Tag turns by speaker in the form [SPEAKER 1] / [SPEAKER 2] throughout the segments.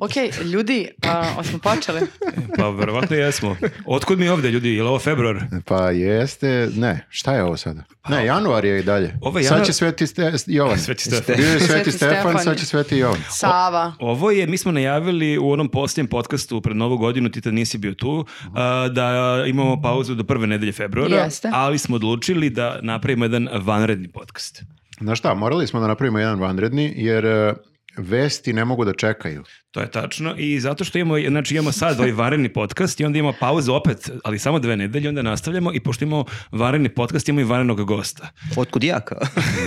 [SPEAKER 1] Ok, ljudi, a, smo počeli?
[SPEAKER 2] Pa verovatno jesmo. Otkud mi ovdje ljudi, je li ovo februar?
[SPEAKER 3] Pa jeste, ne, šta je ovo sada? Ne, januar je i dalje.
[SPEAKER 2] Pa, Ovo je
[SPEAKER 3] Sad
[SPEAKER 2] januar-
[SPEAKER 3] će Sveti Ste- Jovan.
[SPEAKER 2] Sveti Stefan.
[SPEAKER 3] Bio je
[SPEAKER 1] Sveti
[SPEAKER 3] Sveti Stefan,
[SPEAKER 1] Stefan.
[SPEAKER 3] sad će Sveti Jovan.
[SPEAKER 1] Sava.
[SPEAKER 2] Ovo je, mi smo najavili u onom posljednjem podcastu pred Novu godinu, ti tad nisi bio tu, a, da imamo pauzu do prve nedelje februara,
[SPEAKER 1] Jeste.
[SPEAKER 2] ali smo odlučili da napravimo jedan vanredni podcast.
[SPEAKER 3] Znaš šta, morali smo da napravimo jedan vanredni, jer e, vesti ne mogu da čekaju.
[SPEAKER 2] To je tačno i zato što imamo, znači imamo sad ovaj vanredni podcast i onda imamo pauzu opet, ali samo dve nedelje, onda nastavljamo i pošto imamo vanredni podcast, imamo i vanrednog gosta.
[SPEAKER 4] Otkud ja kao?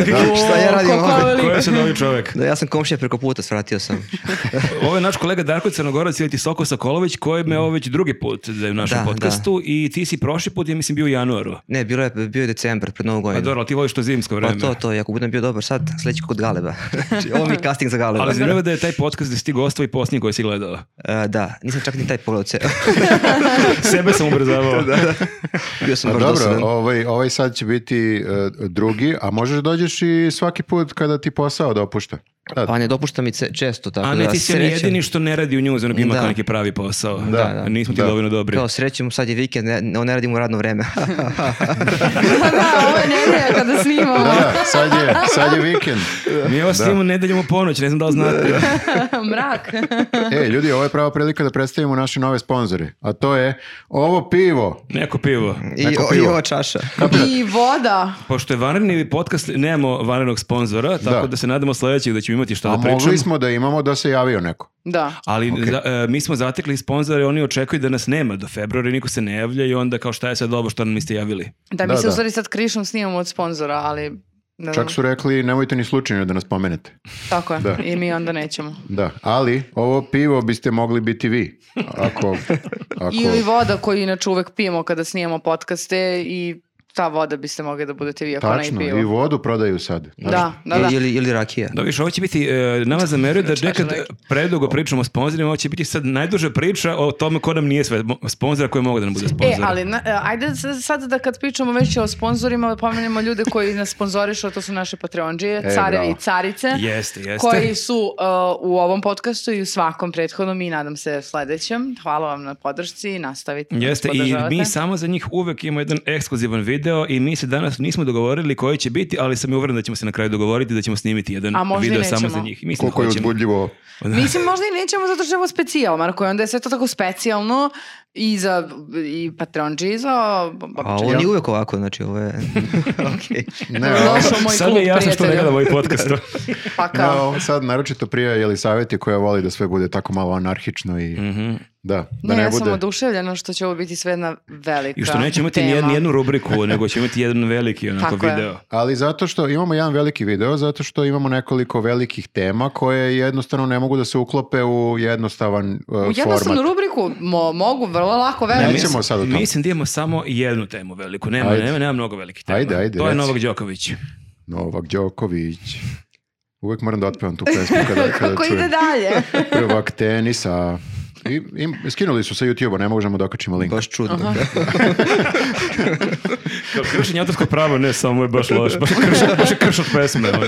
[SPEAKER 4] Šta ja radim
[SPEAKER 1] kako
[SPEAKER 4] ovdje?
[SPEAKER 1] Ali-
[SPEAKER 2] Ko je sad ovaj čovjek?
[SPEAKER 4] Da, ja sam komšija preko puta, svratio sam.
[SPEAKER 2] Ovo je naš kolega Darko Crnogorac ili ti Soko Sokolović koji me ovo već drugi put da je u našem
[SPEAKER 4] Da,
[SPEAKER 2] podcastu i ti si prošli put, ja mislim bio u januaru.
[SPEAKER 4] Ne, bilo je, bio je decembar, pred novu
[SPEAKER 2] Pa
[SPEAKER 4] godinu.
[SPEAKER 2] dobro, ali ti voliš to zimsko
[SPEAKER 4] Pa
[SPEAKER 2] vreme.
[SPEAKER 4] to, to, i ako budem bio dobar sad, sljedeći kod Galeba. Znači, Ovo mi je casting za Galeba.
[SPEAKER 2] Ali zanimljivo je da je taj podcast da si ti gostao i posljednji koji si gledao.
[SPEAKER 4] E, da, nisam čak ni taj pogledao ceo.
[SPEAKER 2] Sebe sam ubrzavao.
[SPEAKER 4] bio sam
[SPEAKER 3] Pa
[SPEAKER 4] baš
[SPEAKER 3] dobro,
[SPEAKER 4] dosadan.
[SPEAKER 3] ovaj, ovaj sad će biti e, drugi, a možeš da dođeš i svaki put kada ti posao dopušta. Tad.
[SPEAKER 4] Pa ne dopušta mi ce- često, tako
[SPEAKER 2] A ne,
[SPEAKER 4] da
[SPEAKER 2] ti si
[SPEAKER 4] srećem.
[SPEAKER 2] jedini što ne radi u njuzu, nego ima
[SPEAKER 4] Da.
[SPEAKER 2] kao neki pravi posao.
[SPEAKER 4] Da, da.
[SPEAKER 2] Nismo ti
[SPEAKER 3] Da.
[SPEAKER 2] dovoljno dobri.
[SPEAKER 4] Kao srećem, sad je vikend, ne, ne, ne radim u radno vreme.
[SPEAKER 1] da, ovo je nedelja kada
[SPEAKER 3] Da,
[SPEAKER 1] snimamo.
[SPEAKER 3] da, sad je, sad je vikend.
[SPEAKER 2] Mi ovo snimamo nedeljom u ponoć, ne znam da li znate.
[SPEAKER 1] Mrak.
[SPEAKER 3] E, ljudi, ovo je prava prilika da predstavimo naše nove sponzore, a to je ovo pivo.
[SPEAKER 2] Neko pivo.
[SPEAKER 4] I,
[SPEAKER 3] Neko
[SPEAKER 4] o, i
[SPEAKER 3] pivo.
[SPEAKER 4] ova čaša.
[SPEAKER 1] I voda.
[SPEAKER 2] Pošto je vanredni podcast, nemamo vanrednog sponzora, tako da,
[SPEAKER 3] Da.
[SPEAKER 2] se nadamo sljedećeg da ćemo imati šta
[SPEAKER 3] A
[SPEAKER 2] da pričamo.
[SPEAKER 3] mogli smo da imamo da se javio neko.
[SPEAKER 1] Da.
[SPEAKER 2] Ali za- e, mi smo zatekli sponzore, oni očekuju da nas nema do februara i niko se ne javlja i onda kao šta je sad ovo što nam niste javili.
[SPEAKER 1] Da, mi
[SPEAKER 3] Da,
[SPEAKER 1] se
[SPEAKER 3] da.
[SPEAKER 1] u stvari sad krišom snimamo od sponzora, ali... Ne znam,
[SPEAKER 3] Čak su rekli nemojte ni slučajno da nas pomenete.
[SPEAKER 1] Tako je.
[SPEAKER 3] Da.
[SPEAKER 1] I mi onda nećemo.
[SPEAKER 3] Da, ali ovo pivo biste mogli biti vi. Ako, ako...
[SPEAKER 1] Ili voda koju inače uvek pijemo kada snimamo podcaste i ta voda biste mogli da budete vi ako ne i
[SPEAKER 3] Tačno,
[SPEAKER 1] pivo.
[SPEAKER 3] i vodu prodaju sad.
[SPEAKER 1] Da, da, da.
[SPEAKER 4] Ili, ili rakija.
[SPEAKER 2] Da više, ovo će biti, e, nama zameraju da
[SPEAKER 1] Čaša
[SPEAKER 2] nekad
[SPEAKER 1] neka.
[SPEAKER 2] predugo pričamo o sponzorima, ovo će biti sad najduža priča o tome ko nam nije sve mo- sponzora koji mogu da nam bude
[SPEAKER 1] E,
[SPEAKER 2] sponzor.
[SPEAKER 1] ali na- e, ajde s- sad da kad pričamo već o sponzorima, pomenemo ljude koji nas sponzorišu, a to su naše Patreonđije,
[SPEAKER 3] E,
[SPEAKER 1] carevi
[SPEAKER 3] bravo.
[SPEAKER 1] i carice.
[SPEAKER 2] Jeste, jeste.
[SPEAKER 1] Koji su uh, u ovom podcastu i u svakom prethodnom i nadam se sledećem. Hvala vam na podršci i nastavite. da nas
[SPEAKER 2] Jeste, i
[SPEAKER 1] podržavate.
[SPEAKER 2] mi samo za njih uvek imamo jedan ekskluzivan video i mi se danas nismo dogovorili koji će biti, ali sam i uveren da ćemo se na kraju dogovoriti da ćemo snimiti jedan
[SPEAKER 1] A možda i
[SPEAKER 2] video samo
[SPEAKER 1] nećemo.
[SPEAKER 2] za njih. Mislim,
[SPEAKER 3] Koliko je
[SPEAKER 2] hoćemo.
[SPEAKER 3] uzbudljivo.
[SPEAKER 1] Mislim, možda i nećemo zato što je ovo specijal, Marko, i onda je sve to tako specijalno i za i Patreonđi i za...
[SPEAKER 4] A ovo nije uvek ovako, znači ovo je... Okej.
[SPEAKER 3] Ne,
[SPEAKER 1] Došao moj
[SPEAKER 2] Sad mi
[SPEAKER 1] klub
[SPEAKER 2] je jasno što ne
[SPEAKER 1] prijatelja.
[SPEAKER 2] gledam ovaj podcast.
[SPEAKER 1] Pa
[SPEAKER 3] ne,
[SPEAKER 1] kao,
[SPEAKER 3] ovo sad naročito prija Jelisaveti koja voli da sve bude tako malo anarhično i da, da
[SPEAKER 1] ne,
[SPEAKER 3] ne,
[SPEAKER 1] ja sam
[SPEAKER 3] bude.
[SPEAKER 1] oduševljena što će ovo biti sve jedna velika
[SPEAKER 2] I što nećemo imati
[SPEAKER 1] tema.
[SPEAKER 2] nijednu, nijednu rubriku, nego ćemo imati jedan veliki onako
[SPEAKER 1] Tako je.
[SPEAKER 2] video.
[SPEAKER 3] Ali zato što imamo jedan veliki video, zato što imamo nekoliko velikih tema koje jednostavno ne mogu da se uklope u jednostavan uh,
[SPEAKER 1] U jednostavnu
[SPEAKER 3] format.
[SPEAKER 1] rubriku mo- mogu vrlo lako
[SPEAKER 3] Ne,
[SPEAKER 1] veriti.
[SPEAKER 3] Nećemo sad o tom.
[SPEAKER 2] Mislim da imamo samo jednu temu veliku. Nema,
[SPEAKER 3] Ajde.
[SPEAKER 2] nema, nema mnogo velikih tema.
[SPEAKER 3] Ajde, ajde,
[SPEAKER 2] to je
[SPEAKER 3] reci.
[SPEAKER 2] Novak Đoković.
[SPEAKER 3] Novak Đoković. Uvijek moram da otpevam tu pesmu kada, kada
[SPEAKER 1] Kako
[SPEAKER 3] čujem.
[SPEAKER 1] ide dalje?
[SPEAKER 3] prvak tenisa. I, im- skinuli su sa YouTube-a, ne možemo da okačimo link.
[SPEAKER 4] Baš čudno.
[SPEAKER 2] Kao kršenje autorskog prava, ne samo je baš loš. Baš je krš, baš je krš od pesme. ono.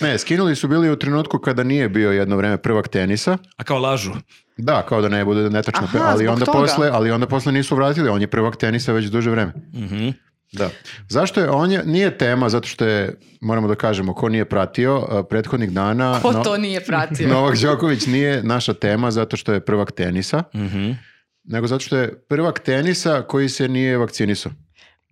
[SPEAKER 3] Ne, skinuli su bili u trenutku kada nije bio jedno vreme prvak tenisa.
[SPEAKER 2] A kao lažu.
[SPEAKER 3] Da, kao da ne bude netačno,
[SPEAKER 1] Aha,
[SPEAKER 3] pe- ali
[SPEAKER 1] zbog
[SPEAKER 3] onda
[SPEAKER 1] toga.
[SPEAKER 3] posle, ali onda posle nisu vratili, on je prvak tenisa već duže vreme. Mhm, Da. Zašto je on je, nije tema zato što je moramo da kažemo ko nije pratio a, prethodnih dana.
[SPEAKER 1] Ko
[SPEAKER 3] no-
[SPEAKER 1] Pa to nije pratio?
[SPEAKER 3] Novak Đoković nije naša tema zato što je prvak tenisa, nego zato što je prvak tenisa koji se nije vakcinisao.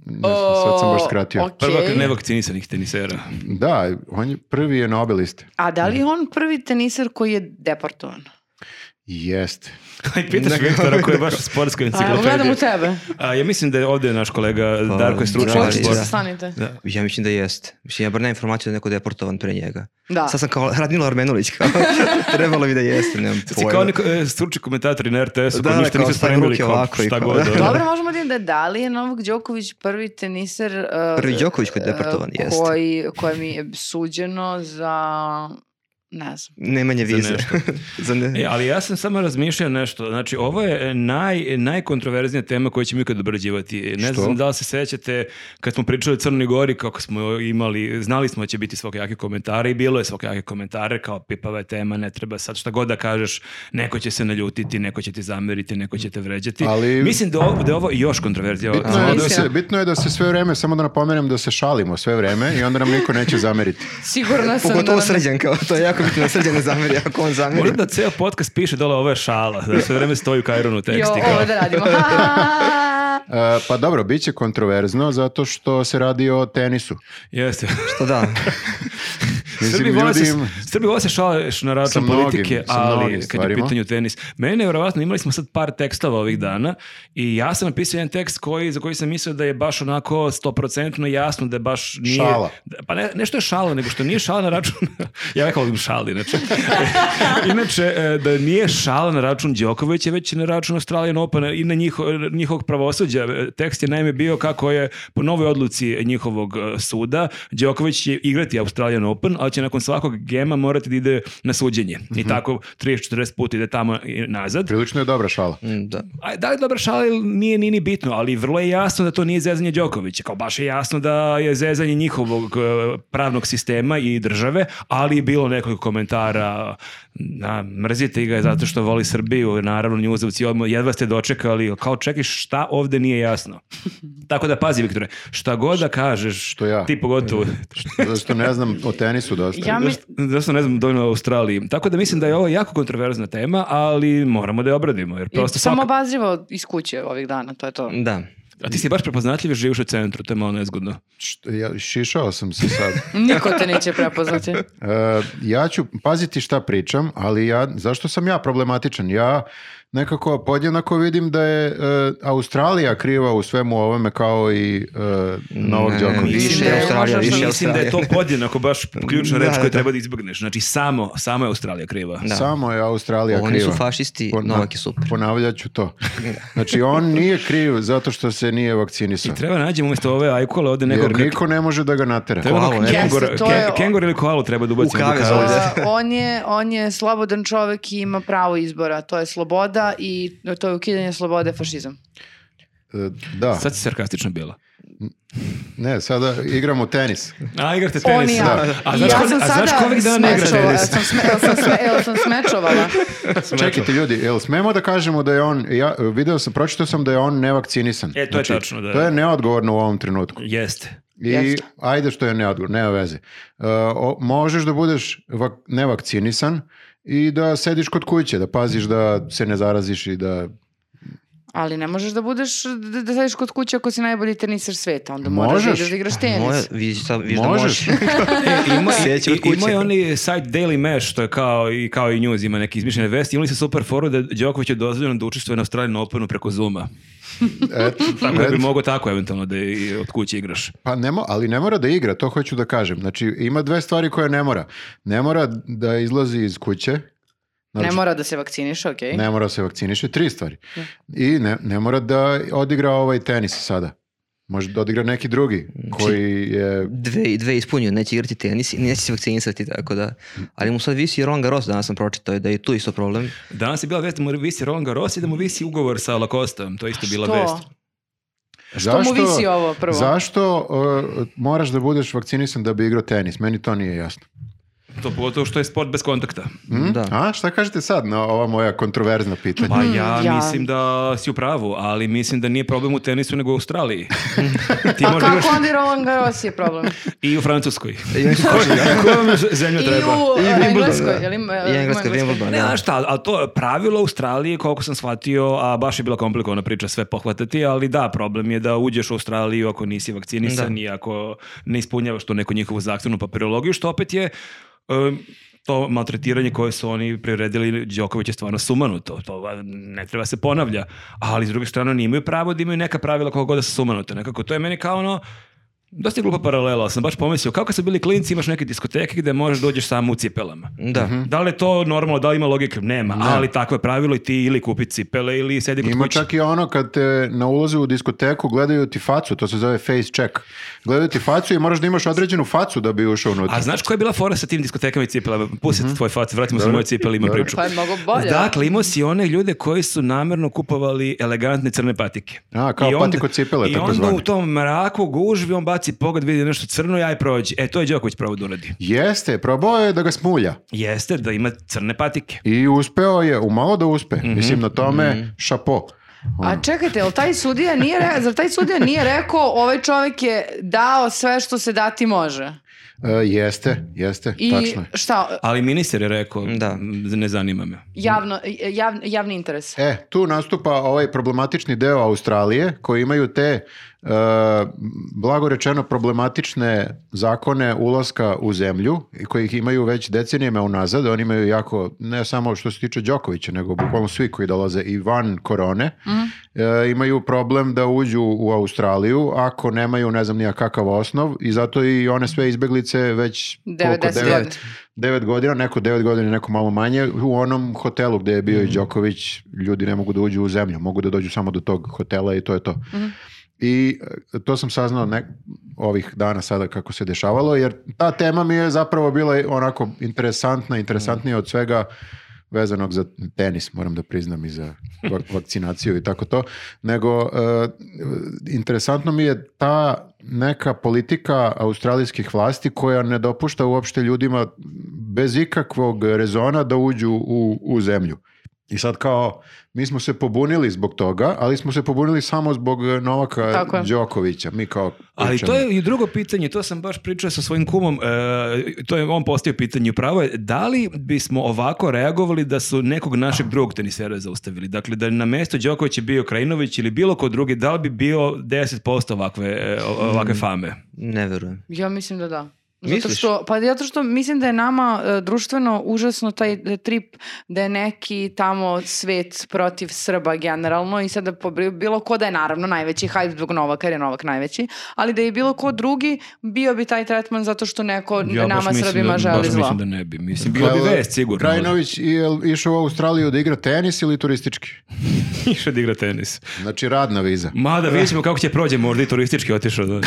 [SPEAKER 3] Ne znam, Sad sam baš skratio.
[SPEAKER 1] O, okej.
[SPEAKER 2] Prvak nevakcinisanih tenisera.
[SPEAKER 3] Da, on je prvi je na obe liste.
[SPEAKER 1] A da li je on prvi teniser koji je deportovan? Pa,
[SPEAKER 3] Jeste.
[SPEAKER 2] I pitaš Viktora koji je baš sportska
[SPEAKER 1] A, Pa, evo,
[SPEAKER 2] enciklopedija.
[SPEAKER 1] gledam u tebe.
[SPEAKER 2] A, ja mislim da je ovdje naš kolega
[SPEAKER 3] Pa,
[SPEAKER 2] Darko je stručan
[SPEAKER 4] Hvala
[SPEAKER 2] za
[SPEAKER 4] ti,
[SPEAKER 2] sport.
[SPEAKER 4] da.
[SPEAKER 1] Stanite.
[SPEAKER 4] Ja mislim da jest. Mislim, ja bar nemam informaciju da je neko deportovan pre njega.
[SPEAKER 1] Da.
[SPEAKER 4] Sad sam kao Radmila Armenulić, kao, trebalo bi da jeste, nemam
[SPEAKER 2] Sad si
[SPEAKER 4] pojma.
[SPEAKER 2] kao neko, e, stručni komentatori na RTS-u
[SPEAKER 4] Da,
[SPEAKER 2] koji
[SPEAKER 4] da,
[SPEAKER 2] ništa
[SPEAKER 4] kao
[SPEAKER 2] nisu
[SPEAKER 4] stavim
[SPEAKER 2] spremili
[SPEAKER 4] ruke
[SPEAKER 2] kao
[SPEAKER 4] ovako i
[SPEAKER 2] šta
[SPEAKER 4] kao-
[SPEAKER 2] god. ono.
[SPEAKER 1] Dobro, možemo da da da li je Novak Đoković prvi teniser... e, uh,
[SPEAKER 4] Prvi Đoković koji je deportovan,
[SPEAKER 1] uh,
[SPEAKER 4] jeste.
[SPEAKER 1] Koji, kojem je suđeno za Ne znam.
[SPEAKER 4] Nemanje
[SPEAKER 2] Za
[SPEAKER 4] vize.
[SPEAKER 2] nešto.
[SPEAKER 4] Za ne-
[SPEAKER 2] E, ali ja sam samo razmišljao nešto. Znači, ovo je e, naj, najkontroverznija tema koju ćemo ikad obrađivati. E, Ne
[SPEAKER 3] Što?
[SPEAKER 2] znam da li se sećate kad smo pričali o Crnoj Gori, kako smo imali, znali smo da će biti svakojake komentare i bilo je svakojake komentare kao pipava je tema, ne treba sad šta god da kažeš, neko će se naljutiti, neko će ti zameriti, neko će te vređati.
[SPEAKER 3] Ali-
[SPEAKER 2] Mislim da, ovo, da je ovo još kontroverzija.
[SPEAKER 3] Bitno je, da
[SPEAKER 1] Mislim.
[SPEAKER 3] se, bitno je da se sve vreme, samo da napomenem da se šalimo sve vreme i onda nam niko neće E, zameriti.
[SPEAKER 1] Sigurna sam da...
[SPEAKER 4] Pogotovo
[SPEAKER 1] nam-
[SPEAKER 4] srđan, kao to je jako bitno da srđan ne zameri, ako on zameri.
[SPEAKER 2] Molim da ceo podcast piše dole ovo je šala, da sve vreme stoji u Kajronu
[SPEAKER 1] Jo,
[SPEAKER 2] teksti.
[SPEAKER 1] ovo da radimo. Ha, ha, ha.
[SPEAKER 3] E, pa dobro, bit će kontroverzno zato što se radi o tenisu.
[SPEAKER 2] Jeste.
[SPEAKER 4] To da.
[SPEAKER 3] Mislim,
[SPEAKER 2] Srbi vole, se,
[SPEAKER 3] ljudi im-
[SPEAKER 2] Srbi vole se šaleš na račun
[SPEAKER 3] Sa mnogim,
[SPEAKER 2] politike,
[SPEAKER 3] sa
[SPEAKER 2] ali
[SPEAKER 3] mnogim
[SPEAKER 2] kad je
[SPEAKER 3] stvarima.
[SPEAKER 2] u pitanju tenis. Mene je vjerovatno, imali smo sad par tekstova ovih dana i ja sam napisao jedan tekst koji, za koji sam mislio da je baš onako stoprocentno jasno da je baš nije...
[SPEAKER 3] Šala.
[SPEAKER 2] da- pa ne, nešto je šala, nego što nije šala na račun... ja uvijek volim šali, inače. inače, e, da nije šala na račun Đokovića, već na račun Australian Open i na njiho, njihovog pravosuđa. E, Tekst je naime bio kako je po novoj odluci njihovog e, suda Đoković će igrati Australian Open, ali će nakon svakog gema morati da ide na suđenje. I tako 30-40 puta ide tamo i nazad.
[SPEAKER 3] Prilično je dobra šala.
[SPEAKER 4] Mm, da.
[SPEAKER 2] A da li je dobra šala ili nije, nije ni bitno, ali vrlo je jasno da to nije zezanje Đokovića. Kao baš je jasno da je zezanje njihovog e, pravnog sistema i države, ali je bilo nekoliko komentara na, mrzite ga zato što voli Srbiju, naravno njuzovci odmah, jedva ste dočekali, kao čekaj šta ovde nije jasno. Tako da pazi Viktore, šta god da kažeš,
[SPEAKER 3] Što ja?
[SPEAKER 2] ti pogotovo,
[SPEAKER 3] Zato što ne znam o tenisu dosta.
[SPEAKER 1] Ja mi-
[SPEAKER 2] Zašto ne znam dovoljno o Australiji. Tako da mislim da je ovo jako kontroverzna tema, ali moramo da je obradimo. Jer prosto
[SPEAKER 1] Sam
[SPEAKER 2] svaka-
[SPEAKER 1] obazrivo iz kuće ovih dana, to je to.
[SPEAKER 4] Da.
[SPEAKER 2] a ti si baš prepoznatljiv jer živiš u centru, to je malo nezgodno.
[SPEAKER 3] Što- ja, šišao sam se sad.
[SPEAKER 1] Niko te neće prepoznati.
[SPEAKER 3] E, ja ću paziti šta pričam, ali ja, zašto sam ja problematičan? Ja nekako podjednako vidim da je e, Australija kriva u svemu ovome kao i e, Novak
[SPEAKER 4] Ne,
[SPEAKER 3] Đoković.
[SPEAKER 1] Mislim da
[SPEAKER 4] Više
[SPEAKER 1] je
[SPEAKER 4] Australija,
[SPEAKER 1] možda
[SPEAKER 4] više
[SPEAKER 1] što-
[SPEAKER 4] Australija.
[SPEAKER 2] Mislim da je to podjednako baš ključna reč
[SPEAKER 4] Da,
[SPEAKER 2] koju
[SPEAKER 4] da.
[SPEAKER 2] treba da izbjegneš. Znači samo, samo je Australija kriva.
[SPEAKER 4] Da.
[SPEAKER 3] Samo je Australija
[SPEAKER 4] Oni
[SPEAKER 3] kriva.
[SPEAKER 4] su fašisti,
[SPEAKER 3] Pon-
[SPEAKER 4] Novak je super.
[SPEAKER 3] Ponavljat ću to. Znači, on nije kriv zato što se nije vakcinisao.
[SPEAKER 2] Treba nađemo umjesto ove ajkule ovde nekog...
[SPEAKER 3] Jer niko ne može da ga natera.
[SPEAKER 2] Treba
[SPEAKER 4] Koalu,
[SPEAKER 2] nekog
[SPEAKER 4] ne?
[SPEAKER 2] kengur,
[SPEAKER 1] Jeste, to je-
[SPEAKER 2] ke- kengur ili koalu treba da ubacimo
[SPEAKER 4] U kave
[SPEAKER 2] kave.
[SPEAKER 4] zove.
[SPEAKER 1] A, on, je, on je slobodan čovek i ima pravo izbora. To je sloboda i to je ukidanje slobode fašizam.
[SPEAKER 3] E, Da,
[SPEAKER 2] Sad si sarkastično bila.
[SPEAKER 3] ne, sada igramo tenis.
[SPEAKER 2] A igrate
[SPEAKER 1] On
[SPEAKER 2] tenis.
[SPEAKER 1] i ja.
[SPEAKER 2] A
[SPEAKER 1] I
[SPEAKER 2] znaš,
[SPEAKER 1] ja
[SPEAKER 2] ko,
[SPEAKER 1] sam
[SPEAKER 2] a
[SPEAKER 1] sada
[SPEAKER 2] znaš ko ovih dana ne igra
[SPEAKER 1] smečovala,
[SPEAKER 2] tenis?
[SPEAKER 1] Sam sme, jel sam, sme, jel sam smečovala.
[SPEAKER 3] Čekajte ljudi, jel smemo da kažemo da je on, ja video sam, pročitao sam da je on nevakcinisan.
[SPEAKER 2] E, to je tačno, da.
[SPEAKER 3] To je neodgovorno u ovom trenutku.
[SPEAKER 2] Jeste.
[SPEAKER 3] I
[SPEAKER 1] Jeste.
[SPEAKER 3] ajde što je neodgovorno, nema veze. E, o- možeš da budeš vak- nevakcinisan i da sediš kod kuće, da paziš da se ne zaraziš i da...
[SPEAKER 1] Ali ne možeš da budeš, da, da sediš kod kuće ako si najbolji teniser sveta. Onda moraš da
[SPEAKER 3] Možeš.
[SPEAKER 1] ideš da igraš
[SPEAKER 2] Pa
[SPEAKER 1] tenis.
[SPEAKER 4] Moja, vidiš, sad, vidiš da
[SPEAKER 3] Možeš.
[SPEAKER 4] možeš.
[SPEAKER 2] E, ima,
[SPEAKER 4] Sjećam
[SPEAKER 2] i,
[SPEAKER 4] od kuće.
[SPEAKER 2] ima je onaj sajt Daily Mesh, što je kao i, kao i news, ima neke izmišljene vesti. Imali su super foru da Đoković je dozvoljeno da učestvuje na Australian Openu preko Zuma.
[SPEAKER 3] Et,
[SPEAKER 2] Tako da
[SPEAKER 3] et.
[SPEAKER 2] bi mogo tako eventualno da i od kuće igraš.
[SPEAKER 3] Pa ne mo- ali ne mora da igra, to hoću da kažem. Znači, ima dve stvari koje ne mora. Ne mora da izlazi iz kuće, znači,
[SPEAKER 1] Ne
[SPEAKER 2] znači-
[SPEAKER 1] mora da se vakciniš, okej.
[SPEAKER 3] ne mora se vakciniše, tri stvari. I ne, ne mora da odigra ovaj tenis sada. Može da odigra neki drugi koji je...
[SPEAKER 4] Dve, dve ispunio, neće igrati tenis i neće se vakcinisati, tako da. Ali mu sad visi i Ron Garros, danas sam pročitao, da je tu isto problem.
[SPEAKER 2] Danas je bila vest da mu visi Roland Garros i da mu visi ugovor sa Lakostom. To je isto bila
[SPEAKER 1] Što?
[SPEAKER 2] vest.
[SPEAKER 1] Što mu visi ovo prvo?
[SPEAKER 3] Zašto uh, moraš da budeš vakcinisan da bi igrao tenis? Meni to nije jasno.
[SPEAKER 2] To pogotovo što je sport bez kontakta.
[SPEAKER 3] Hm?
[SPEAKER 4] Da.
[SPEAKER 3] A, šta kažete sad na ova moja kontroverzna pitanja?
[SPEAKER 2] Pa ja,
[SPEAKER 1] Mhm, ja.
[SPEAKER 2] mislim da si u pravu, ali mislim da nije problem u tenisu nego u Australiji. Ti
[SPEAKER 1] A
[SPEAKER 2] možda igraš
[SPEAKER 1] Pa kako onda i Roland Garros je problem?
[SPEAKER 2] i u Francuskoj.
[SPEAKER 4] I oni su počeli, da.
[SPEAKER 2] Koja vam zemlja
[SPEAKER 1] I
[SPEAKER 2] treba?
[SPEAKER 1] u
[SPEAKER 4] I
[SPEAKER 1] e,
[SPEAKER 4] Wimbledon,
[SPEAKER 1] Engleskoj.
[SPEAKER 4] da.
[SPEAKER 1] jel ima-
[SPEAKER 4] I
[SPEAKER 1] jel ima
[SPEAKER 4] Engleska,
[SPEAKER 1] Engleskoj?
[SPEAKER 4] Wimbledon,
[SPEAKER 2] Ne,
[SPEAKER 4] da.
[SPEAKER 2] znaš šta, ali to je pravilo Australije, koliko sam shvatio, a baš je bila komplikovana priča sve pohvatati, ali da, problem je da uđeš u Australiju ako nisi vakcinisan
[SPEAKER 4] Da.
[SPEAKER 2] i ako ne ispunjavaš to neku njihovu zahtevnu papirologiju, što opet je... em, to maltretiranje koje su oni priredili Đoković je stvarno sumanuto, to va- ne treba se ponavlja, ali s druge strane oni imaju pravo da imaju neka pravila koliko god da su sumanuto, nekako to je meni kao ono, Dosta je glupa paralela, ali sam baš pomislio, kako su bili klinci, imaš neke diskoteke gde možeš dođeš samo u cipelama.
[SPEAKER 4] Da.
[SPEAKER 3] Mhm.
[SPEAKER 2] Da li je to normalno, da li ima logike? Nema, ali takvo je pravilo i ti ili kupi cipele ili sedi kod
[SPEAKER 3] Ima
[SPEAKER 2] kuće.
[SPEAKER 3] čak i ono kad te na ulazu u diskoteku gledaju ti facu, to se zove face check. Gledaju ti facu i moraš da imaš određenu facu da bi ušao unutra.
[SPEAKER 2] A znaš koja je bila fora sa tim diskotekama i cipelama? Pusti
[SPEAKER 3] Mhm.
[SPEAKER 2] tvoj fac, vratimo se na moje cipele, ima priču.
[SPEAKER 1] Pa je mnogo bolje.
[SPEAKER 2] Dakle, imao si one ljude koji su namjerno kupovali elegantne crne patike.
[SPEAKER 3] A, kao
[SPEAKER 2] I
[SPEAKER 3] patiko cipele,
[SPEAKER 2] I onda
[SPEAKER 3] takozvane.
[SPEAKER 2] u tom mraku gužvi, on baci pogled, vidi nešto crno, ja je prođi. E, to je Đoković pravo da uradi.
[SPEAKER 3] Jeste, probao je da ga smulja.
[SPEAKER 2] Jeste da ima crne patike.
[SPEAKER 3] I uspeo je, umalo da uspe. Mislim, na tome šapo.
[SPEAKER 1] A čekajte, jel taj sudija nije, re... zar taj sudija nije rekao ovaj čovjek je dao sve što se dati može?
[SPEAKER 3] E, jeste, jeste,
[SPEAKER 1] I
[SPEAKER 3] tačno je.
[SPEAKER 1] šta,
[SPEAKER 2] Ali ministar je rekao,
[SPEAKER 4] Da.
[SPEAKER 2] "M, ne zanima me.
[SPEAKER 1] javno, javn- javni interes.
[SPEAKER 3] E, tu nastupa ovaj problematični deo Australije koji imaju te e, blago rečeno problematične zakone ulaska u zemlju i kojih imaju već decenijama unazad. Oni imaju jako, ne samo što se tiče Đokovića, nego bukvalno svi koji dolaze i van korone, e, imaju problem da uđu u Australiju ako nemaju ne znam nija kakav osnov i zato i one sve izbeglice već koliko,
[SPEAKER 1] 90
[SPEAKER 3] devet-
[SPEAKER 1] godina.
[SPEAKER 3] devet godina, neko devet godina, neko malo manje, u onom hotelu gdje je bio i Đoković, ljudi ne mogu da uđu u zemlju, mogu da dođu samo do tog hotela i to je to. I e, to sam saznao ne, ovih dana sada kako se dešavalo, jer ta tema mi je zapravo bila onako interesantna, interesantnija od svega vezanog za tenis, moram da priznam i za vak- vakcinaciju i tako to, nego e, e, interesantno mi je ta neka politika australijskih vlasti koja ne dopušta uopšte ljudima bez ikakvog rezona da uđu u, u zemlju. I sad kao, mi smo se pobunili zbog toga, ali smo se pobunili samo zbog e, Novaka
[SPEAKER 1] Tako je.
[SPEAKER 3] Đokovića. Mi kao
[SPEAKER 2] Ali to
[SPEAKER 3] pričamo.
[SPEAKER 2] je i drugo pitanje, to sam baš pričao sa svojim kumom, e, to je on postavio pitanje upravo je, da li bismo ovako reagovali da su nekog našeg drugog tenisera zaustavili? Dakle, da na mesto Đoković je bio Krajinović ili bilo ko drugi, da li bi bio 10% ovakve, e, o- ovakve fame?
[SPEAKER 4] Ne verujem.
[SPEAKER 1] Ja mislim da da. Zato
[SPEAKER 4] Misliš?
[SPEAKER 1] što, pa zato što mislim da je nama e, društveno užasno taj e, trip da je neki tamo svet protiv Srba generalno i sada pobri- bilo ko da je naravno najveći, hajde zbog Novaka jer je Novak najveći, ali da je bilo ko drugi bio bi taj tretman zato što neko
[SPEAKER 2] baš
[SPEAKER 1] nama
[SPEAKER 2] mislim
[SPEAKER 1] Srbima
[SPEAKER 2] da,
[SPEAKER 1] želi
[SPEAKER 2] baš
[SPEAKER 1] zlo.
[SPEAKER 2] mislim da ne bi. Mislim, bilo bi vest sigurno. ono.
[SPEAKER 3] Krajinović je li išao u Australiju da igra tenis ili turistički?
[SPEAKER 2] Išao da igra tenis.
[SPEAKER 3] Znači radna viza.
[SPEAKER 2] Mada vidjet ćemo kako će prođe, možda i turistički otišao. Da.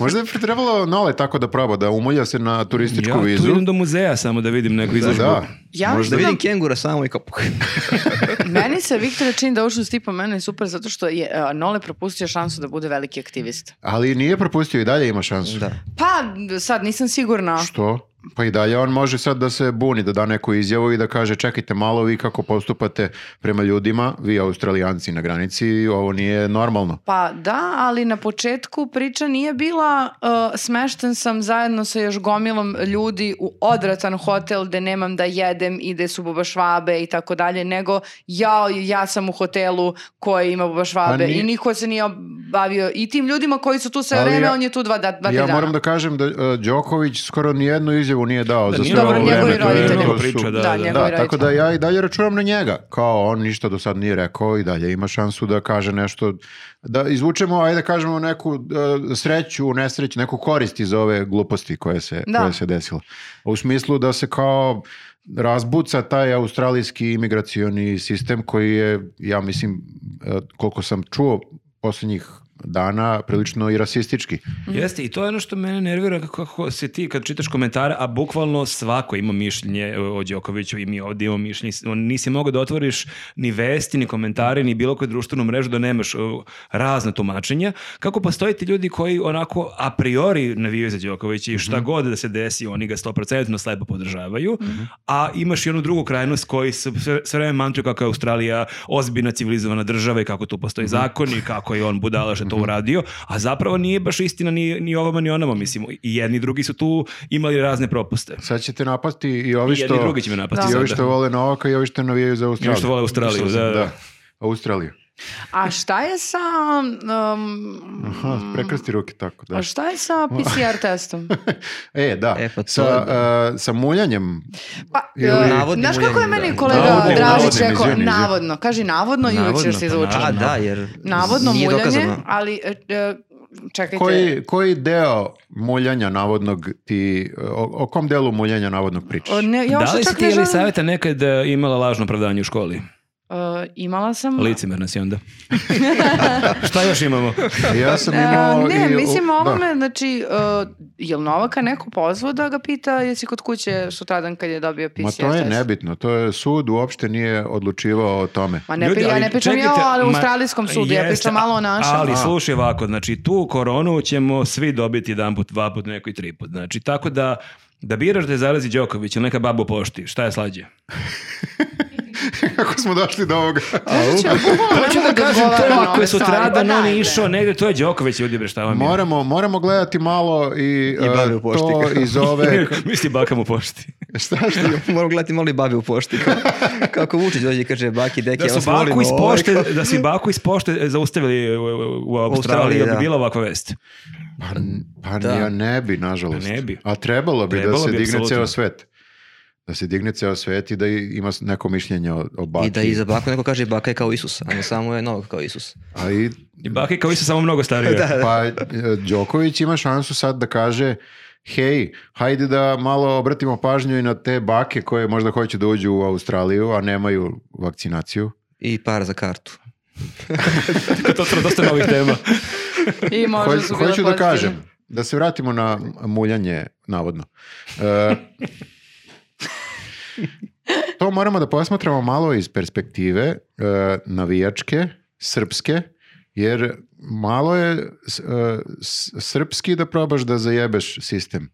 [SPEAKER 3] Možda je trebalo Nole tako da proba, da umolja se na turističku
[SPEAKER 2] Ja tu
[SPEAKER 3] vizu.
[SPEAKER 2] idem do muzeja samo da vidim neku izložbu.
[SPEAKER 3] Da.
[SPEAKER 1] Ja
[SPEAKER 4] Da
[SPEAKER 1] mislim
[SPEAKER 4] vidim kengura samo i kao...
[SPEAKER 1] meni se Viktor čini da ovo što si ti pomenuo je super zato što je e, Nole propustio šansu da bude veliki aktivist.
[SPEAKER 3] Ali nije propustio i dalje ima šansu.
[SPEAKER 4] Da.
[SPEAKER 1] Pa sad nisam sigurna.
[SPEAKER 3] Što? Pa i dalje on može sad da se buni, da da neku izjavu i da kaže čekajte malo vi kako postupate prema ljudima, vi australijanci na granici, ovo nije normalno.
[SPEAKER 1] Pa da, ali na početku priča nije bila uh, smešten sam zajedno sa još gomilom ljudi u odratan hotel gde nemam da jedem i gde su buba švabe i tako dalje, nego ja, ja sam u hotelu koji ima buba švabe
[SPEAKER 3] Pa nije-
[SPEAKER 1] i niko se nije bavio i tim ljudima koji su tu sve
[SPEAKER 3] Ali
[SPEAKER 1] vreme,
[SPEAKER 3] ja-
[SPEAKER 1] on je tu dva, da, dva tri
[SPEAKER 3] ja
[SPEAKER 1] dana.
[SPEAKER 3] moram da kažem da e, Đoković skoro nijednu izjavu nije dao za
[SPEAKER 2] nije
[SPEAKER 3] sve
[SPEAKER 1] Dobro,
[SPEAKER 3] ovo
[SPEAKER 1] njegovi
[SPEAKER 3] vreme, to je-
[SPEAKER 1] roditelji.
[SPEAKER 3] to su-
[SPEAKER 2] Priča, da,
[SPEAKER 1] Da,
[SPEAKER 2] da.
[SPEAKER 1] njegovi
[SPEAKER 3] Da,
[SPEAKER 1] roditelji.
[SPEAKER 3] tako da ja i dalje računam na njega. Kao on ništa do sad nije rekao i dalje ima šansu da kaže nešto, da izvučemo, ajde da kažemo neku e, sreću, nesreću, neku korist iz ove gluposti koje se,
[SPEAKER 1] Da.
[SPEAKER 3] koje se desile. U smislu da se kao razbuca taj australijski imigracioni sistem koji je, ja mislim, e, koliko sam čuo posljednjih dana, prilično i rasistički.
[SPEAKER 2] Jeste, i to je ono što mene nervira kako, kako se ti kad čitaš komentare, a bukvalno svako ima mišljenje e, o Đokoviću i mi ovdje imamo mišljenje. S- on- Nisi mogao da otvoriš ni vesti, ni komentare, ni bilo koju društvenu mrežu da nemaš e, razna tumačenja. Kako postoje ti ljudi koji onako a priori navijaju za Đokovića i
[SPEAKER 3] Mhm.
[SPEAKER 2] šta god da se desi, oni ga stoprocentno slepo podržavaju, a imaš i onu drugu krajnost koji se sve, sve vreme mantruju kako je Australija ozbiljna civilizovana država i kako tu
[SPEAKER 3] Mhm.
[SPEAKER 2] postoji zakon i kako je on budala što je to uradio, a zapravo nije baš istina ni, ni ovama ni onama, mislim. I jedni i drugi su tu imali razne propuste.
[SPEAKER 3] Sad ćete napasti i ovi
[SPEAKER 2] I jedni i
[SPEAKER 3] što,
[SPEAKER 2] drugi će me napasti
[SPEAKER 3] i ovi
[SPEAKER 2] sada.
[SPEAKER 3] što vole Novaka i ovi što navijaju za Australiju.
[SPEAKER 2] što vole Australiju,
[SPEAKER 3] Mislio sam,
[SPEAKER 2] da, da.
[SPEAKER 3] Australiju.
[SPEAKER 1] A šta je sa... um,
[SPEAKER 3] Aha,
[SPEAKER 2] Mm.
[SPEAKER 3] prekrsti ruke tako, da.
[SPEAKER 1] a šta je sa PCR testom?
[SPEAKER 3] E, da,
[SPEAKER 4] E, pa to
[SPEAKER 3] sa,
[SPEAKER 4] je
[SPEAKER 3] e, sa muljanjem.
[SPEAKER 1] Pa,
[SPEAKER 3] Ili-
[SPEAKER 1] e,
[SPEAKER 4] Navodnim
[SPEAKER 1] znaš kako je
[SPEAKER 4] uljanjem,
[SPEAKER 1] meni
[SPEAKER 4] da.
[SPEAKER 1] kolega
[SPEAKER 3] Navodnim,
[SPEAKER 1] Dražić
[SPEAKER 3] navodnim,
[SPEAKER 1] rekao?
[SPEAKER 3] izvini, izvini.
[SPEAKER 1] Navodno. Kaži navodno i uvijek
[SPEAKER 2] Navodno,
[SPEAKER 1] ćeš se
[SPEAKER 2] pa
[SPEAKER 1] izvući.
[SPEAKER 4] A, da, jer
[SPEAKER 1] Navodno
[SPEAKER 4] nije
[SPEAKER 1] muljanje,
[SPEAKER 4] dokazano.
[SPEAKER 1] ali e, e, čekajte.
[SPEAKER 3] Koji, koji deo muljanja navodnog ti, o, o kom delu muljanja navodnog pričaš?
[SPEAKER 1] O, ne, ja
[SPEAKER 2] da
[SPEAKER 1] uopšte
[SPEAKER 2] li si
[SPEAKER 1] čak
[SPEAKER 2] ti
[SPEAKER 1] ne
[SPEAKER 2] ili
[SPEAKER 1] želim-
[SPEAKER 2] savjeta nekad e, imala lažno opravdanje u školi?
[SPEAKER 1] E, imala sam...
[SPEAKER 2] Licimerna si onda. Šta još imamo?
[SPEAKER 3] Ja sam
[SPEAKER 1] E,
[SPEAKER 3] imao...
[SPEAKER 1] ne,
[SPEAKER 3] i-
[SPEAKER 1] mislim
[SPEAKER 3] da.
[SPEAKER 1] ovome, znači, uh, je li Novaka neko pozvao da ga pita jesi kod kuće sutradan kad je dobio PCR
[SPEAKER 3] Ma
[SPEAKER 1] test?
[SPEAKER 3] to je nebitno, to je sud uopšte nije odlučivao o tome.
[SPEAKER 1] Ma ne,
[SPEAKER 2] Ljudi,
[SPEAKER 1] pri- ja
[SPEAKER 2] ali
[SPEAKER 1] ne pričam ja
[SPEAKER 2] čekajte,
[SPEAKER 1] o
[SPEAKER 2] ma-
[SPEAKER 1] australijskom sudu, ja
[SPEAKER 2] jeste,
[SPEAKER 1] pričam malo o
[SPEAKER 2] a-
[SPEAKER 1] našem.
[SPEAKER 2] Ali slušaj ovako, znači tu koronu ćemo svi dobiti jedan put, dva put, neko i tri put. Znači tako da da biraš da je zarazi Đoković ili neka baba u pošti, šta je slađe?
[SPEAKER 3] Kako smo došli do ovoga?
[SPEAKER 1] Znači, bukvalno ne
[SPEAKER 2] Hoću
[SPEAKER 1] mogu
[SPEAKER 2] da kažem to
[SPEAKER 1] odgovaram na ove
[SPEAKER 2] ako je
[SPEAKER 1] stvari,
[SPEAKER 2] ono sutradan
[SPEAKER 1] pa
[SPEAKER 2] on
[SPEAKER 1] dajte.
[SPEAKER 2] išao negde, to je Đoković ljudi bre šta vam je.
[SPEAKER 3] Moramo, moramo gledati malo i, e,
[SPEAKER 4] babe u pošti.
[SPEAKER 3] to iz ove...
[SPEAKER 2] Misli baka mu pošti.
[SPEAKER 3] Šta, šta?
[SPEAKER 4] Moram gledati malo i babi u pošti. Kao, kako Vučić dođe i kaže, baki, deki,
[SPEAKER 2] Da
[SPEAKER 4] ja
[SPEAKER 2] su
[SPEAKER 4] vas
[SPEAKER 2] baku
[SPEAKER 4] molim.
[SPEAKER 2] iz
[SPEAKER 4] ovaj,
[SPEAKER 2] pošte,
[SPEAKER 4] kao-
[SPEAKER 2] da su i baku iz pošte zaustavili u, u- u Australiji, da bi
[SPEAKER 4] da.
[SPEAKER 2] bila ovakva vest.
[SPEAKER 3] Pa, n- pa ja ne bi, nažalost.
[SPEAKER 2] Pa ne bi.
[SPEAKER 3] A trebalo bi
[SPEAKER 2] Trebalo
[SPEAKER 3] da se
[SPEAKER 2] bi,
[SPEAKER 3] digne
[SPEAKER 2] apsolutno.
[SPEAKER 3] ceo svet. Da se digne ceo svet i da i- ima s- neko mišljenje o, o baki.
[SPEAKER 4] I da iza baku neko kaže, baka je kao Isus, a ne samo je novog kao Isus.
[SPEAKER 3] A i,
[SPEAKER 2] I bake kao isto samo mnogo starije.
[SPEAKER 3] pa e, Đoković ima šansu sad da kaže hej, hajde da malo obratimo pažnju i na te bake koje možda hoće da uđu u Australiju, a nemaju vakcinaciju.
[SPEAKER 4] I par za kartu.
[SPEAKER 2] to je dosta novih tema.
[SPEAKER 1] I možda
[SPEAKER 3] Hoć-
[SPEAKER 1] su bile
[SPEAKER 3] hoću da
[SPEAKER 1] pozitivne.
[SPEAKER 3] kažem, da se vratimo na muljanje, navodno. E, to moramo da posmatramo malo iz perspektive e, navijačke, srpske, jer malo je s- e, s- srpski da probaš da zajebeš sistem.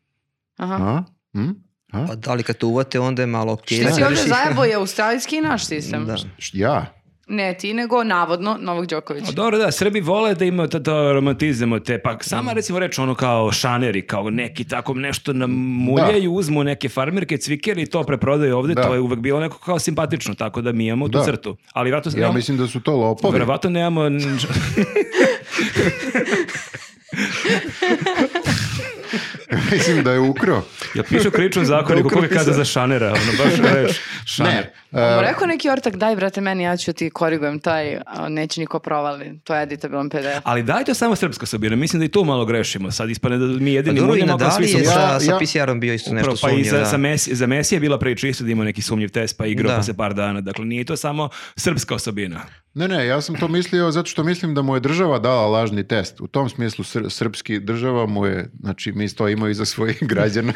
[SPEAKER 1] Aha.
[SPEAKER 3] A? Hm? A?
[SPEAKER 4] Pa da li kad te uvate, onda je malo okej.
[SPEAKER 1] Šta
[SPEAKER 4] da
[SPEAKER 1] si ovdje
[SPEAKER 4] kažeš-
[SPEAKER 1] zajebo je australijski i naš sistem.
[SPEAKER 4] Da.
[SPEAKER 3] Š- Ja?
[SPEAKER 1] Ne ti, nego navodno Novog Đokovića.
[SPEAKER 2] Pa Dobro, da, Srbi vole da imaju to, to romantizam od te, pa sama recimo reč ono kao šaneri, kao neki tako nešto nam muljaju, uzmu neke farmerke, cvikere i to preprodaju ovde,
[SPEAKER 3] Da.
[SPEAKER 2] to je uvek bilo neko kao simpatično, tako da mi imamo tu
[SPEAKER 3] Da.
[SPEAKER 2] crtu. Ali vratno
[SPEAKER 3] Ja mislim da su to lopovi.
[SPEAKER 2] Verovatno nemamo... n-
[SPEAKER 3] mislim da je ukro.
[SPEAKER 2] Jel piše u kričnom zakoniku koga kada za šanera? Ono baš reč šaner.
[SPEAKER 3] Ne.
[SPEAKER 1] Ovo
[SPEAKER 3] e,
[SPEAKER 1] rekao neki ortak, daj brate meni, ja ću ti korigujem taj, a, neće niko provali, to je editabilan PDF.
[SPEAKER 2] Ali daj to samo srpska sobina, mislim da i tu malo grešimo. Sad ispane da mi
[SPEAKER 4] Pa
[SPEAKER 2] jedini
[SPEAKER 4] dobro, i
[SPEAKER 2] muljamo, ako svi
[SPEAKER 4] Nadali
[SPEAKER 2] su
[SPEAKER 4] je
[SPEAKER 3] Ja-
[SPEAKER 4] sa,
[SPEAKER 3] ja-
[SPEAKER 4] sa PCR-om bio isto nešto
[SPEAKER 2] Upravo, pa i
[SPEAKER 4] sumnjiv,
[SPEAKER 2] za,
[SPEAKER 4] da.
[SPEAKER 2] za, Messi, za Messi je bila priča isto da ima neki sumnjiv test, pa igrao
[SPEAKER 4] Da.
[SPEAKER 2] pa se par dana. Dakle, nije to samo srpska osobina.
[SPEAKER 3] Ne, ne, ja sam to mislio zato što mislim da mu je država dala lažni test. U tom smislu sr- srpski država mu je, znači mi stojimo iza svojih građana,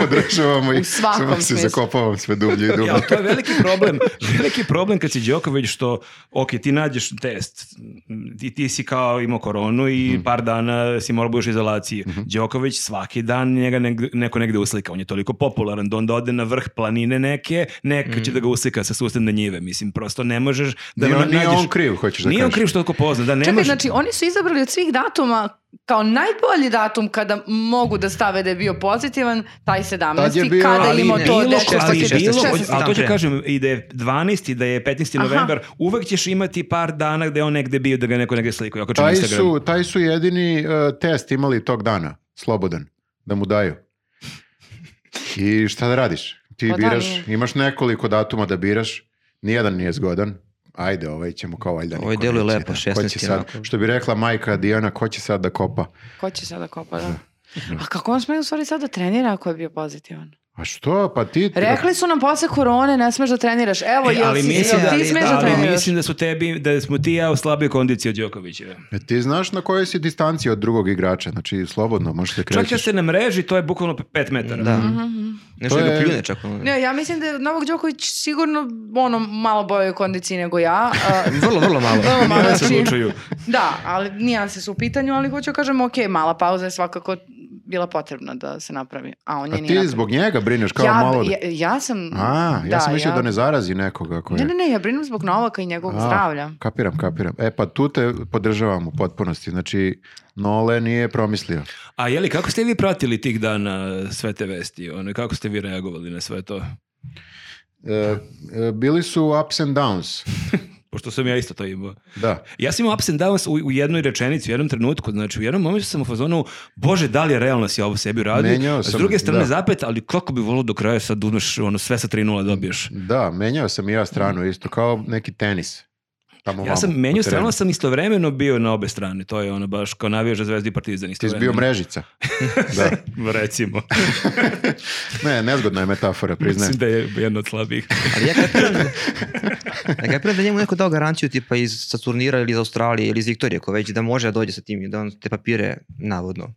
[SPEAKER 3] podržavamo ih,
[SPEAKER 1] U svakom
[SPEAKER 3] samo se
[SPEAKER 1] smislu.
[SPEAKER 3] zakopavam sve dublje i dublje.
[SPEAKER 2] Ja, to je veliki problem. Veliki problem kad si Đoković što, ok, ti nađeš test, ti, ti si kao imao koronu
[SPEAKER 4] Mhm.
[SPEAKER 2] i par dana si morao budeš u izolaciji. Đoković svaki dan njega neg- neko negde uslika. On je toliko popularan da onda ode na vrh planine neke, neko
[SPEAKER 4] Mhm.
[SPEAKER 2] će da ga uslika sa sustavne njive. Mislim, prosto ne možeš da
[SPEAKER 3] Nije
[SPEAKER 2] ga
[SPEAKER 3] on- nije
[SPEAKER 2] nađeš.
[SPEAKER 3] on kriv, hoćeš da
[SPEAKER 2] Nije on
[SPEAKER 3] kažeš.
[SPEAKER 2] kriv što je toliko pozna. Da, ne
[SPEAKER 1] Čekaj,
[SPEAKER 2] može-
[SPEAKER 1] znači oni su izabrali od svih datuma kao najbolji datum kada mogu da stave da je bio pozitivan, taj 17.
[SPEAKER 3] Tad je bio-
[SPEAKER 1] kada
[SPEAKER 3] ali
[SPEAKER 1] je imao to
[SPEAKER 2] bilo,
[SPEAKER 1] dečko
[SPEAKER 4] šesnaesti,
[SPEAKER 2] ali
[SPEAKER 4] šesnaesti,
[SPEAKER 2] bilo,
[SPEAKER 4] šesnaesti,
[SPEAKER 2] ali to ću
[SPEAKER 4] šesnaesti.
[SPEAKER 2] kažem i da je 12. da je 15.
[SPEAKER 1] Aha.
[SPEAKER 2] novembar, uvek ćeš imati par dana gde je on negde bio da ga neko negde slikuje. Ako čemu
[SPEAKER 3] Taj
[SPEAKER 2] Instagram.
[SPEAKER 3] Pa su, taj su jedini e, test imali tog dana, slobodan, da mu daju. I šta da radiš? Ti
[SPEAKER 1] Pa da,
[SPEAKER 3] biraš,
[SPEAKER 1] nije.
[SPEAKER 3] imaš nekoliko datuma da biraš, nijedan nije zgodan, ajde, ovaj ćemo kao valjda
[SPEAKER 4] Ovaj
[SPEAKER 3] niko
[SPEAKER 4] deluje
[SPEAKER 3] neće.
[SPEAKER 4] lepo,
[SPEAKER 3] Ko će
[SPEAKER 4] 16
[SPEAKER 3] sad,
[SPEAKER 4] onako.
[SPEAKER 3] što bi rekla majka Dijana, ko će sad da kopa?
[SPEAKER 1] Ko će sada kopa, da? A kako on sme u stvari sad da trenira ako je bio pozitivan?
[SPEAKER 3] A što? Pa ti...
[SPEAKER 1] Rekli su nam posle korone ne smeš da treniraš. Evo,
[SPEAKER 2] E,
[SPEAKER 1] Pa jel
[SPEAKER 2] ali
[SPEAKER 1] si-
[SPEAKER 2] mislim
[SPEAKER 1] jel
[SPEAKER 2] da,
[SPEAKER 1] ti smeš da
[SPEAKER 2] ali
[SPEAKER 1] treniraš?
[SPEAKER 2] mislim da su tebi, da smo ti i ja u slaboj kondiciji od Đokovića.
[SPEAKER 3] E, Ti znaš na kojoj si distanciji od drugog igrača, znači slobodno možeš da
[SPEAKER 2] Čak
[SPEAKER 3] krećeš.
[SPEAKER 2] kad ste na mreži, to je bukvalno 5 metara.
[SPEAKER 4] Da. Nešto
[SPEAKER 3] To
[SPEAKER 4] ga
[SPEAKER 3] je-
[SPEAKER 4] pljune čak. ono.
[SPEAKER 1] Mhm. Ne, ja mislim da je Novak Đoković sigurno ono malo boje kondiciji nego ja. a-
[SPEAKER 4] Vrlo, vrlo malo.
[SPEAKER 1] Vrlo malo,
[SPEAKER 2] Ja se
[SPEAKER 1] znači-
[SPEAKER 2] odlučuju.
[SPEAKER 1] Da, ali nijanse su u pitanju, ali hoću da kažem, ok, mala pauza je svakako bila potrebna da se napravi. A on je
[SPEAKER 3] A
[SPEAKER 1] nije
[SPEAKER 3] ti
[SPEAKER 1] napravio.
[SPEAKER 3] zbog njega brineš kao
[SPEAKER 1] ja,
[SPEAKER 3] malo...
[SPEAKER 1] ja, ja sam...
[SPEAKER 3] A, ja sam mislio
[SPEAKER 1] ja-
[SPEAKER 3] da ne zarazi nekoga. Koje...
[SPEAKER 1] Ne, ne, ne, ja brinem zbog Novaka i njegovog
[SPEAKER 3] A,
[SPEAKER 1] zdravlja.
[SPEAKER 3] Kapiram, kapiram. E pa tu te podržavam u potpunosti, znači Nole nije promislio.
[SPEAKER 2] A jeli, kako ste vi pratili tih dana sve te vesti? Ono, kako ste vi reagovali na sve to?
[SPEAKER 3] E, e, bili su ups and downs,
[SPEAKER 2] Pošto sam ja isto to imao.
[SPEAKER 3] da.
[SPEAKER 2] Ja sam imao ups and downs u, u jednoj rečenici, u jednom trenutku, znači u jednom momentu sam u fazonu, bože, da li je realno si ovo sebi uradio?
[SPEAKER 3] Menjao
[SPEAKER 2] S
[SPEAKER 3] sam,
[SPEAKER 2] druge strane
[SPEAKER 3] da.
[SPEAKER 2] zapet, ali kako bi volio do kraja sad uzmeš ono, sve sa 3-0 dobiješ?
[SPEAKER 3] Da, menjao sam i ja stranu isto, kao neki tenis. Tamo
[SPEAKER 2] Ja
[SPEAKER 3] vamo,
[SPEAKER 2] sam,
[SPEAKER 3] po
[SPEAKER 2] menio stranu
[SPEAKER 3] terenu.
[SPEAKER 2] sam istovremeno bio na obe strane, to je ono baš kao navijaš za Zvezdu i Partizan
[SPEAKER 3] Ti si bio
[SPEAKER 2] istovremeno.
[SPEAKER 3] mrežica. da.
[SPEAKER 2] Recimo.
[SPEAKER 3] Ne, nezgodna je metafora, priznajem.
[SPEAKER 2] Mislim da je jedna od slabijih.
[SPEAKER 4] Ali ja kapiram, ja kapiram da je njemu neko dao garanciju tipa iz Saturnira ili iz Australije ili iz Viktorije, ko već da može da dođe sa tim i da on te papire navodno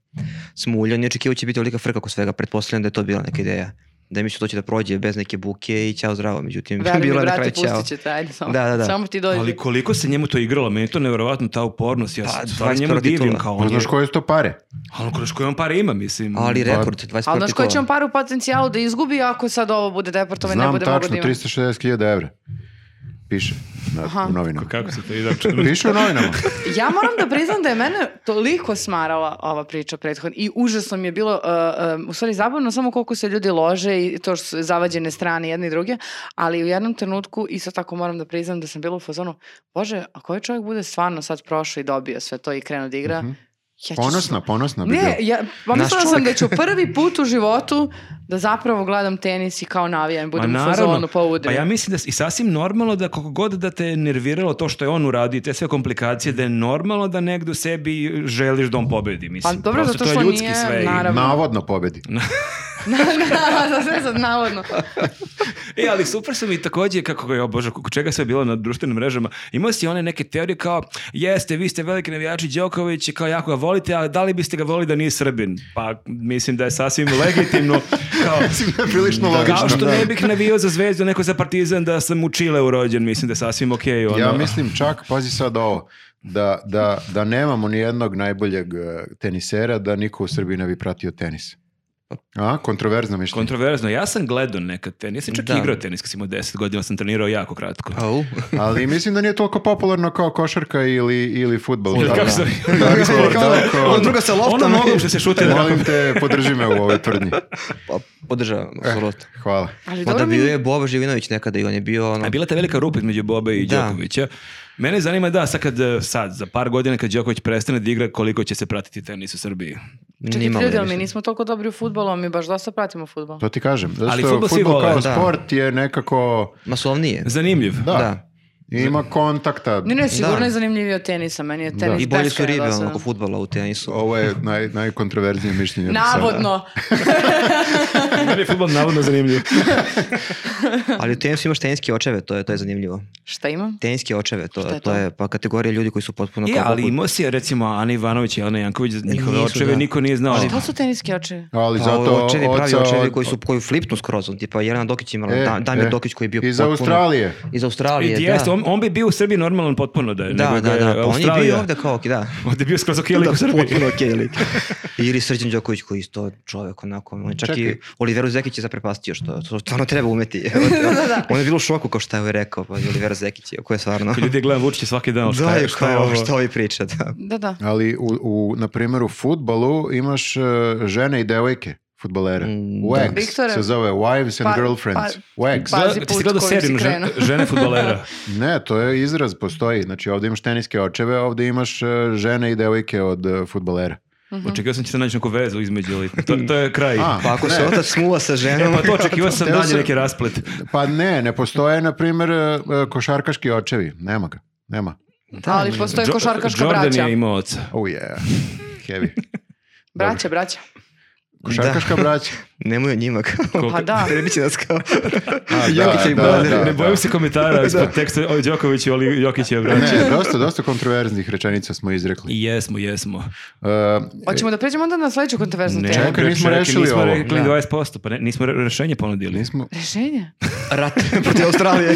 [SPEAKER 4] smulja. Nije očekivao će biti velika frka oko svega, pretpostavljam da je to bila neka ideja. Da je mislio to će da prođe bez neke buke i ćao zdravo, međutim,
[SPEAKER 1] Veruj
[SPEAKER 4] bilo
[SPEAKER 1] mi,
[SPEAKER 4] je na
[SPEAKER 1] brate,
[SPEAKER 4] kraju ćao.
[SPEAKER 1] pustit će te, ajde samo.
[SPEAKER 4] Da, da, da.
[SPEAKER 1] Samo ti dođi.
[SPEAKER 2] Ali koliko se njemu to igralo, meni je to nevjerovatno ta upornost, ja
[SPEAKER 4] Pa,
[SPEAKER 2] se stvarno
[SPEAKER 4] 21
[SPEAKER 2] njemu divim
[SPEAKER 4] titula.
[SPEAKER 2] kao
[SPEAKER 3] Pa
[SPEAKER 2] on je.
[SPEAKER 3] znaš koje su to pare?
[SPEAKER 2] Ali kroz koje on pare ima, mislim.
[SPEAKER 4] Ali
[SPEAKER 3] Pa-
[SPEAKER 4] rekord, 21.
[SPEAKER 1] Ali znaš koji će
[SPEAKER 4] titula.
[SPEAKER 1] on par u potencijalu da izgubi ako sad ovo bude deportovan i ne
[SPEAKER 3] Znam
[SPEAKER 1] bude mogo
[SPEAKER 3] tačno,
[SPEAKER 1] da ima?
[SPEAKER 3] 360.000 evra. Piše na, u novinama.
[SPEAKER 2] Kako se to izračuna?
[SPEAKER 3] Piše u novinama.
[SPEAKER 1] Ja moram da priznam da je mene toliko smarala ova priča prethodna i užasno mi je bilo, uh, um, u stvari zabavno samo koliko se ljudi lože i to što su zavađene strane jedne i druge, ali u jednom trenutku isto tako moram da priznam da sam bila u fazonu, bože, ako ovaj čovjek bude stvarno sad prošao i dobio sve to i krenuo da igra, ja ću
[SPEAKER 3] Ponosna, ponosna bi
[SPEAKER 1] Ne,
[SPEAKER 3] bio.
[SPEAKER 1] ja, pa
[SPEAKER 4] Naš
[SPEAKER 1] mislila sam da
[SPEAKER 4] čovjek.
[SPEAKER 1] ću prvi put u životu da zapravo gledam tenis i kao navijam, budem u fazonu pa udri.
[SPEAKER 2] pa ja mislim da s- i sasvim normalno da koliko god da te je nerviralo to što je on uradio i te sve komplikacije, da je normalno da negdje u sebi želiš da on pobedi,
[SPEAKER 1] Pa
[SPEAKER 2] mislim.
[SPEAKER 1] dobro,
[SPEAKER 2] Prosto,
[SPEAKER 1] zato
[SPEAKER 2] to je
[SPEAKER 1] što
[SPEAKER 2] ljudski
[SPEAKER 1] nije,
[SPEAKER 2] sve. i-
[SPEAKER 1] naravno.
[SPEAKER 3] Navodno pobedi.
[SPEAKER 1] Na- na- za sve sad navodno.
[SPEAKER 2] E, ali super su mi takođe, kako je, o bože, kako čega sve je bilo na društvenim mrežama, imao si one neke teorije kao, jeste, vi ste veliki navijači Đoković, kao jako ga volite, ali da li biste ga volili da nije Srbin? Pa, mislim da je sasvim legitimno, kao,
[SPEAKER 3] Mislim da je prilično logično.
[SPEAKER 2] kao što
[SPEAKER 3] da.
[SPEAKER 2] ne bih navio za zvezdu, neko za partizan, da sam u Čileu rođen, mislim da je sasvim okej. ono.
[SPEAKER 3] Ja mislim čak, pazi sad ovo, da, da, da nemamo ni jednog najboljeg eh, tenisera, da niko u Srbiji ne bi pratio tenis. A, kontroverzno mišljenje.
[SPEAKER 2] Kontroverzno, ja sam gledao nekad tenis, nisam čak
[SPEAKER 4] Da. Pa,
[SPEAKER 2] igrao tenis kad sam imao 10 godina, sam trenirao jako kratko.
[SPEAKER 4] Au.
[SPEAKER 3] Ali mislim da nije toliko popularno kao košarka ili, ili futbol.
[SPEAKER 2] Ili kako se-
[SPEAKER 4] Ono drugo sa loptom.
[SPEAKER 2] Ono nogom što se šutira.
[SPEAKER 3] Molim te, podrži me u ovoj tvrdnji.
[SPEAKER 4] Pa, Podržavam,
[SPEAKER 2] Eh.
[SPEAKER 4] apsolutno.
[SPEAKER 3] Hvala.
[SPEAKER 1] Ali
[SPEAKER 4] Mada
[SPEAKER 1] dobro mi
[SPEAKER 4] bio je Boba Živinović nekada i on je bio ono...
[SPEAKER 2] A bila je ta velika rupa između Boba i
[SPEAKER 4] Da.
[SPEAKER 2] Đokovića. Mene zanima da, sad, kad, eh, sad, za par godina kad Đoković prestane da igra, koliko će se pratiti tenis u Srbiji.
[SPEAKER 1] Čekaj,
[SPEAKER 4] nimalo, Pa,
[SPEAKER 1] ljudi, ali mi
[SPEAKER 4] mislim.
[SPEAKER 1] nismo toliko dobri u futbolu, a mi baš dosta pratimo futbol.
[SPEAKER 3] To ti kažem. Zato
[SPEAKER 2] Ali
[SPEAKER 3] što
[SPEAKER 2] fudbal svi
[SPEAKER 3] fudbal
[SPEAKER 2] vole,
[SPEAKER 3] kao
[SPEAKER 4] da.
[SPEAKER 3] sport je nekako...
[SPEAKER 4] Masovnije.
[SPEAKER 2] Zanimljiv.
[SPEAKER 3] Da.
[SPEAKER 4] Da.
[SPEAKER 3] Ima kontakta.
[SPEAKER 1] Ne, ne, sigurno
[SPEAKER 4] Da.
[SPEAKER 1] je zanimljiviji od tenisa, meni je tenis
[SPEAKER 3] Da.
[SPEAKER 1] da.
[SPEAKER 4] I bolje su ribe ono oko futbala u tenisu.
[SPEAKER 3] Ovo je naj, najkontroverznije mišljenje. do sada.
[SPEAKER 1] Navodno.
[SPEAKER 2] Meni je futbol navodno zanimljiv.
[SPEAKER 4] Ali u tenisu imaš teniske očeve, to je, to je zanimljivo.
[SPEAKER 1] Šta imam?
[SPEAKER 4] Teniske očeve, to,
[SPEAKER 1] Šta je
[SPEAKER 4] je,
[SPEAKER 1] to?
[SPEAKER 4] to je pa kategorija ljudi koji su potpuno...
[SPEAKER 2] I,
[SPEAKER 4] kao
[SPEAKER 2] E, ali
[SPEAKER 4] poput-
[SPEAKER 2] imao si, recimo, Ana Ivanović i Ana Janković, njihove
[SPEAKER 4] Nisu,
[SPEAKER 2] očeve,
[SPEAKER 4] da.
[SPEAKER 2] niko nije znao. E,
[SPEAKER 1] Šta su teniski očevi?
[SPEAKER 3] Ali
[SPEAKER 4] Pa,
[SPEAKER 3] zato
[SPEAKER 4] očevi, pravi
[SPEAKER 3] oca
[SPEAKER 4] očevi
[SPEAKER 3] od-
[SPEAKER 4] koji su Pa koji flipnu skroz, on, tipa Jelena Dokić imala,
[SPEAKER 3] E,
[SPEAKER 4] Da- Damir
[SPEAKER 3] e.
[SPEAKER 4] Dokić koji je bio
[SPEAKER 3] Iz Australije.
[SPEAKER 4] Iz
[SPEAKER 2] I
[SPEAKER 4] Australije, da.
[SPEAKER 2] jeste, on, on bi bio u Srbiji normalan potpuno da je.
[SPEAKER 4] Da,
[SPEAKER 2] nego
[SPEAKER 4] da,
[SPEAKER 2] je
[SPEAKER 4] da, pa on je bio
[SPEAKER 2] Australija-
[SPEAKER 4] ovde kao, da.
[SPEAKER 2] Ovde je bio skroz okej lik u Srbiji.
[SPEAKER 4] potpuno okej lik. Ili Srđan Đoković koji isto čovek onako, on je čak
[SPEAKER 3] Čekaj.
[SPEAKER 4] i Oliveru Zekić je zaprepastio što, što stvarno treba umeti. da, da, da. On je bilo u šoku kao šta je rekao, pa Olivera Zekić je, ko je stvarno...
[SPEAKER 2] Kad Ljudi gledam Vučića svaki dan, ali šta,
[SPEAKER 4] da,
[SPEAKER 2] je,
[SPEAKER 4] je
[SPEAKER 2] šta je
[SPEAKER 4] kao,
[SPEAKER 2] ovo?
[SPEAKER 4] šta ovi priča, da.
[SPEAKER 1] Da, da.
[SPEAKER 3] Ali u, u, na primjer u futbalu imaš eh, žene i devojke futbalere.
[SPEAKER 4] Mm,
[SPEAKER 3] Wags
[SPEAKER 1] da. Viktore,
[SPEAKER 3] se zove Wives and
[SPEAKER 1] pa-
[SPEAKER 3] Girlfriends.
[SPEAKER 1] pa-
[SPEAKER 3] Wags.
[SPEAKER 1] pa- Pazi
[SPEAKER 2] Gledao-
[SPEAKER 1] put
[SPEAKER 2] ti si gledao
[SPEAKER 1] kojim si
[SPEAKER 2] seriju žene,
[SPEAKER 1] krenuo.
[SPEAKER 2] žene futbolera.
[SPEAKER 3] Ne, to je izraz, postoji. Znači ovdje imaš teniske očeve, ovdje imaš eh, žene i devojke od uh, futbalera.
[SPEAKER 2] Očekio sam da će se naći neku vezu između, ali to,
[SPEAKER 1] Mm.
[SPEAKER 2] to je kraj.
[SPEAKER 3] A,
[SPEAKER 4] Pa ako
[SPEAKER 3] ne,
[SPEAKER 4] se otac smuva sa
[SPEAKER 2] E,
[SPEAKER 4] ženom...
[SPEAKER 2] pa to očekivao sam
[SPEAKER 3] Teo
[SPEAKER 2] dalje
[SPEAKER 3] sam-
[SPEAKER 2] neki rasplet.
[SPEAKER 3] Pa ne, ne postoje, na primjer, eh, košarkaški očevi. Nema ga. Nema.
[SPEAKER 1] ali postoje
[SPEAKER 2] Jo-
[SPEAKER 1] košarkaška
[SPEAKER 2] Jordan
[SPEAKER 1] braća.
[SPEAKER 2] je imao oca.
[SPEAKER 3] Oh yeah. Heavy.
[SPEAKER 1] Braća, braća.
[SPEAKER 3] Košarkaška braća.
[SPEAKER 4] Nemoj o njima kao...
[SPEAKER 1] Pa da.
[SPEAKER 4] Tebi će nas kao...
[SPEAKER 3] A,
[SPEAKER 4] Jokića i
[SPEAKER 2] Da,
[SPEAKER 4] Brodera.
[SPEAKER 2] ne, ne
[SPEAKER 3] da.
[SPEAKER 2] bojim se komentara ispod teksta o Đokoviću, ali Jokić je braća.
[SPEAKER 3] Ne, dosta, dosta kontroverznih rečenica smo izrekli.
[SPEAKER 2] I Jesmo, jesmo.
[SPEAKER 3] Eh,
[SPEAKER 1] Hoćemo da pređemo onda na sledeću kontroverznu temu.
[SPEAKER 3] Čekaj,
[SPEAKER 2] bre,
[SPEAKER 3] nismo rešili
[SPEAKER 2] nismo
[SPEAKER 3] ovo.
[SPEAKER 2] rekli
[SPEAKER 4] Da.
[SPEAKER 2] 20%, pa ne, nismo re- rešenje ponudili.
[SPEAKER 3] nismo,
[SPEAKER 1] Rešenje?
[SPEAKER 4] Rat protiv Australije.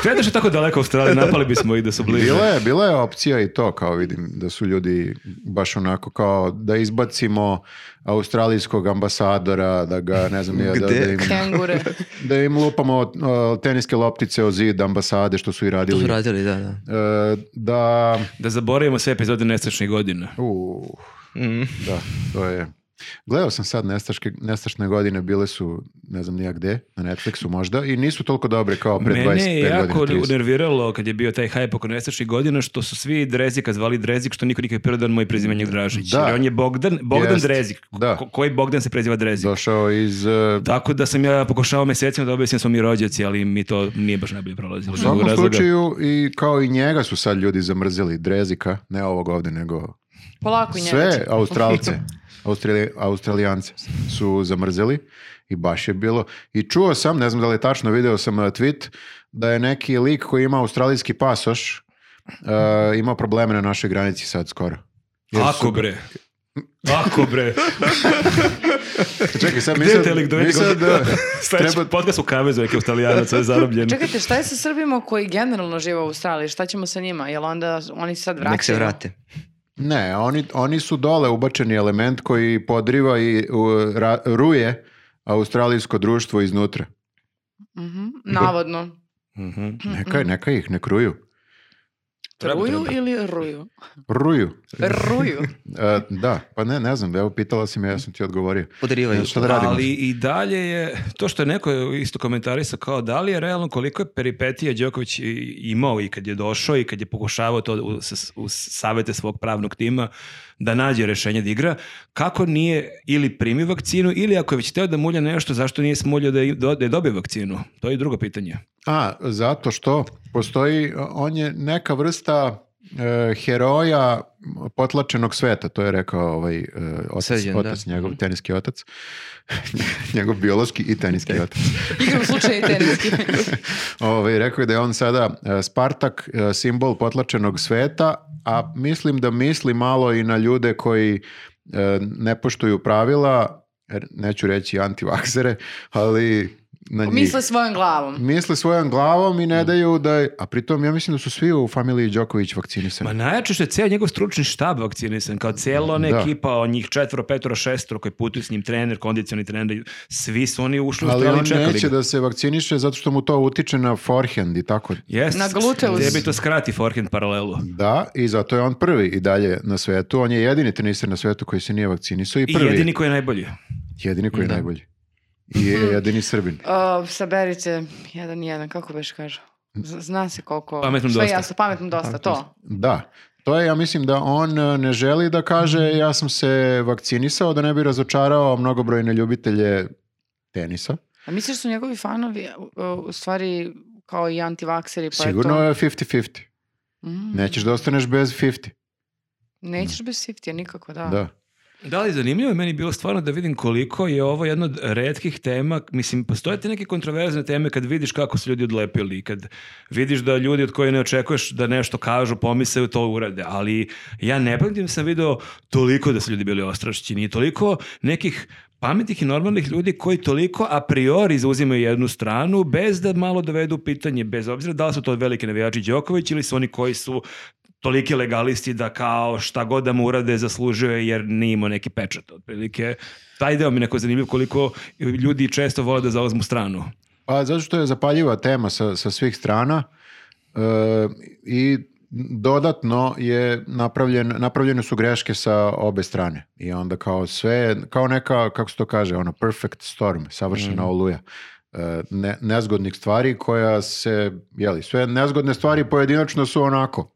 [SPEAKER 2] Šteta što je tako daleko Australija, napali bismo ih da su bliže.
[SPEAKER 3] Bila je, bila je opcija i to, kao vidim, da su ljudi baš onako kao da izbacimo australijskog ambasadora, da ga, ne znam, ja, da,
[SPEAKER 4] Gde?
[SPEAKER 3] da, im,
[SPEAKER 1] Kengure.
[SPEAKER 3] da im lupamo o, teniske loptice o zid ambasade što su i
[SPEAKER 4] To
[SPEAKER 3] radili.
[SPEAKER 4] su radili, da, da.
[SPEAKER 3] E, da,
[SPEAKER 2] Da zaboravimo sve epizode nesečnih godina.
[SPEAKER 3] u, da, to je... Gledao sam sad nestaške, nestašne godine, bile su, ne znam nija gde, na Netflixu možda, i nisu toliko dobre kao Pa pre 25 godina.
[SPEAKER 2] Mene je jako
[SPEAKER 3] 30.
[SPEAKER 2] nerviralo kad je bio taj hype oko nesečnih godina što su svi Drezika zvali Drezik što niko nikad prvo dan moj prezimenje Dražić.
[SPEAKER 3] Da.
[SPEAKER 2] Jer on je Bogdan, Bogdan
[SPEAKER 3] Jest.
[SPEAKER 2] Drezik.
[SPEAKER 3] Da.
[SPEAKER 2] Ko- koji Bogdan se preziva Drezik?
[SPEAKER 3] Došao iz... e,
[SPEAKER 2] Tako da sam ja pokušao mesecima da objasnim da smo mi rođaci, ali mi to nije baš najbolje prolazilo.
[SPEAKER 3] U
[SPEAKER 2] iz tog
[SPEAKER 3] svakom
[SPEAKER 2] razloga.
[SPEAKER 3] slučaju, i kao i njega su sad ljudi zamrzili, Drezika, ne ovog ovde, nego
[SPEAKER 1] Polako njega.
[SPEAKER 3] sve Australce, Australi, Australijance su zamrzeli i baš je bilo. I čuo sam, ne znam da li je tačno, video sam eh, tweet, da je neki lik koji ima australijski pasoš eh, imao probleme na našoj granici sad skoro. Jer su-
[SPEAKER 2] Ako bre. Ako bre.
[SPEAKER 3] Čekaj, sad
[SPEAKER 2] Gde je
[SPEAKER 3] mislim,
[SPEAKER 2] taj lik dovedi
[SPEAKER 3] mislim
[SPEAKER 2] ga-
[SPEAKER 3] da
[SPEAKER 2] Sledeći
[SPEAKER 3] treba-
[SPEAKER 2] podcast u kavezu, neki australijanac, sve zarobljeno.
[SPEAKER 1] Čekajte, šta je sa Srbima koji generalno žive u Australiji? Šta ćemo sa njima? Jel onda oni sad vraćaju?
[SPEAKER 4] Nek se vrate.
[SPEAKER 3] Ne, oni, oni su dole ubačeni element koji podriva i u, ra- ruje australijsko društvo iznutra.
[SPEAKER 1] Mhm, Navodno.
[SPEAKER 2] Mhm.
[SPEAKER 3] Neka, neka ih, nek ruju.
[SPEAKER 2] Treba,
[SPEAKER 1] Ruju
[SPEAKER 2] treba.
[SPEAKER 1] ili ruju?
[SPEAKER 3] Ruju.
[SPEAKER 1] Ruju.
[SPEAKER 3] E, da, pa ne, ne znam, evo pitala si me, ja sam ti odgovorio. E,
[SPEAKER 4] Podarivaju.
[SPEAKER 3] Šta da radimo?
[SPEAKER 2] Ali i dalje je, to što je neko isto komentarisao kao da li je realno koliko je peripetija Đoković i- imao i kad je došao i kad je pokušavao to u, s- u savete svog pravnog tima da nađe rešenje da igra, kako nije ili primi vakcinu ili ako je već teo da mulja nešto, zašto nije smuljao da, je- da je dobio vakcinu? To je drugo pitanje.
[SPEAKER 3] A, zato što postoji, on je neka vrsta e, heroja potlačenog sveta, to je rekao ovaj e, otac,
[SPEAKER 4] Srđan,
[SPEAKER 3] otac
[SPEAKER 4] da.
[SPEAKER 3] njegov teniski otac, njegov biološki i teniski otac.
[SPEAKER 1] Igram slučaj i teniski.
[SPEAKER 3] Ovaj, rekao je da je on sada e, Spartak, e, simbol potlačenog sveta, a mislim da misli malo i na ljude koji e, ne poštuju pravila, er, neću reći antivaksere, ali na njih.
[SPEAKER 1] Misle svojom glavom.
[SPEAKER 3] Misle svojom glavom i ne daju da... je- A pritom ja mislim da su svi u familiji Đoković vakcinisani.
[SPEAKER 2] Ma najjače što je cijel njegov stručni štab vakcinisan, kao cijela ona
[SPEAKER 3] Da.
[SPEAKER 2] ekipa, on njih četvoro, petoro, šestoro koji putuju s njim trener, kondicioni trener, svi su oni ušli u
[SPEAKER 3] Ali
[SPEAKER 2] Australiju
[SPEAKER 3] on
[SPEAKER 2] i čekali
[SPEAKER 3] neće
[SPEAKER 2] ga.
[SPEAKER 3] da se vakciniše zato što mu to utiče na forehand i tako.
[SPEAKER 2] Yes.
[SPEAKER 1] Na gluteus.
[SPEAKER 2] Gde bi to skrati forehand paralelu.
[SPEAKER 3] Da, i zato je on prvi i dalje na svetu. On je jedini teniser na svetu koji se nije vakcinisao i
[SPEAKER 2] I
[SPEAKER 3] prvi.
[SPEAKER 2] jedini koji je najbolji.
[SPEAKER 3] Jedini koji je
[SPEAKER 4] Da.
[SPEAKER 3] najbolji. I je jedini Srbin.
[SPEAKER 1] Uh, saberite jedan i jedan, kako već kažu. Z- Zna se koliko...
[SPEAKER 2] Pametnom
[SPEAKER 1] sve je
[SPEAKER 2] dosta.
[SPEAKER 1] Jasno, pametnom dosta, to.
[SPEAKER 3] Da. To je, ja mislim da on e, ne želi da kaže
[SPEAKER 1] Mhm.
[SPEAKER 3] ja sam se vakcinisao da ne bi razočarao mnogobrojne ljubitelje tenisa.
[SPEAKER 1] A misliš da su njegovi fanovi uh, u stvari kao i antivakseri? Pa
[SPEAKER 3] Sigurno
[SPEAKER 1] je.
[SPEAKER 3] je 50-50.
[SPEAKER 1] To... Mm.
[SPEAKER 3] Nećeš da ostaneš bez 50.
[SPEAKER 1] Nećeš bez siftija nikako, da.
[SPEAKER 3] Da.
[SPEAKER 2] Da li zanimljivo je meni bilo stvarno da vidim koliko je ovo jedna od redkih tema, mislim postoje te neke kontroverzne teme kad vidiš kako su ljudi odlepili, i kad vidiš da ljudi od kojih ne očekuješ da nešto kažu, pomisle to urade, ali ja ne pamtim da sam video toliko da su ljudi bili ostrašćeni i toliko nekih pametnih i normalnih ljudi koji toliko a priori zauzimaju jednu stranu bez da malo dovedu u pitanje, bez obzira da li su to veliki navijači Đoković ili su oni koji su toliki legalisti da kao šta god da mu urade zaslužuje jer nije imao neki pečat otprilike. Taj deo mi je neko zanimljiv koliko ljudi često vole da zauzmu stranu.
[SPEAKER 3] Pa zato što je zapaljiva tema sa, sa svih strana e, i dodatno je napravljen, napravljene su greške sa obe strane. I onda kao sve, kao neka, kako se to kaže, ono perfect storm, savršena
[SPEAKER 2] Mhm.
[SPEAKER 3] oluja. e, ne- nezgodnih stvari koja se, jeli, sve nezgodne stvari pojedinačno su onako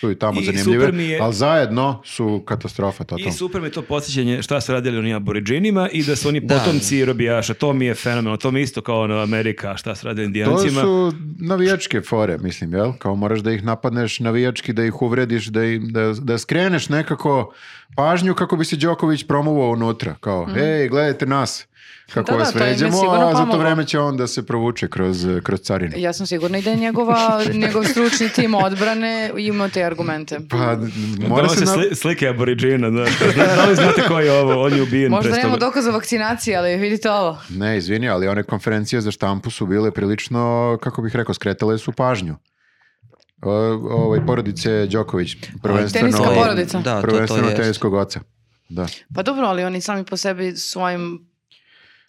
[SPEAKER 3] tu i tamo
[SPEAKER 2] I super mi
[SPEAKER 3] zanimljive,
[SPEAKER 2] je-
[SPEAKER 3] ali zajedno su katastrofa
[SPEAKER 2] I
[SPEAKER 3] totalno.
[SPEAKER 2] super mi je to podsjećanje šta su radili oni aboriđinima i da su oni
[SPEAKER 4] Da.
[SPEAKER 2] potomci robijaša. To mi je fenomenalno. To mi je isto kao ono Amerika, šta su radili
[SPEAKER 3] To
[SPEAKER 2] indijancima.
[SPEAKER 3] su navijačke fore, mislim, jel? Kao moraš da ih napadneš navijački, da ih uvrediš, da, im- da, da skreneš nekako pažnju kako bi se Đoković promovao unutra. Kao, ej, gledajte nas, kako
[SPEAKER 1] Mhm. Da, da,
[SPEAKER 3] vas
[SPEAKER 1] to im je
[SPEAKER 3] vređamo,
[SPEAKER 1] sigurno
[SPEAKER 3] a za to
[SPEAKER 1] pomoglo.
[SPEAKER 3] vreme će on da se provuče kroz, kroz carinu.
[SPEAKER 1] Ja sam sigurna i da je njegova, njegov stručni tim odbrane imao te argumente.
[SPEAKER 3] Pa,
[SPEAKER 2] Da
[SPEAKER 3] mora
[SPEAKER 2] se
[SPEAKER 3] se... na-
[SPEAKER 2] sli- slike aboriđina, znaš. Da li znate ko je ovo? On je ubijen
[SPEAKER 1] Možda
[SPEAKER 2] pre sto
[SPEAKER 1] nemamo
[SPEAKER 2] godina.
[SPEAKER 1] dokaz o vakcinaciji, ali vidite ovo.
[SPEAKER 3] Ne, izvini, ali one konferencije za štampu su bile prilično, kako bih rekao, skretale su pažnju. O, ovaj, porodice Đoković, prvenstveno...
[SPEAKER 1] Teniska
[SPEAKER 4] To je-
[SPEAKER 1] porodica.
[SPEAKER 4] Da, to, to,
[SPEAKER 3] prvenstveno
[SPEAKER 4] je.
[SPEAKER 3] teniskog oca. Da.
[SPEAKER 1] Pa dobro, ali oni sami po sebi svojim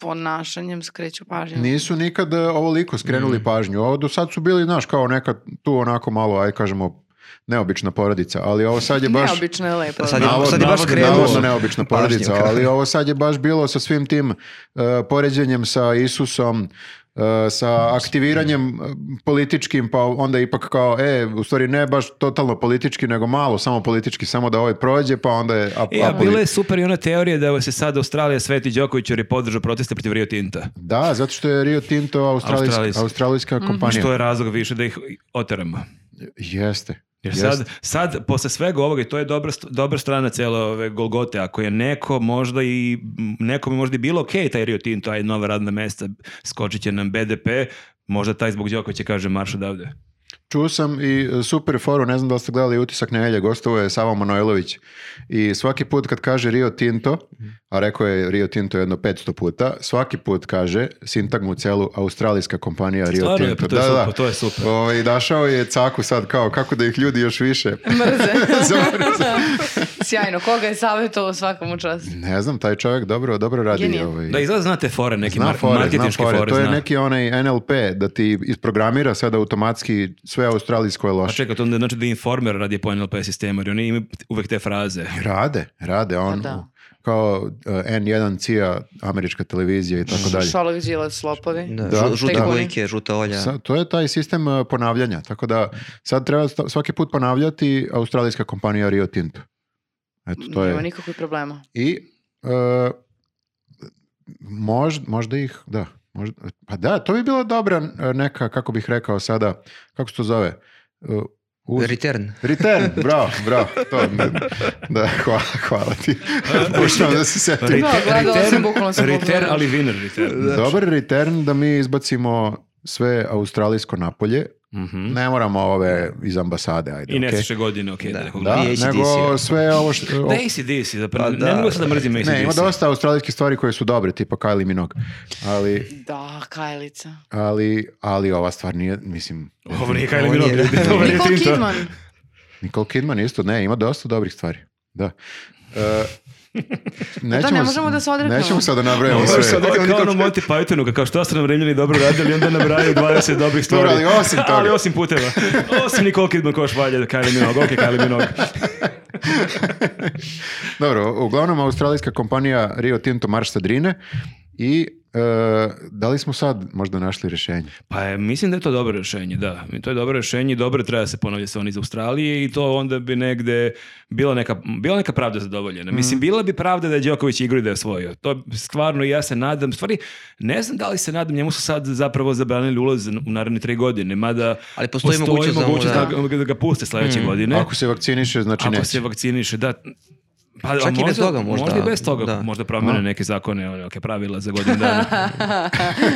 [SPEAKER 1] ponašanjem skreću pažnju.
[SPEAKER 3] Nisu nikad e, ovoliko skrenuli pažnju. Ovo do sad su bili, znaš, kao neka tu onako malo, aj kažemo, neobična porodica, ali ovo sad je baš...
[SPEAKER 1] Neobično je lepo.
[SPEAKER 4] Sad je-
[SPEAKER 3] Navodno,
[SPEAKER 4] sad je baš
[SPEAKER 3] navodno,
[SPEAKER 4] krenuo.
[SPEAKER 3] navodno neobična porodica,
[SPEAKER 4] Pažnjaka.
[SPEAKER 3] ali ovo sad je baš bilo sa svim tim uh, poređenjem sa Isusom, uh, sa aktiviranjem uh, političkim, pa onda ipak kao, e, u stvari ne baš totalno politički, nego malo samo politički, samo da ovaj prođe, pa onda je... ap-
[SPEAKER 2] E, a
[SPEAKER 3] apoli-
[SPEAKER 2] bila je super i ona teorija da se sad Australija sveti Đoković jer je podržao proteste protiv Rio Tinta.
[SPEAKER 3] Da, zato što je Rio Tinto australijska,
[SPEAKER 2] Australijska.
[SPEAKER 3] australijska kompanija.
[SPEAKER 2] Što je razlog više da ih oteramo.
[SPEAKER 3] Jeste.
[SPEAKER 2] Jer
[SPEAKER 3] jeste.
[SPEAKER 2] sad, sad, posle svega ovoga, i to je dobra, st- dobra strana cele ove Golgote, ako je neko možda i, m, nekom je možda i bilo okej taj Rio Tinto, aj nova radna mesta, skočit će nam BDP, možda taj zbog Đokovića kaže marš odavde.
[SPEAKER 3] Čuo sam i e, super foru, ne znam da li ste gledali utisak nedelje, gostovo je Savo Manojlović i svaki put kad kaže Rio Tinto, a rekao je Rio Tinto jedno 500 puta, svaki put kaže sintagmu celu australijska kompanija Rio
[SPEAKER 2] Stvarno je, pa
[SPEAKER 3] Tinto.
[SPEAKER 2] to je super, to je super.
[SPEAKER 3] O, I dašao je caku sad kao kako da ih ljudi još više.
[SPEAKER 1] Mrze.
[SPEAKER 3] Zamrze.
[SPEAKER 1] Sjajno. Koga je savjetovao svakom čast?
[SPEAKER 3] ne znam, taj čovjek dobro, dobro radi.
[SPEAKER 1] Genijalno.
[SPEAKER 3] Ovaj.
[SPEAKER 2] Da, izgleda znate fore, neki
[SPEAKER 3] Zna
[SPEAKER 2] mar-
[SPEAKER 3] fore, zna
[SPEAKER 2] marketinške
[SPEAKER 3] fore.
[SPEAKER 2] fore,
[SPEAKER 3] To je
[SPEAKER 2] zna.
[SPEAKER 3] neki onaj NLP da ti isprogramira sada automatski sve australijsko je
[SPEAKER 2] Pa
[SPEAKER 3] loše.
[SPEAKER 2] čekaj, to onda znači da informer radi po NLP sistemu, jer oni imaju uvek te fraze.
[SPEAKER 3] Rade, rade on.
[SPEAKER 1] Pa da.
[SPEAKER 3] Kao uh, N1 CIA, američka televizija i tako dalje.
[SPEAKER 1] Šolak, Đilas, Lopovi.
[SPEAKER 4] Da,
[SPEAKER 3] Da.
[SPEAKER 4] žu- žute
[SPEAKER 1] Tajkuni.
[SPEAKER 4] bojke, žuta olja.
[SPEAKER 3] Sa- to je taj sistem uh, ponavljanja, tako da sad treba sta- svaki put ponavljati australijska kompanija Rio Tinto. Eto, to
[SPEAKER 1] Nema
[SPEAKER 3] je.
[SPEAKER 1] nikakvih problema.
[SPEAKER 3] I uh, možda, možda ih, da, možda, pa da, to bi bila dobra uh, neka, kako bih rekao sada, kako se to zove? Uh, uz-
[SPEAKER 4] Return.
[SPEAKER 3] Return, bravo, bravo, to, da, hvala, hvala ti, pokušavam da se setim.
[SPEAKER 1] Da, gledala sam, bukvalno sam
[SPEAKER 2] return,
[SPEAKER 1] pogledala.
[SPEAKER 2] ali winner return.
[SPEAKER 1] Znači-
[SPEAKER 3] Dobar return da mi izbacimo sve australijsko napolje.
[SPEAKER 2] Mhm.
[SPEAKER 3] Ne moramo ove iz ambasade, ajde.
[SPEAKER 2] I
[SPEAKER 3] okej.
[SPEAKER 2] nesiše godine, okej.
[SPEAKER 4] Da.
[SPEAKER 2] da nekog
[SPEAKER 3] Da,
[SPEAKER 4] I ACDC,
[SPEAKER 3] nego
[SPEAKER 1] ono.
[SPEAKER 4] ja.
[SPEAKER 3] sve ovo što...
[SPEAKER 2] Da, ACDC, zapravo.
[SPEAKER 4] Pa
[SPEAKER 2] Ne
[SPEAKER 4] da.
[SPEAKER 2] mogu sad da mrzim ACDC.
[SPEAKER 3] ne, ima dosta australijskih stvari koje su dobre, tipa Kylie Minogue. Ali,
[SPEAKER 1] Da, kajlica.
[SPEAKER 3] ali, ali ova stvar nije, mislim...
[SPEAKER 2] Ovo nije Kylie
[SPEAKER 4] Ovo
[SPEAKER 2] Minogue,
[SPEAKER 4] nije.
[SPEAKER 2] ljudi, ovo nije
[SPEAKER 1] Nicole
[SPEAKER 2] Tinto.
[SPEAKER 1] Kidman.
[SPEAKER 3] Nicole Kidman isto, ne, ima dosta dobrih stvari. Da. E, nećemo,
[SPEAKER 1] ne
[SPEAKER 3] s-
[SPEAKER 1] možemo da se odreknemo.
[SPEAKER 3] Nećemo sad da nabrajamo
[SPEAKER 2] Ovo je
[SPEAKER 3] sve.
[SPEAKER 2] sad kao ono Monty Pythonu, kao što su nam Rimljani dobro radili, onda nabraju 20 dobrih stvari.
[SPEAKER 3] Dobro, ali osim toga.
[SPEAKER 2] Ali osim puteva. Osim Nicole Kidman koja švalja Kylie Minogue, okej Kylie Minogue.
[SPEAKER 3] Dobro, uglavnom australijska kompanija Rio Tinto Marš sa Drine i e, da li smo sad možda našli rješenje?
[SPEAKER 2] Pa je, mislim da je to dobro rješenje, da. I To je dobro rješenje i dobro treba da se ponavlja se on iz Australije i to onda bi negde bila neka, bila neka pravda zadovoljena.
[SPEAKER 4] Mhm.
[SPEAKER 2] Mislim, bila bi pravda da je Đoković igru i da je osvojio. To je stvarno i ja se nadam. Stvari, ne znam da li se nadam, njemu su sad zapravo zabranili ulaz u naredne tri godine, mada
[SPEAKER 4] Ali postoji mogućnost da mu
[SPEAKER 2] mogućnost da,
[SPEAKER 4] da- Mhm.
[SPEAKER 2] ga, da ga puste sledeće godine.
[SPEAKER 3] Ako se vakciniše, znači
[SPEAKER 2] Ako
[SPEAKER 3] neće.
[SPEAKER 2] se vakciniše, da. Pa,
[SPEAKER 4] Čak i bez
[SPEAKER 2] možda-
[SPEAKER 4] toga možda.
[SPEAKER 2] Možda i bez toga,
[SPEAKER 4] Da.
[SPEAKER 2] možda promene neke zakone, one, neke pravila za godinu dana.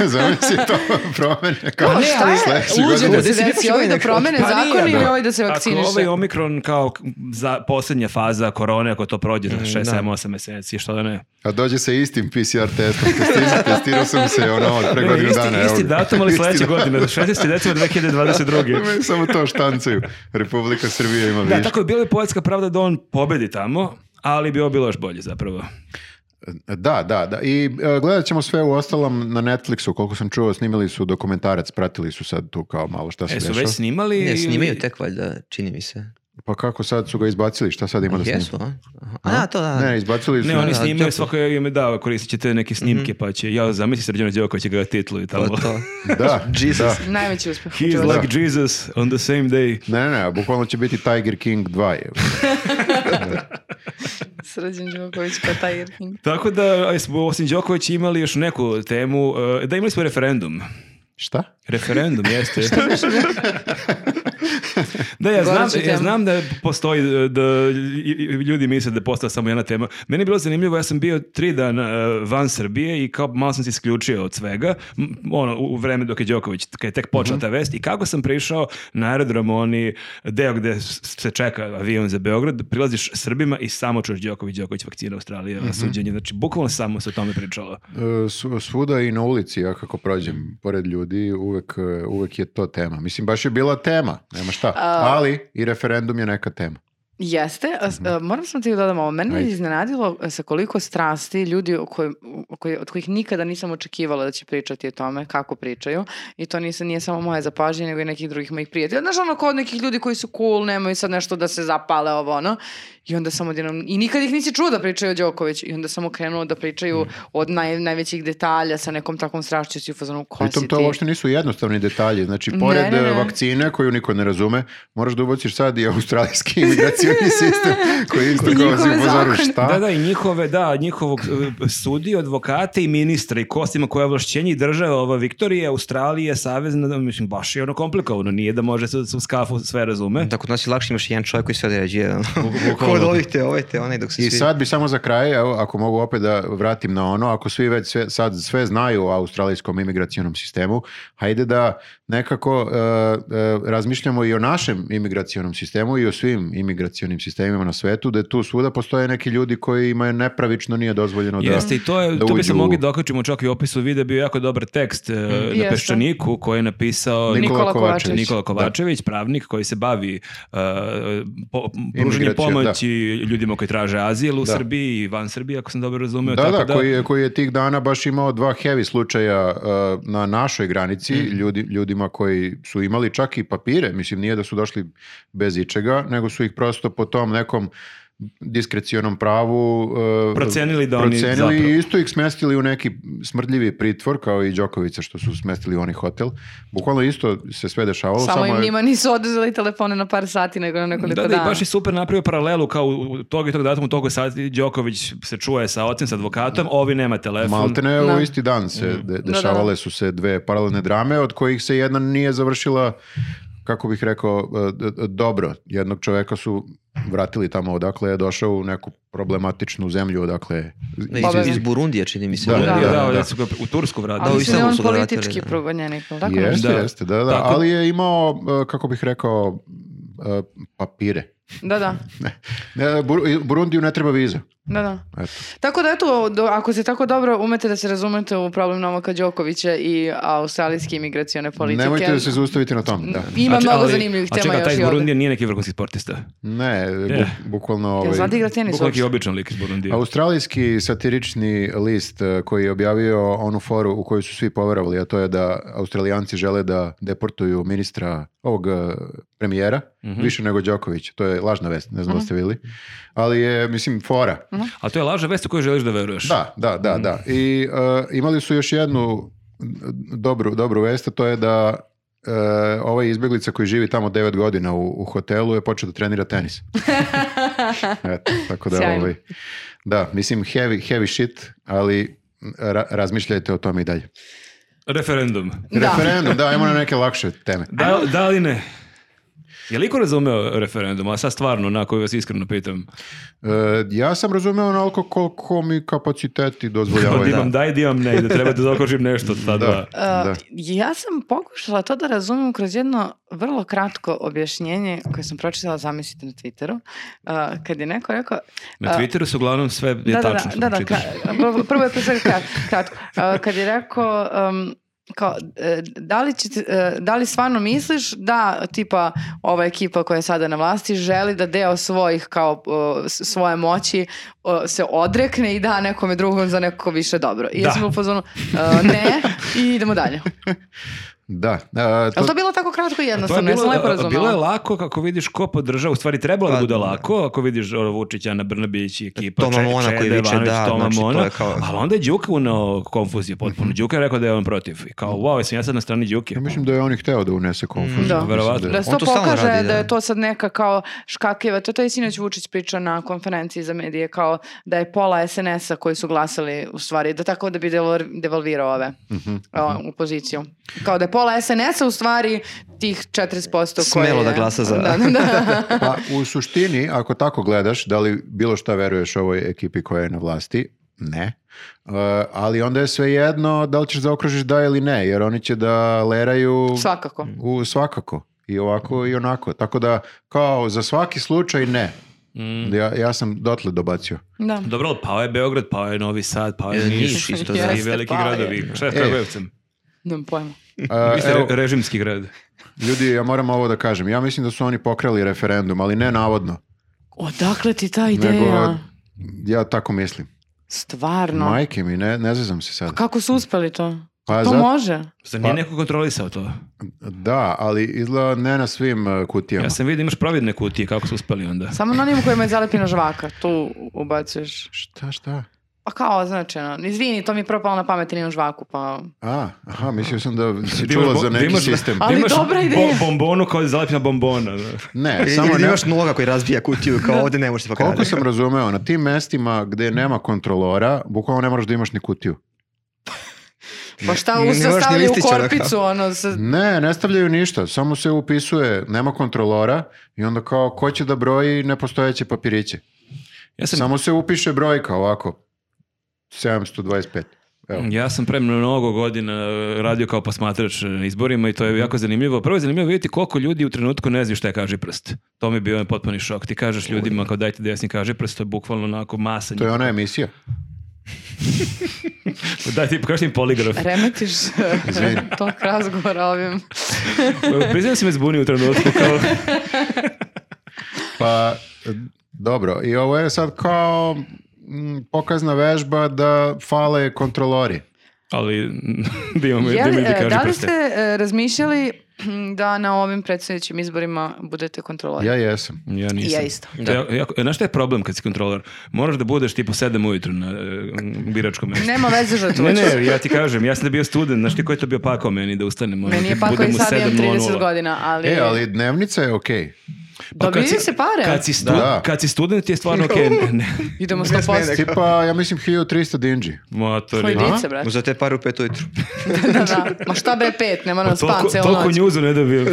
[SPEAKER 3] Zamisli to promene kao
[SPEAKER 1] Pa šta je?
[SPEAKER 3] sledeće
[SPEAKER 1] Luđe
[SPEAKER 3] godine.
[SPEAKER 1] da se
[SPEAKER 4] Desi,
[SPEAKER 1] desi
[SPEAKER 4] desi
[SPEAKER 1] ovi da
[SPEAKER 4] nekako.
[SPEAKER 1] promene
[SPEAKER 2] Pa nije,
[SPEAKER 1] zakon ili
[SPEAKER 2] da.
[SPEAKER 1] ovi da se vakciniše?
[SPEAKER 2] Ako ovaj omikron kao k- za posljednja faza korone, ako to prođe za 6,
[SPEAKER 4] da.
[SPEAKER 2] 7, 8 meseci, što da ne.
[SPEAKER 3] A dođe sa istim PCR testom. Testi- testirao sam se ono od pre
[SPEAKER 2] Ne,
[SPEAKER 3] godinu
[SPEAKER 2] isti,
[SPEAKER 3] dana. evo
[SPEAKER 2] isti
[SPEAKER 3] ga.
[SPEAKER 2] datum, ali
[SPEAKER 3] Isti
[SPEAKER 2] sledeće
[SPEAKER 3] datum.
[SPEAKER 2] godine, 16. decembra 2022.
[SPEAKER 3] Me Samo to štancaju. Republika Srbija
[SPEAKER 2] Da,
[SPEAKER 3] ima više.
[SPEAKER 2] tako je bila i poetska pravda da on pobedi tamo, ali bi ovo bilo još bolje zapravo.
[SPEAKER 3] Da, da, da. I e, gledat ćemo sve u ostalom na Netflixu. Koliko sam čuo, snimili su dokumentarac, pratili su sad tu kao malo šta Pa se
[SPEAKER 2] E, su
[SPEAKER 3] dešava.
[SPEAKER 2] već snimali?
[SPEAKER 4] Ne,
[SPEAKER 2] ili-
[SPEAKER 4] snimaju tek valjda, čini mi se.
[SPEAKER 3] Pa kako sad su ga izbacili? Šta sad ima da snima?
[SPEAKER 4] Jesu, a? Aha. A, da, to da.
[SPEAKER 3] Ne, izbacili su.
[SPEAKER 2] Ne, oni
[SPEAKER 4] Da,
[SPEAKER 2] snimaju
[SPEAKER 4] tako.
[SPEAKER 2] svako ime, da, koristit ćete neke
[SPEAKER 1] Mhm.
[SPEAKER 2] snimke, pa će, ja zamisli Srđana Đokovića ga titluju
[SPEAKER 4] Pa
[SPEAKER 2] tamo.
[SPEAKER 4] to.
[SPEAKER 3] Da, da.
[SPEAKER 1] Najveći uspeh.
[SPEAKER 2] He is
[SPEAKER 1] Hoću vas-
[SPEAKER 2] like Jesus on the same day.
[SPEAKER 3] Ne, ne, ne, bukvalno će biti Tiger King 2. je.
[SPEAKER 1] Srđan Đoković kao taj Irving.
[SPEAKER 2] Tako da, aj, smo osim Đokovića imali još neku temu, e, da imali smo referendum.
[SPEAKER 3] Šta?
[SPEAKER 2] Referendum, jeste. da, ja znam,
[SPEAKER 1] Goreća
[SPEAKER 2] ja
[SPEAKER 1] tema.
[SPEAKER 2] znam da postoji, da ljudi misle da je postala samo jedna tema. Meni je bilo zanimljivo, ja sam bio tri dana e, van Srbije i kao malo sam se isključio od svega, m, ono, u u vreme dok je Đoković, kad je tek počela ta vest, i kako sam prišao na aerodrom, oni deo gde s- se čeka avion za Beograd, prilaziš Srbima i samo čuješ Đoković, Đoković vakcina Australija, suđenje, znači bukvalno samo se o tome pričalo.
[SPEAKER 3] E, svu- Svuda i na ulici, ja kako prođem pored ljudi, uvek, e, uvek je to tema. Mislim, baš je bila tema, nema šta. Ali i referendum je neka tema.
[SPEAKER 1] Jeste, a s- a, moram samo ti da dodam ovo. Mene je
[SPEAKER 3] Ajde.
[SPEAKER 1] iznenadilo e, sa koliko strasti ljudi o kojim- o koji- od kojih nikada nisam očekivala da će pričati o tome kako pričaju. I to nisam, nije samo moje zapažnje, nego i nekih drugih mojih prijatelja. Znaš, ono kod nekih ljudi koji su cool, nemaju sad nešto da se zapale ovo, ono. I onda sam odjednom, i nikad ih nisi čuo da pričaju o Đokoviću. I onda sam okrenuo da pričaju od naj, najvećih detalja sa nekom takvom strašću i u fazonu ko si
[SPEAKER 3] Pritom to
[SPEAKER 1] ti?"
[SPEAKER 3] uopšte nisu jednostavni detalji. Znači,
[SPEAKER 1] Ne,
[SPEAKER 3] pored
[SPEAKER 1] ne, ne.
[SPEAKER 3] eh, vakcine koju niko ne razume, moraš da ubociš sad i australijski imigracioni sistem koji isto
[SPEAKER 1] I
[SPEAKER 3] kao
[SPEAKER 1] njihove
[SPEAKER 3] si u pozoru
[SPEAKER 1] zakone.
[SPEAKER 3] šta.
[SPEAKER 2] Da, da, i njihove, da, njihovog e, sudi, advokate i ministra i ko s njima koje ovlašćenje i država ova Viktorija, Australija, Savezna, da, mislim, baš je ono komplikovano, nije da može se se u skafu sve razume.
[SPEAKER 4] Da, kod nas je lakše imaš jedan čovjek koji sve određuje.
[SPEAKER 2] bukvalno.
[SPEAKER 4] Kod ovih te, ovaj te, onaj dok se
[SPEAKER 3] I
[SPEAKER 4] svi...
[SPEAKER 3] sad bi samo za kraj, evo, ako mogu opet da vratim na ono, ako svi već sve, sad sve znaju o australijskom imigracijonom sistemu, hajde da nekako e, e, razmišljamo i o našem imigracijonom sistemu i o svim imigracijonim sistemima na svetu, da tu svuda postoje neki ljudi kojima je nepravično nije dozvoljeno da...
[SPEAKER 2] Jeste, i to, je,
[SPEAKER 3] da
[SPEAKER 2] to bi
[SPEAKER 3] uđu
[SPEAKER 2] se
[SPEAKER 3] u-
[SPEAKER 2] mogli dokačimo čak i u opisu videa, bio je jako dobar tekst e, na
[SPEAKER 1] Mm. Jeste.
[SPEAKER 2] Peščaniku koji je napisao
[SPEAKER 1] Nikola
[SPEAKER 3] Nikola
[SPEAKER 1] Kovačević.
[SPEAKER 3] Kovačević.
[SPEAKER 2] Nikola Kovačević, pravnik koji se bavi uh, po, pružanjem
[SPEAKER 3] Imigracijom,
[SPEAKER 2] pomoći ljudima koji traže azil u
[SPEAKER 3] Da.
[SPEAKER 2] Srbiji i van Srbije, ako sam dobro razumeo.
[SPEAKER 3] Da,
[SPEAKER 2] tako
[SPEAKER 3] da, Koji, je, koji je tih dana baš imao dva heavy slučaja uh, na našoj granici,
[SPEAKER 2] Mm.
[SPEAKER 3] ljudi, ljudima koji su imali čak i papire, mislim nije da su došli bez ičega, nego su ih prosto po tom nekom diskrecionom pravu uh,
[SPEAKER 2] Procenili da oni
[SPEAKER 3] procenili
[SPEAKER 2] zapravo-
[SPEAKER 3] i isto ih smestili u neki smrdljivi pritvor kao i Đokovića što su smestili u onaj hotel. Bukvalno isto se sve dešavalo.
[SPEAKER 1] Samo im
[SPEAKER 3] je-
[SPEAKER 1] njima nisu oduzeli telefone na par sati, nego na nekoliko
[SPEAKER 2] Da, da, i
[SPEAKER 1] dana.
[SPEAKER 2] baš je super napravio paralelu kao u- u tog i tog datuma, toga sati Đoković se čuje sa ocem, sa advokatom, ovi nema telefon.
[SPEAKER 3] Malte ne,
[SPEAKER 1] Da.
[SPEAKER 3] u isti dan se
[SPEAKER 2] Mm.
[SPEAKER 3] de-
[SPEAKER 1] da.
[SPEAKER 3] dešavale su se dve paralelne drame, od kojih se jedna nije završila, kako bih rekao, e, d- d- dobro. Jednog čoveka su vratili tamo odakle je došao u neku problematičnu zemlju odakle je.
[SPEAKER 4] Ne,
[SPEAKER 1] Pa,
[SPEAKER 4] iz, iz
[SPEAKER 1] da.
[SPEAKER 4] Burundija, čini mi se.
[SPEAKER 3] Da,
[SPEAKER 2] Da, da,
[SPEAKER 1] da,
[SPEAKER 2] da,
[SPEAKER 3] da.
[SPEAKER 2] da su ga u Tursku vratili.
[SPEAKER 4] Da,
[SPEAKER 1] Ali
[SPEAKER 4] ovi
[SPEAKER 1] mislim da je
[SPEAKER 4] samo
[SPEAKER 1] on
[SPEAKER 4] su ga vratili,
[SPEAKER 1] politički
[SPEAKER 4] da.
[SPEAKER 1] progonjenik, ali tako
[SPEAKER 3] Jeste,
[SPEAKER 1] nešto?
[SPEAKER 2] Da.
[SPEAKER 3] jeste, da, da.
[SPEAKER 2] Tako-
[SPEAKER 3] Ali je imao, e, kako bih rekao, e, papire.
[SPEAKER 1] Da, da.
[SPEAKER 3] Ne, Bur- Burundiju ne treba viza.
[SPEAKER 1] Da, da.
[SPEAKER 3] Eto.
[SPEAKER 1] Tako da eto, do- ako se tako dobro umete da se razumete u problem Novaka Đokovića i australijske imigracione politike.
[SPEAKER 3] Nemojte da se zaustaviti na tom. Da.
[SPEAKER 1] Ima
[SPEAKER 2] A
[SPEAKER 1] mnogo
[SPEAKER 2] če- Znači, ali-
[SPEAKER 1] zanimljivih tema
[SPEAKER 2] A čekaj,
[SPEAKER 1] još
[SPEAKER 2] taj
[SPEAKER 1] i
[SPEAKER 2] iz
[SPEAKER 1] ovde.
[SPEAKER 2] Burundija nije neki vrhunski sportista.
[SPEAKER 3] Ne, bu-
[SPEAKER 2] Je.
[SPEAKER 3] bukvalno...
[SPEAKER 1] Jel
[SPEAKER 3] ovaj-
[SPEAKER 1] znate igra tenis
[SPEAKER 2] Bukvalno neki
[SPEAKER 1] uopšte?
[SPEAKER 2] običan lik iz Burundija.
[SPEAKER 3] Australijski satirični list e, koji je objavio onu foru u koju su svi poverovali, a to je da Australijanci žele da deportuju ministra ovog e, premijera, više nego Đoković. To je lažna vest, ne znam da ste vidjeli. Ali je, mislim, fora.
[SPEAKER 2] A to je laža vest u koju želiš da veruješ.
[SPEAKER 3] Da, da, da, da.
[SPEAKER 1] Mm.
[SPEAKER 3] I e, imali su još jednu dobru, dobru vest, a to je da e, ovaj izbjeglica koji živi tamo devet godina u, u hotelu je počeo da trenira tenis. Eto, tako da,
[SPEAKER 1] Sjajno.
[SPEAKER 3] ovaj, da, mislim heavy, heavy shit, ali ra- razmišljajte o tome i dalje.
[SPEAKER 2] Referendum.
[SPEAKER 1] Da.
[SPEAKER 3] Referendum, da, ajmo na neke lakše teme.
[SPEAKER 2] Da, da li ne? Je li ko razumeo referendum? A sad stvarno, onako vas iskreno pitam.
[SPEAKER 3] E, ja sam razumeo onoliko koliko mi kapaciteti
[SPEAKER 2] Da,
[SPEAKER 3] dozvoljavaju.
[SPEAKER 2] imam da i da imam ne, i da treba da zaokružim nešto od ta dva.
[SPEAKER 1] Uh,
[SPEAKER 3] Da.
[SPEAKER 1] ja sam pokušala to da razumem kroz jedno vrlo kratko objašnjenje koje sam pročitala, zamislite na Twitteru, uh, kad je neko rekao...
[SPEAKER 2] Na
[SPEAKER 1] uh,
[SPEAKER 2] Twitteru su uglavnom sve je
[SPEAKER 1] da, da,
[SPEAKER 2] tačno što
[SPEAKER 1] da, da,
[SPEAKER 2] čitaš.
[SPEAKER 1] kra- prvo je profesor krat, kratko. A, kad je rekao, um, kao, e, da li, će ti- e, da li stvarno misliš da tipa ova ekipa koja je sada na vlasti želi da deo svojih kao o, s- svoje moći o, se odrekne i da nekome drugom za neko više dobro. I
[SPEAKER 2] Da.
[SPEAKER 1] ja sam bila u fazonu, e, ne, i idemo dalje.
[SPEAKER 3] Da, e, to-
[SPEAKER 1] Ali to je bilo tako kratko i
[SPEAKER 2] To je
[SPEAKER 1] jednostavno, ja sam
[SPEAKER 2] bilo,
[SPEAKER 1] lepo razumela.
[SPEAKER 2] bilo je lako kako vidiš ko podržava, u stvari trebalo da
[SPEAKER 4] Pa,
[SPEAKER 2] bude
[SPEAKER 4] da.
[SPEAKER 2] lako ako vidiš ono, Vučića, Ana Brnabić i ekipa,
[SPEAKER 4] Toma
[SPEAKER 2] Če-
[SPEAKER 4] Mona
[SPEAKER 2] Čeda
[SPEAKER 4] koji viče
[SPEAKER 2] Jovanović,
[SPEAKER 4] da,
[SPEAKER 2] Toma
[SPEAKER 4] znači, to
[SPEAKER 2] Mona,
[SPEAKER 4] je kao-
[SPEAKER 2] ali onda je Đuka unao konfuziju potpuno. Đuka je rekao da je on protiv. I kao, wow, jesam ja sad na strani Đuke.
[SPEAKER 3] ja mislim da je on i hteo da unese konfuziju.
[SPEAKER 1] Da.
[SPEAKER 3] Mislim
[SPEAKER 2] Verovatno.
[SPEAKER 1] Da se
[SPEAKER 4] On
[SPEAKER 1] to
[SPEAKER 4] to stalno
[SPEAKER 1] pokaže
[SPEAKER 4] radi,
[SPEAKER 1] da
[SPEAKER 4] da.
[SPEAKER 1] je to sad neka kao škakljiva, to je taj sinoć Vučić priča na konferenciji za medije kao da je pola SNS-a koji su glasali u stvari, da tako da bi devalvir- devalvirao ove
[SPEAKER 4] Mhm,
[SPEAKER 1] o, u poziciju. Kao da je pola SNS-a u stvari tih 40% koje...
[SPEAKER 4] Smelo
[SPEAKER 1] je-
[SPEAKER 4] da glasa za-
[SPEAKER 1] Da, da, da.
[SPEAKER 3] Pa u suštini, ako tako gledaš, da li bilo šta veruješ ovoj ekipi koja je na vlasti? Ne. E, ali onda je svejedno da li ćeš zaokružiš da ili ne, jer oni će da leraju
[SPEAKER 1] Svakako.
[SPEAKER 3] u svakako. I ovako i onako. Tako da, kao za svaki slučaj ne. Ja, ja sam dotle dobacio.
[SPEAKER 1] Da.
[SPEAKER 2] Dobro, ali pao je Beograd, pao je Novi Sad, pao je
[SPEAKER 4] E, Niš
[SPEAKER 2] Niš,
[SPEAKER 4] isto,
[SPEAKER 2] da,
[SPEAKER 1] da.
[SPEAKER 2] i veliki
[SPEAKER 1] Jeste, pao je.
[SPEAKER 2] gradovi. Šta je s
[SPEAKER 3] E.
[SPEAKER 2] Kragujevcem?
[SPEAKER 1] Nemam pojma.
[SPEAKER 3] E,
[SPEAKER 2] Vi ste
[SPEAKER 3] evo,
[SPEAKER 2] re- režimski grad.
[SPEAKER 3] ljudi, ja moram ovo da kažem. Ja mislim da su oni pokrali referendum, ali ne navodno.
[SPEAKER 1] Odakle ti ta ideja?
[SPEAKER 3] Nego, ja tako mislim.
[SPEAKER 1] Stvarno.
[SPEAKER 3] Majke mi, ne, ne zezam se sad.
[SPEAKER 1] Kako su uspeli to?
[SPEAKER 3] Pa
[SPEAKER 1] to
[SPEAKER 3] zato-
[SPEAKER 1] može.
[SPEAKER 2] Zar nije
[SPEAKER 3] Pa-
[SPEAKER 2] neko kontrolisao to?
[SPEAKER 3] Da, ali izgleda ne na svim uh, kutijama.
[SPEAKER 2] Ja sam vidio imaš providne kutije, kako su uspeli onda.
[SPEAKER 1] Samo na onim kojima je zalepljena žvaka. Tu ubacuješ.
[SPEAKER 3] Šta, šta?
[SPEAKER 1] Pa kao označeno. Izvini, to mi je propalo na pamet, jer imam žvaku, pa...
[SPEAKER 3] A, aha, mislio sam da si
[SPEAKER 2] Da imaš
[SPEAKER 3] čula
[SPEAKER 2] bo-
[SPEAKER 3] za
[SPEAKER 2] da
[SPEAKER 3] neki
[SPEAKER 2] imaš-
[SPEAKER 3] sistem.
[SPEAKER 2] da
[SPEAKER 1] Ali
[SPEAKER 2] imaš
[SPEAKER 1] dobra ideja.
[SPEAKER 2] bo- bombonu koja je zalepljena bombona. da.
[SPEAKER 3] Ne,
[SPEAKER 4] Ili,
[SPEAKER 3] samo
[SPEAKER 4] ili
[SPEAKER 3] ne,
[SPEAKER 4] imaš noga koji razbija kutiju, kao ovdje ne možeš se
[SPEAKER 3] koliko
[SPEAKER 4] pokradati.
[SPEAKER 3] sam razumeo, na tim mestima gde nema kontrolora, bukvalno ne moraš da imaš ni kutiju.
[SPEAKER 1] Pa šta
[SPEAKER 4] Ne- ne
[SPEAKER 1] usta
[SPEAKER 4] moraš ni
[SPEAKER 1] stavili u
[SPEAKER 4] listića da
[SPEAKER 1] korpicu, ono... sa-
[SPEAKER 3] Ne, ne stavljaju ništa, samo se upisuje, nema kontrolora i onda kao ko će da broji nepostojeće papiriće.
[SPEAKER 2] Ja sam,
[SPEAKER 3] Samo se upiše brojka ovako, 725. Evo.
[SPEAKER 2] ja sam pre mnogo godina e, radio kao posmatrač e, na izborima i to
[SPEAKER 1] Mhm.
[SPEAKER 2] je jako zanimljivo. Prvo je zanimljivo vidjeti koliko ljudi u trenutku ne znaju šta je kaži prst. To mi je bio jedan potpuni šok. Ti kažeš ljudima kao dajte desni kaži prst, to je bukvalno onako masa.
[SPEAKER 3] To je ona emisija.
[SPEAKER 2] njih. Dajte, pokaži im poligraf.
[SPEAKER 1] Remetiš
[SPEAKER 3] Izvini.
[SPEAKER 1] tog razgovora ovim.
[SPEAKER 2] Priznam da si me zbunio u trenutku. Kao,
[SPEAKER 3] Pa, e, dobro, i ovo je sad kao mm, pokazna vežba da fale kontrolori.
[SPEAKER 2] ali da imamo da
[SPEAKER 1] Je
[SPEAKER 2] imamo
[SPEAKER 1] li,
[SPEAKER 2] ljudi
[SPEAKER 1] e,
[SPEAKER 2] kaži
[SPEAKER 1] da li
[SPEAKER 2] prste.
[SPEAKER 1] ste e, razmišljali da na ovim predsjedničkim izborima budete kontrolori?
[SPEAKER 3] Ja jesam.
[SPEAKER 2] Ja
[SPEAKER 1] I
[SPEAKER 2] nisam.
[SPEAKER 1] ja isto.
[SPEAKER 2] Da. Ja, jako- znaš šta je problem kad si kontroler? Moraš da budeš tipo 7 ujutru na e, biračkom mestu.
[SPEAKER 1] Nema veze žrtvovaću.
[SPEAKER 2] Ne, ne, ja ti kažem, ja sam da bio student, znaš ti koji je to bio pakao meni da ustanem? ono,
[SPEAKER 1] Meni je pako
[SPEAKER 2] budem
[SPEAKER 1] i
[SPEAKER 2] u
[SPEAKER 1] sad imam 30
[SPEAKER 2] 7:00.
[SPEAKER 1] godina, ali...
[SPEAKER 3] E, ali dnevnica je okej.
[SPEAKER 2] Pa kad
[SPEAKER 1] Dobijaju
[SPEAKER 2] si-
[SPEAKER 1] se pare.
[SPEAKER 2] Kad si, stu,
[SPEAKER 3] Da.
[SPEAKER 2] kad si student ti je stvarno okej. Ne, ne.
[SPEAKER 1] Idemo 100%.
[SPEAKER 3] Tipa, ja mislim 1300 dinđi.
[SPEAKER 2] Motori.
[SPEAKER 1] Sledice, brate.
[SPEAKER 4] Za te par u pet ujutru.
[SPEAKER 1] da, da. Ma šta bre pet, ne moram
[SPEAKER 2] Pa Toliko,
[SPEAKER 1] spam celu
[SPEAKER 2] toliko
[SPEAKER 1] noć.
[SPEAKER 2] njuzu ne dobijem.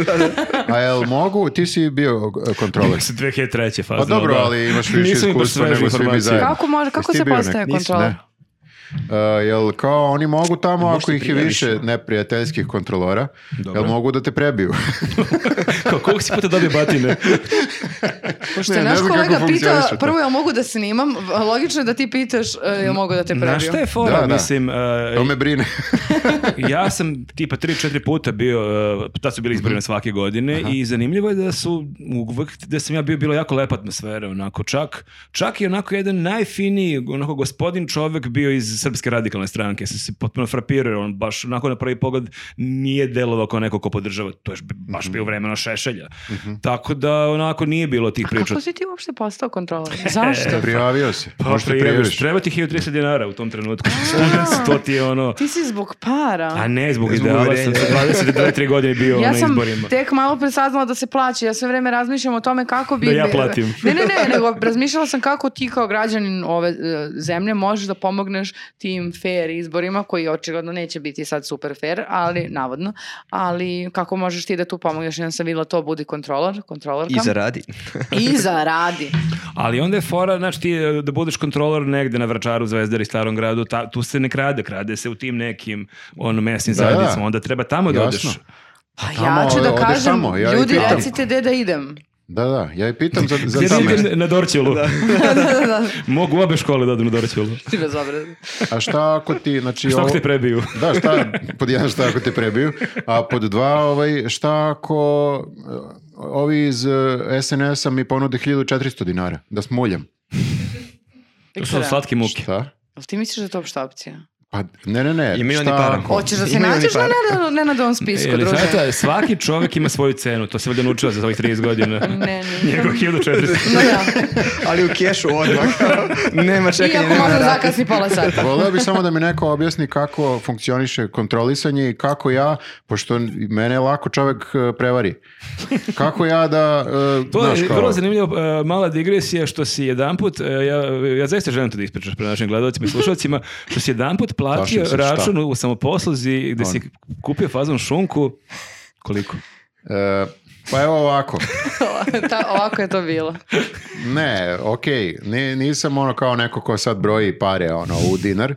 [SPEAKER 3] A jel mogu? Ti si bio e, kontroler.
[SPEAKER 2] Mislim, 2003. faza.
[SPEAKER 3] Pa dobro,
[SPEAKER 2] ono, da.
[SPEAKER 3] ali imaš više
[SPEAKER 2] Nisam imao
[SPEAKER 3] iskustva
[SPEAKER 2] sveže
[SPEAKER 3] nego svi mi
[SPEAKER 2] informacije.
[SPEAKER 3] zajedno.
[SPEAKER 1] Kako može- kako
[SPEAKER 3] Jesi ti
[SPEAKER 1] se
[SPEAKER 3] bio
[SPEAKER 1] postaje
[SPEAKER 3] neki?
[SPEAKER 1] kontroler?
[SPEAKER 3] Ne. E, jel kao oni mogu tamo ako
[SPEAKER 4] možete
[SPEAKER 3] ih je više
[SPEAKER 4] prijaviš.
[SPEAKER 3] neprijateljskih kontrolora,
[SPEAKER 2] Dobro.
[SPEAKER 3] jel mogu da te prebiju?
[SPEAKER 2] Kao, koliko si puta dobio batine?
[SPEAKER 1] Pošto
[SPEAKER 3] Ne,
[SPEAKER 1] je
[SPEAKER 3] ne
[SPEAKER 1] naš
[SPEAKER 3] znam kako
[SPEAKER 1] kolega
[SPEAKER 3] funkcioniše
[SPEAKER 1] pitao,
[SPEAKER 3] to.
[SPEAKER 1] prvo jel mogu da snimam, logično je da ti pitaš e, jel mogu da te prebiju.
[SPEAKER 2] Znaš šta je fora?
[SPEAKER 3] Da, da.
[SPEAKER 2] Mislim, e,
[SPEAKER 3] to me brine.
[SPEAKER 2] ja sam tipa 3-4 puta bio, uh, tad su bili izbori na svake godine i zanimljivo je da su uvek da sam ja bio bilo jako lepa atmosfera onako čak čak i onako jedan najfiniji onako gospodin čovek bio iz srpske radikalne stranke ja sam se potpuno frapirao jer on baš onako na prvi pogled nije delovao kao neko ko podržava to je baš
[SPEAKER 1] Mhm.
[SPEAKER 2] bio vremena Šešelja tako da onako nije bilo tih priča
[SPEAKER 1] Kako si ti uopšte postao kontroler? Zašto?
[SPEAKER 3] Prijavio se.
[SPEAKER 2] Pa,
[SPEAKER 3] Možda
[SPEAKER 2] prijaviš,
[SPEAKER 3] prijaviš.
[SPEAKER 2] treba ti 1300 dinara u tom trenutku. Student, to ti je ono...
[SPEAKER 1] ti si zbog para.
[SPEAKER 2] A ne, zbog
[SPEAKER 4] Zbog
[SPEAKER 2] ideala sam
[SPEAKER 4] uverenja.
[SPEAKER 2] sa 22-3 godine bio
[SPEAKER 1] ja
[SPEAKER 2] na
[SPEAKER 1] sam
[SPEAKER 2] izborima.
[SPEAKER 1] tek malo pre saznala da se plaća. Ja sve vrijeme razmišljam o tome kako bi...
[SPEAKER 2] Da ja platim.
[SPEAKER 1] Ne, ne, ne, nego razmišljala sam kako ti kao građanin ove e, zemlje možeš da pomogneš tim fair izborima koji očigledno neće biti sad super fair, ali navodno. Ali kako možeš ti da tu pomogneš? Ja sam vidjela to budi kontrolor, kontrolorka.
[SPEAKER 4] I zaradi.
[SPEAKER 1] I zaradi.
[SPEAKER 2] Ali onda je fora, znači ti e, da budeš kontroler negde na Vračaru, Zvezdari, Starom gradu, ta, tu se ne krade, krade se u tim nekim ono, mesnim
[SPEAKER 3] Da,
[SPEAKER 2] zajednicama,
[SPEAKER 3] da.
[SPEAKER 2] onda treba tamo da
[SPEAKER 3] Jasno.
[SPEAKER 2] odeš.
[SPEAKER 1] Pa
[SPEAKER 3] Tamo
[SPEAKER 1] ja ću da
[SPEAKER 3] odeš
[SPEAKER 1] kažem,
[SPEAKER 3] tamo, ja i
[SPEAKER 1] ljudi
[SPEAKER 3] pitam.
[SPEAKER 1] recite gde da idem.
[SPEAKER 3] Da, da, ja i pitam za, za
[SPEAKER 2] Gdje
[SPEAKER 3] ta
[SPEAKER 2] da idem
[SPEAKER 3] mesta.
[SPEAKER 2] na Dorćolu?
[SPEAKER 1] da, da, da.
[SPEAKER 2] Mogu u obe škole da odem na Dorćolu.
[SPEAKER 1] Ti bezobrazan.
[SPEAKER 3] A šta ako ti, znači...
[SPEAKER 2] Što ako
[SPEAKER 3] ovo-
[SPEAKER 2] te prebiju?
[SPEAKER 3] Da, šta, pod jedan šta ako te prebiju, a pod dva, ovaj, šta ako e, ovi iz e, SNS-a mi ponude 1400 dinara, da smuljam.
[SPEAKER 2] To su slatke muke.
[SPEAKER 3] Šta?
[SPEAKER 1] Jel ti misliš da je to opšta opcija?
[SPEAKER 3] Pa, ne, ne, ne.
[SPEAKER 4] I milion i
[SPEAKER 3] šta
[SPEAKER 4] para.
[SPEAKER 3] ako-
[SPEAKER 1] Hoćeš da se
[SPEAKER 4] Imaju oni
[SPEAKER 1] nađeš na
[SPEAKER 4] para?
[SPEAKER 1] Nenad- Nenadovom spisku, druže?
[SPEAKER 2] Elizaveta, E, svaki čovjek ima svoju cenu, to se valjda naučila za ovih 30 godina.
[SPEAKER 1] Ne,
[SPEAKER 2] Njegov
[SPEAKER 1] nisam.
[SPEAKER 2] 1400.
[SPEAKER 1] No da.
[SPEAKER 4] Ali u kešu odmah. nema čekanja,
[SPEAKER 1] Iako
[SPEAKER 4] nema
[SPEAKER 1] možda
[SPEAKER 4] rata.
[SPEAKER 1] zakasni pola sata.
[SPEAKER 3] Voleo bi samo da mi neko objasni kako funkcioniše kontrolisanje i kako ja, pošto mene je lako čovek e, prevari, kako ja da, e,
[SPEAKER 2] To
[SPEAKER 3] znaš
[SPEAKER 2] je
[SPEAKER 3] kao-
[SPEAKER 2] vrlo zanimljivo, e, mala digresija što si jedanput, e, ja, ja zaista želim to da ispričaš pre našim gledalcima i slušalcima, što si jedanput platio
[SPEAKER 3] Plašim se, šta?
[SPEAKER 2] račun u samoposluzi gde si kupio fazon šunku, koliko?
[SPEAKER 3] E, pa evo ovako,
[SPEAKER 1] Ta, ovako je to bilo.
[SPEAKER 3] ne, okej, ni- nisam ono kao neko ko sad broji pare ono, u dinar,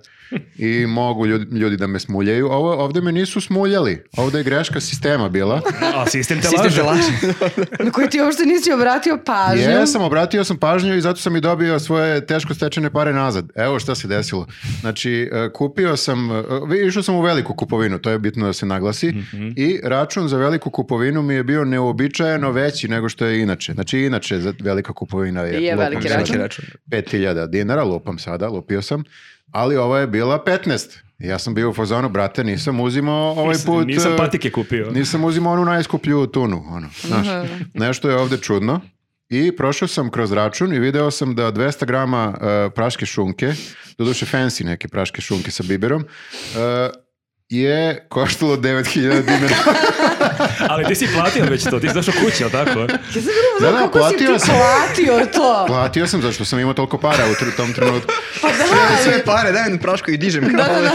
[SPEAKER 3] i mogu ljudi, ljudi da me smuljaju. Ovo, ovde me nisu smuljali. Ovde je greška sistema bila.
[SPEAKER 2] A sistem te
[SPEAKER 4] Sistem
[SPEAKER 2] laže.
[SPEAKER 4] te laže.
[SPEAKER 1] Na koji ti uopšte nisi obratio pažnju.
[SPEAKER 3] Jesam, obratio sam pažnju i zato sam i dobio svoje teško stečene pare nazad. Evo šta se desilo. Znači, e, kupio sam, e, vi- išao sam u veliku kupovinu, to je bitno da se naglasi,
[SPEAKER 1] Mhm.
[SPEAKER 3] i račun za veliku kupovinu mi je bio neobičajeno veći nego što je inače. Znači, inače za velika kupovina je,
[SPEAKER 1] Je
[SPEAKER 3] lupam
[SPEAKER 1] veliki
[SPEAKER 4] Znači,
[SPEAKER 3] sada,
[SPEAKER 1] račun.
[SPEAKER 3] 5000 dinara, lupam sada, lupio sam, ali ovo je bila 15. Ja sam bio u fazonu, brate, nisam uzimao ovaj put...
[SPEAKER 2] Nisam
[SPEAKER 3] e,
[SPEAKER 2] patike kupio.
[SPEAKER 3] nisam uzimao onu najskuplju tunu, ono, znaš.
[SPEAKER 1] Mhm.
[SPEAKER 3] Nešto je ovde čudno. I prošao sam kroz račun i video sam da 200 grama e, praške šunke, doduše fancy neke praške šunke sa biberom, e, je koštalo 9000 dinara.
[SPEAKER 2] Ali ti si platio već to, ti si došao kući, ali tako?
[SPEAKER 1] Ja sam bilo
[SPEAKER 3] Da, da,
[SPEAKER 1] da, kako si ti
[SPEAKER 3] platio sam.
[SPEAKER 1] platio to.
[SPEAKER 3] Platio sam zašto sam imao toliko para u tr- tom trenutku.
[SPEAKER 1] Pa da,
[SPEAKER 4] Sve pare, daj mi prašku i dižem. kao ove.